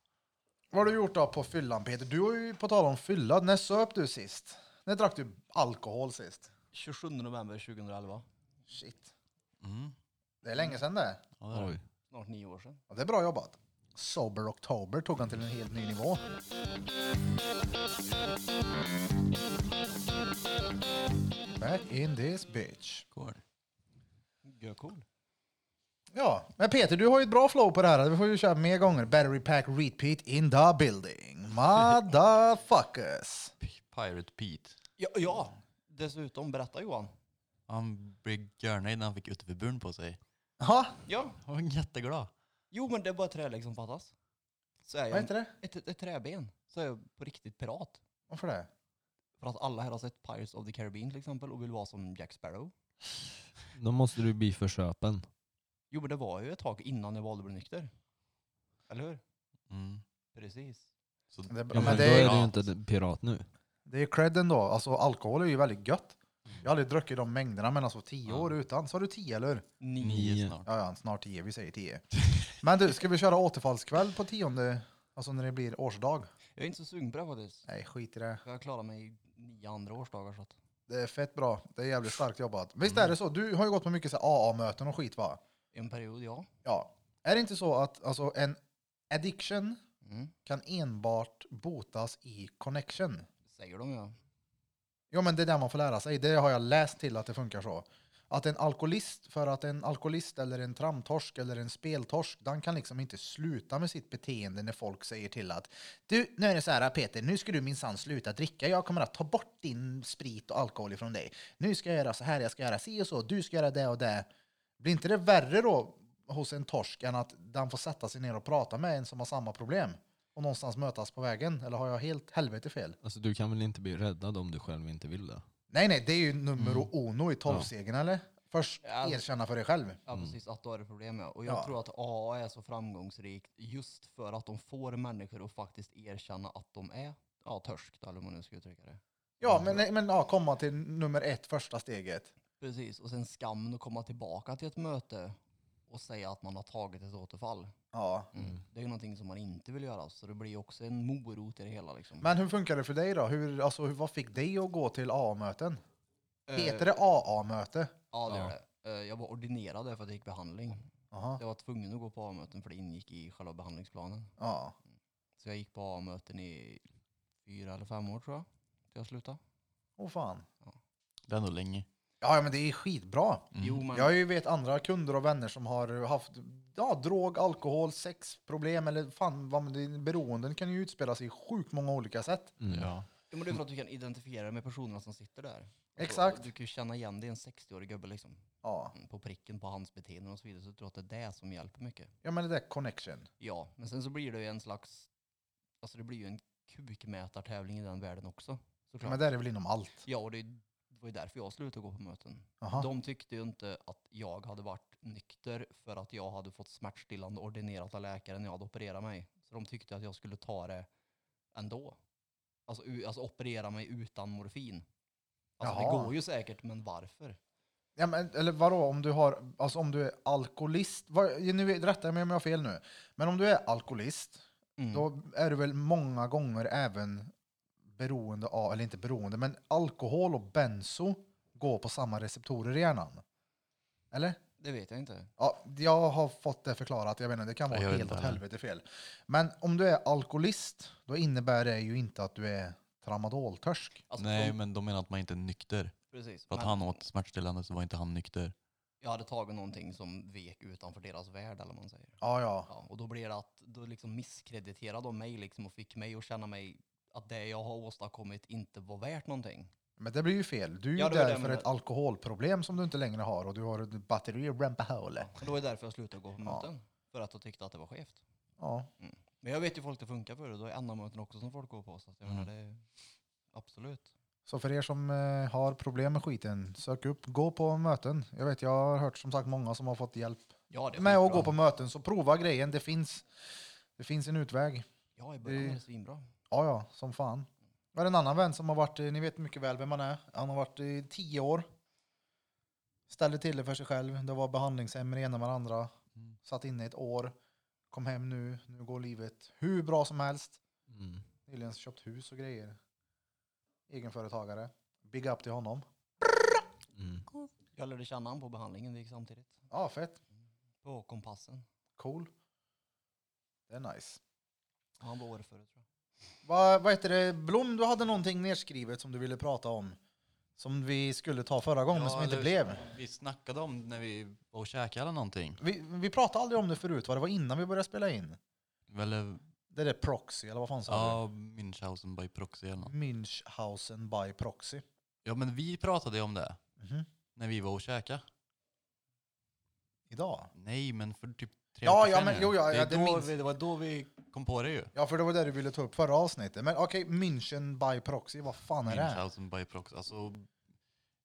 A: Vad har du gjort då på fyllan Peter? Du har ju på tal om fylla, när söp du sist? När drack du alkohol sist?
E: 27 november 2011.
A: Shit.
F: Mm.
A: Det är länge sedan det.
F: Ja, det är det.
E: Snart nio år sedan.
A: Ja, det är bra jobbat. Sober October tog han till en helt ny nivå. Back in this bitch.
E: Gör cool.
A: Ja, men Peter, du har ju ett bra flow på det här. Vi får ju köra mer gånger. Battery pack repeat in the building. Motherfuckers.
F: P- Pirate Pete.
E: Ja, ja, dessutom. Berätta Johan.
F: Han blev görnöjd när han fick utefiburen på sig.
A: Jaha,
E: Ja,
F: Han var jätteglad.
E: jo men det är bara trälägg som fattas. Så är
A: vad
E: jag
A: heter det?
E: ett, ett träben. Så är jag på riktigt pirat.
A: Varför det?
E: För att alla här har sett Pirates of the Caribbean till exempel och vill vara som Jack Sparrow.
C: Då måste du bli för köpen.
E: Jo men det var ju ett tag innan jag valde att bli nykter. Eller hur?
F: Mm.
E: Precis.
F: Så
A: Det är bra.
C: Ja,
A: Ja, men
C: men då
A: det
C: är
A: är-
C: du ju inte pirat nu.
A: Det är cred ändå. Alltså alkohol är ju väldigt gött. Jag har aldrig druckit de mängderna, men alltså tio år utan. Så har du tio, eller hur?
E: Nio.
F: nio
C: Nio.
F: snart.
A: Ja, ja, snart tio. Vi säger tio. Men du, ska vi köra återfallskväll på tionde? Alltså när det blir årsdag?
E: Jag är inte så sugen på det faktiskt.
A: Nej, skit i det.
E: Jag klarar mig i nio andra årsdagar så att.
A: Det är fett bra. Det är jävligt starkt jobbat. Visst är det så? Du har ju gått på mycket så här AA-möten och skit va?
E: En period, ja.
A: Ja. Är det inte så att alltså, en addiction
E: Mm.
A: kan enbart botas i connection?
E: Säger de ja.
A: Jo, men det är det man får lära sig. Det har jag läst till att det funkar så. Att en alkoholist, för att en alkoholist eller en tramtorsk eller en speltorsk, den kan liksom inte sluta med sitt beteende när folk säger till att du, nu är det så här Peter, nu ska du minsann sluta dricka. Jag kommer att ta bort din sprit och alkohol ifrån dig. Nu ska jag göra så här, jag ska göra si och så, du ska göra det och det. Blir inte det värre då hos en torsk än att den får sätta sig ner och prata med en som har samma problem? Och någonstans mötas på vägen? Eller har jag helt helvete fel?
C: Alltså du kan väl inte bli räddad om du själv inte vill det?
A: Nej, nej, det är ju nummer uno i tolvstegen, eller? Först
E: Ja. alltså-
A: erkänna för dig själv.
E: Ja precis, att då är det problem ja. Och jag
A: Ja.
E: tror att AA är så framgångsrikt just för att de får människor att faktiskt erkänna att de är ja, törsk, eller hur man nu ska uttrycka det.
A: Ja, men, nej, men ja, komma till nummer ett, första steget.
E: Precis, och sen skammen att komma tillbaka till ett möte och säga att man har tagit ett återfall. Mm.
A: Ja.
E: Det är ju någonting som man inte vill göra, så det blir ju också en morot i det hela. Liksom.
A: Men hur funkar det för dig då? Hur, alltså, hur, vad fick dig att gå till AA-möten?
E: Eh,
A: Heter det AA-möte?
E: Ja, det gör
C: Ja.
E: det. Eh, Jag var ordinerad där för att jag gick behandling.
A: Jaha.
E: Jag var tvungen att gå på A-möten för det ingick i själva behandlingsplanen.
A: Ja.
E: Så jag gick på A-möten i fyra eller fem år tror jag, till jag slutade.
A: Åh fan.
F: Det är ändå länge.
A: Ja, ja, men det är skitbra.
E: Jo, men...
A: Mm. Jag har ju vet andra kunder och vänner som har haft ja, drog, alkohol, sexproblem eller fan, vad, men det- beroenden kan ju utspela sig i sjukt många olika sätt.
C: Mm.
F: Ja.
E: Ja, men det är för att du kan identifiera dig med personerna som sitter där. Alltså,
A: Exakt.
E: Du kan ju känna igen det i en 60-årig gubbe liksom.
A: Ja,
E: Mm, På pricken, på hans beteenden och så vidare. Så jag tror att det är det som hjälper mycket.
A: ja men det där connection.
E: Ja, men sen så blir det ju en slags... Alltså det blir ju en kukmätartävling i den världen också.
A: Ja,
E: Såklart.
A: men det är väl inom allt.
E: Ja, och det det var ju därför jag slutade gå på möten.
A: Aha.
E: De tyckte ju inte att jag hade varit nykter för att jag hade fått smärtstillande ordinerat av läkaren när jag hade opererat mig. Så de tyckte att jag skulle ta det ändå. Alltså, u- alltså operera mig utan morfin. Alltså
A: Jaha.
E: det går ju säkert, men varför?
A: Ja, men, eller vadå, om du, har, alltså, om du är alkoholist, vad, nu, rätta mig om jag har fel nu, men om du är alkoholist,
E: Mm.
A: då är du väl många gånger även beroende av, eller inte beroende, men alkohol och benzo gå på samma receptorer i hjärnan. Eller?
E: Det vet jag inte.
A: Ja, jag har fått det förklarat. Jag vet inte, det kan vara
E: Jag vet
A: helt
E: inte
A: åt
E: heller.
A: helvete fel. Men om du är alkoholist, då innebär det ju inte att du är tramadoltörsk.
F: Nej, men de menar att man inte är nykter.
E: Alltså, Precis,
F: För att
E: men-
F: han åt smärtstillande så var inte han nykter.
E: Jag hade tagit någonting som vek utanför deras värld eller vad man säger.
A: Ja, ja.
E: och då blir det att då liksom misskrediterade de mig liksom och fick mig att känna mig att det jag har åstadkommit inte var värt någonting.
A: Men det blir ju fel. Du är ju
E: Ja, det var
A: där
E: det
A: för
E: med-
A: ett alkoholproblem som du inte längre har och du har ett batteri och rampa hålet.
E: Och då är det därför jag slutade gå på möten. För att jag tyckte att det var skevt.
A: Ja.
E: Mm. Men jag vet ju folk det funkar för och då är andra möten också som folk går på. Så att jag menar det är absolut.
A: Så för er som eh, har problem med skiten, sök upp, gå på möten. Jag vet, jag har hört som sagt många som har fått hjälp
E: Ja, det är
A: med att
E: skitbra.
A: gå på möten. Så prova grejen, det finns, det finns en utväg.
E: Ja, i början
A: Det-
E: var det svinbra.
A: Ja, ja, som fan. Jag har en annan vän som har varit, eh, ni vet mycket väl vem han är, han har varit i tio år. Ställde till det för sig själv, det var behandlingshem med det ena med det andra. Satt inne i ett år, kom hem nu, nu går livet hur bra som helst. Nyligen köpt hus och grejer. Egenföretagare. Big up till honom.
E: Jag lärde känna honom på behandlingen vi gick samtidigt.
A: Ja, fett.
E: På kompassen.
A: Cool. Det är nice.
E: Och Han var året före tror jag.
A: Vad, vad heter det? Blom, du hade någonting nedskrivet som du ville prata om. Som vi skulle ta förra gången, men som inte
F: eller-
A: blev.
F: Vi snackade om när vi var och käkade eller någonting.
A: Vi, vi pratade aldrig om det förut, vad det var innan vi började spela in.
F: Eller,
A: Det där proxy, eller vad fan sa
F: ja, Münchhausen by proxy eller
A: du?
F: något.
A: Münchhausen by proxy.
F: Ja, men vi pratade ju om det.
A: Mhm.
F: När vi var och käkade.
A: Idag?
F: Nej, men för typ tre
A: Ja,
F: veckor
A: ja,
F: sedan
A: men
F: nu.
A: jo, ja,
F: det,
A: ja,
F: är
A: det
F: då
A: minns-
F: vi, det var då vi kom på det ju.
A: Ja, för det var det du ville ta upp förra avsnittet. Men okej, München by proxy, vad fan är det?
F: Münchhausen by proxy. Alltså,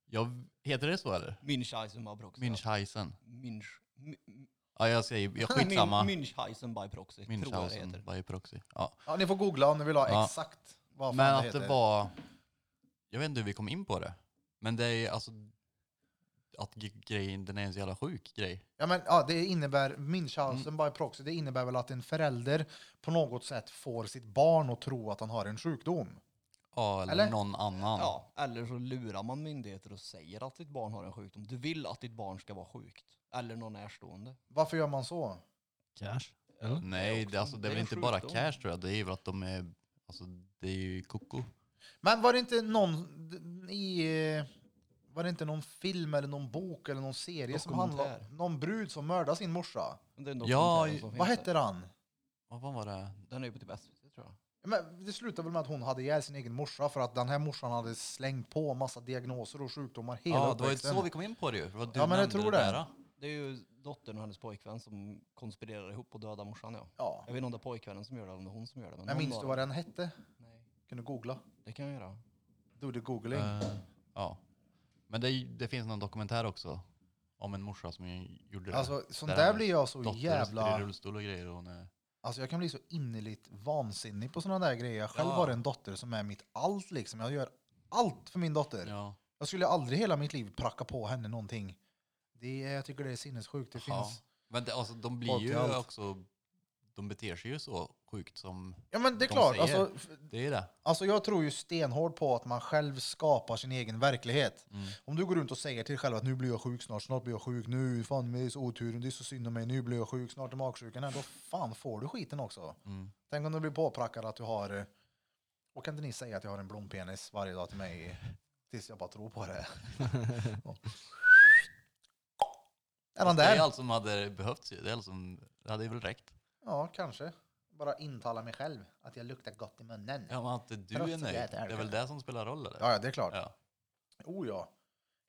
F: jag, heter det så eller?
E: Münchhausen by proxy.
F: Münchhausen.
E: Münch... Mü-
F: Ja, jag säger, jag skitsamma.
E: Mün- Münchhausen by proxy, tror jag det heter.
F: Münchhausen by proxy. Ja.
A: Ja, ni får googla om ni vill ha
F: Ja.
A: exakt vad fan
F: Men
A: det
F: att
A: heter.
F: det var... Jag vet inte hur vi kom in på det. Men det är alltså... Att g- grejen, den är en så jävla sjuk grej.
A: Ja, men ja, det innebär, Münchhausen
F: Mm.
A: by proxy, det innebär väl att en förälder på något sätt får sitt barn att tro att han har en sjukdom.
F: Ja, eller,
A: Eller?
F: någon annan.
E: Ja, eller så lurar man myndigheter och säger att ditt barn har en sjukdom. Du vill att ditt barn ska vara sjukt. Eller någon närstående.
A: Varför gör man så?
C: Cash?
F: Nej, det, alltså, det är
E: det
F: väl
E: är en
F: inte bara
E: sjukdom.
F: cash tror jag. Det är väl att de är... Alltså, det är ju koko.
A: Men var det inte någon d- i... eh, Var det inte någon film eller någon bok eller någon serie som handlade
E: Dokumentär.
A: om någon brud som mördade sin morsa?
E: Det är en
F: Ja,
E: dokumentär som
A: Vad
E: finns
A: hette
E: där.
A: han?
F: Vad fan var det?
E: Den är ju på typ SVT tror jag.
A: Ja, Men det slutade väl med att hon hade ihjäl sin egen morsa för att den här morsan hade slängt på massa diagnoser och sjukdomar hela
F: Ja, det var ju
A: uppväxten.
F: så vi kom in på det ju. Det var du
A: Ja, men jag
F: nämnde
A: tror det.
F: där.
E: Det är ju dottern och hennes pojkvän som konspirerar ihop och dödar morsan ja.
A: Ja.
E: Jag vet inte om det är pojkvännen som gör det eller om det är hon som gör det. Men
A: Men
E: någon
A: minns
E: av
A: du vad
E: dem.
A: den hette?
E: Nej,
A: Kan du googla?
E: det kan jag göra.
A: Do the googling.
F: Eh, ja. Men det, är ju- det finns någon dokumentär också. Om en morsa som ju gjorde det.
A: Alltså, sånt
F: är
A: där
F: hennes
A: blir jag så
F: dotter sitter i
A: jävla...
F: rullstol och grejer. Och hon är...
A: Alltså jag kan bli så innerligt vansinnig på såna där grejer. Jag själv
F: Ja.
A: har en dotter som är mitt allt liksom. Jag gör allt för min dotter.
F: Ja.
A: Jag skulle aldrig hela mitt liv pracka på henne någonting. Det, är- jag tycker det är sinnessjukt. Det
F: Ja.
A: finns...
F: Men det, alltså, de blir
A: Folk i
F: ju
A: allt.
F: också... De beter sig ju så sjukt som
A: Ja men det är
F: de
A: klart.
F: säger.
A: Alltså, f-
F: Det är det.
A: alltså jag tror ju stenhårt på att man själv skapar sin egen verklighet. Om du går runt och säger till dig själv att nu blir jag sjuk snart, snart blir jag sjuk, nu fan det är så oturen, det är så synd om mig, nu blir jag sjuk, snart är magsjukan här. Då fan får du skiten också.
F: Mm.
A: Tänk om du blir påprackad att du har... eh, Och kan inte ni säga att jag har en blompenis varje dag till mig tills jag bara tror på det? Och- är han
F: Det är
A: där?
F: allt som hade behövts ju. Det, är allt som, det hade väl räckt.
A: Ja, kanske. Bara intala mig själv att jag luktar gott i munnen.
F: Ja, men att du
A: Trots
F: är
A: att jag
F: nöjd,
A: äter
F: det är väl
A: helvete.
F: det som spelar roll eller?
A: Ja, ja, det är klart.
F: Ja.
A: Oh ja.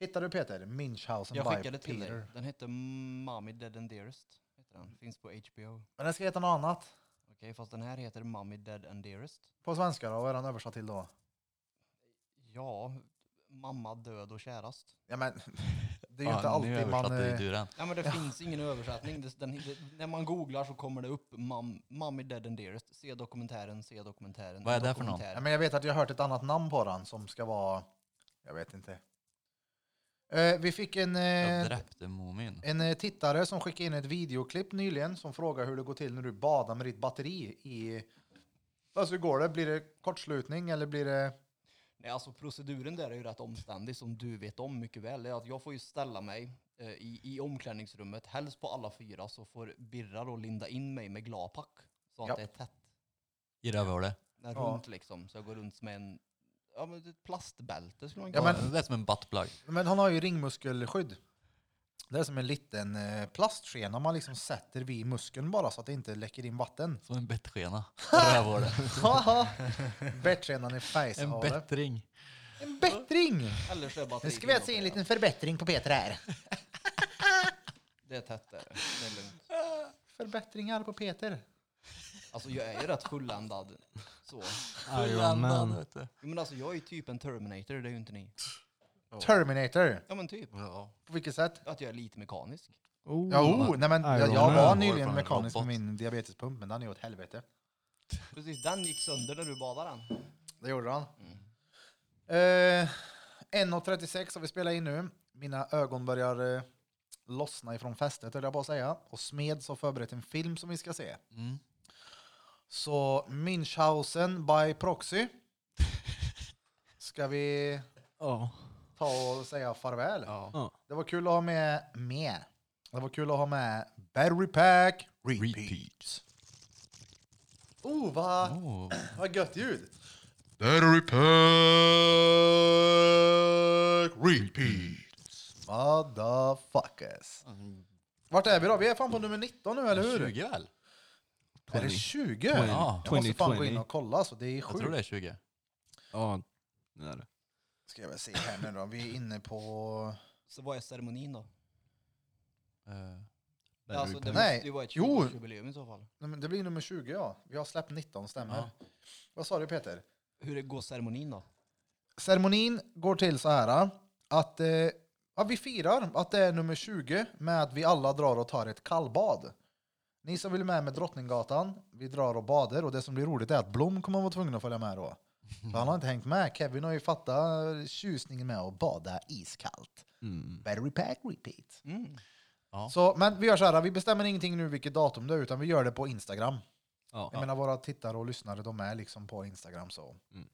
A: Hittar du Peter? Münchhausen
E: Jag
A: by
E: skickade till
A: Peter.
E: dig. Den hette Mommy Dead and Dearest. Heter den. Finns på HBO.
A: Men den ska heta något annat.
E: Okej, fast den här heter Mommy Dead and Dearest.
A: På svenska då? Vad är den översatt till då?
E: Ja, mamma död och kärast.
A: Ja, men det är ju
F: Ja,
A: inte
F: nu
A: alltid man...
F: översatte
A: eh,
F: du den.
E: Ja, men det finns ingen översättning. Det, den, det, när man googlar så kommer det upp mam, Mommy Dead and Dearest. Se dokumentären, se dokumentären.
F: Vad är det för någon?
E: dokumentär.
A: Ja, men jag vet att jag har hört ett annat namn på den som ska vara... Jag vet inte. Eh, vi fick en,
F: Jag
A: eh,
F: dräpte Momin.
A: en eh, tittare som skickade in ett videoklipp nyligen som frågar hur det går till när du badar med ditt batteri i... Alltså hur går det? Blir det kortslutning eller blir det...
E: Nej, alltså proceduren där är ju rätt omständig som du vet om mycket väl. Det är att jag får ju ställa mig eh, i, i omklädningsrummet, helst på alla fyra, så får Birra då linda in mig med glapack så att
B: Ja.
E: det är tätt
F: I rövhålet.
E: när
A: Ja.
E: runt liksom. Så jag går runt med en, ja men ett plastbälte skulle man
A: Ja,
E: kalla
A: men-
E: det.
F: Det är som en buttplug.
A: Men han har ju ringmuskelskydd. Det är som en liten eh, plastskena man liksom sätter vid muskeln bara så att det inte läcker in vatten.
F: Som en bettskena. Rövhålet.
A: Haha! Bettskenan i face.
F: En
A: har det.
F: bättring.
A: en bättring!
E: Eller så är det bara att
A: Nu
E: det är
A: skvätts in en
E: inopererat.
A: liten förbättring på Peter här.
E: Det är tätt där. Det är lugnt.
A: Förbättringar på Peter.
E: Alltså jag är ju rätt fulländad. Så.
C: Iron Man.
F: vet du.
E: Jo, Men alltså jag är ju typ en Terminator, det är ju inte ni.
A: Terminator.
E: Ja men typ.
F: Ja.
A: På vilket sätt?
E: Att jag är lite mekanisk.
C: Oh,
A: Ja, oh, nej, men jag,
C: Iron
A: jag
C: Man.
A: var
F: Man.
A: nyligen
F: Från
A: mekanisk med
F: robot.
A: min diabetespump, men den är ju åt helvete.
E: Precis, den gick sönder när du badade den.
A: Det gjorde han.
F: Mm.
A: Eh, 1.36 har vi spelat in nu. Mina ögon börjar eh, lossna ifrån fästet, höll jag på att säga. Och Smeds har förberett en film som vi ska se.
F: Mm.
A: Så Münchhausen by proxy. Ska vi
C: Ja.
A: ta och säga farväl?
F: Ja.
C: Ja.
A: Det var kul att ha med med. Det var kul att ha med Battery Pack Repeat.
F: Repeat.
A: Oh, vad,
F: Oh.
A: vad gött ljud!
G: Battery pack repeat.
A: Motherfuckers. Vart är vi då? Vi är fan på nummer 19 nu, eller hur?
F: 20 väl?
A: Är det 20?
F: Ja,
A: Jag måste fan gå in
C: 2020.
A: och kolla, så det är
F: Jag tror
A: sjukt.
F: det är 20.
C: Ja, det är det.
A: Ska jag väl se här nu då. Vi är inne på...
E: Så vad är ceremonin då?
F: Eh,
E: Alltså, det
A: Nej.
E: måste ju vara ett
A: Jo.
E: 20-årsjubileum i så fall.
A: Nej, men Det blir nummer 20, ja. Vi har släppt 19, stämmer. Vad sa du, Peter?
E: Hur det går ceremonin då?
A: Ceremonin går till så här att eh, ja, vi firar att det är nummer 20 med att vi alla drar och tar ett kallbad. Ni som vill med med Drottninggatan, vi drar och badar och det som blir roligt är att Blom kommer vara tvungen att följa med då. För han har inte hängt med. Kevin har ju fattat tjusningen med att bada iskallt.
C: Mm.
A: Battery pack repeat.
E: Mm.
F: Ja.
A: Så, men vi gör så här, vi bestämmer ingenting nu vilket datum det är utan vi gör det på Instagram.
C: Ja.
A: Jag menar våra tittare och lyssnare, de är liksom på Instagram så.
C: Mm.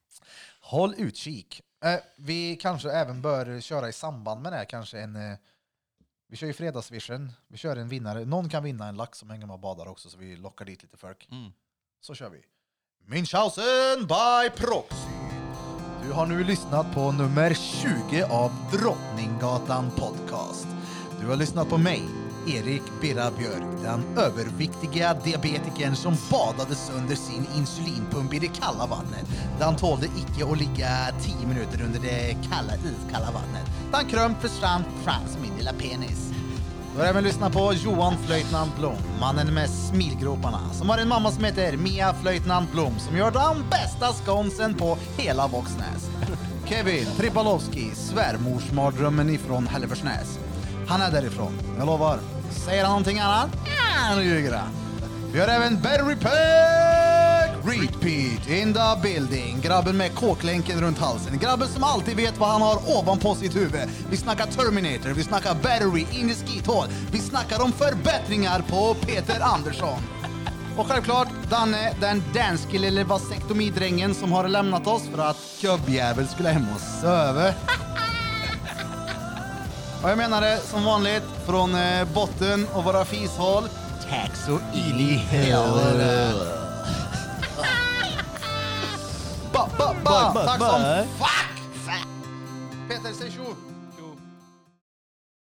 A: Håll utkik. Eh, vi kanske även bör köra i samband med det här kanske en... Eh, vi kör ju fredagsvision, vi kör en vinnare. Någon kan vinna en lax som hänger med och badar också så vi lockar dit lite folk.
F: Mm.
A: Så kör vi. Münchhausen by proxy. Du har nu lyssnat på nummer 20 av Drottninggatan podcast. Du har lyssnat på mig, Erik Birra Björk, den överviktiga diabetikern som badade sönder sin insulinpump i det kalla vattnet. Den tålde icke att ligga 10 minuter under det kalla, iskalla vattnet. Den krömp försvann fram som min lilla penis. Du har även lyssnat på Johan Flöjtnant Blom, mannen med smilgroparna, som har en mamma som heter Mia Flöjtnant Blom som gör den bästa skonsen på hela Våxnäs. Kevin Tripalowski, svärmorsmardrömmen ifrån Hälleforsnäs. Han är därifrån, jag lovar. Säger han någonting annat? Ja, nu ljuger han. Vi har även Barry Pack Repeat in the building. Grabben med kåklänken runt halsen. Grabben som alltid vet vad han har ovanpå sitt huvud. Vi snackar Terminator, vi snackar Battery in i skithål. Vi snackar om förbättringar på Peter Andersson. Och självklart Danne, den danske lille vasektomidrängen som har lämnat oss för att gubbjävel skulle hem och söva. Och jag menar det som vanligt från eh, botten och våra fishål. Tack så in i helvete. Tá Ba, ba, ba. Tack som fuck! Peter, säg tjo!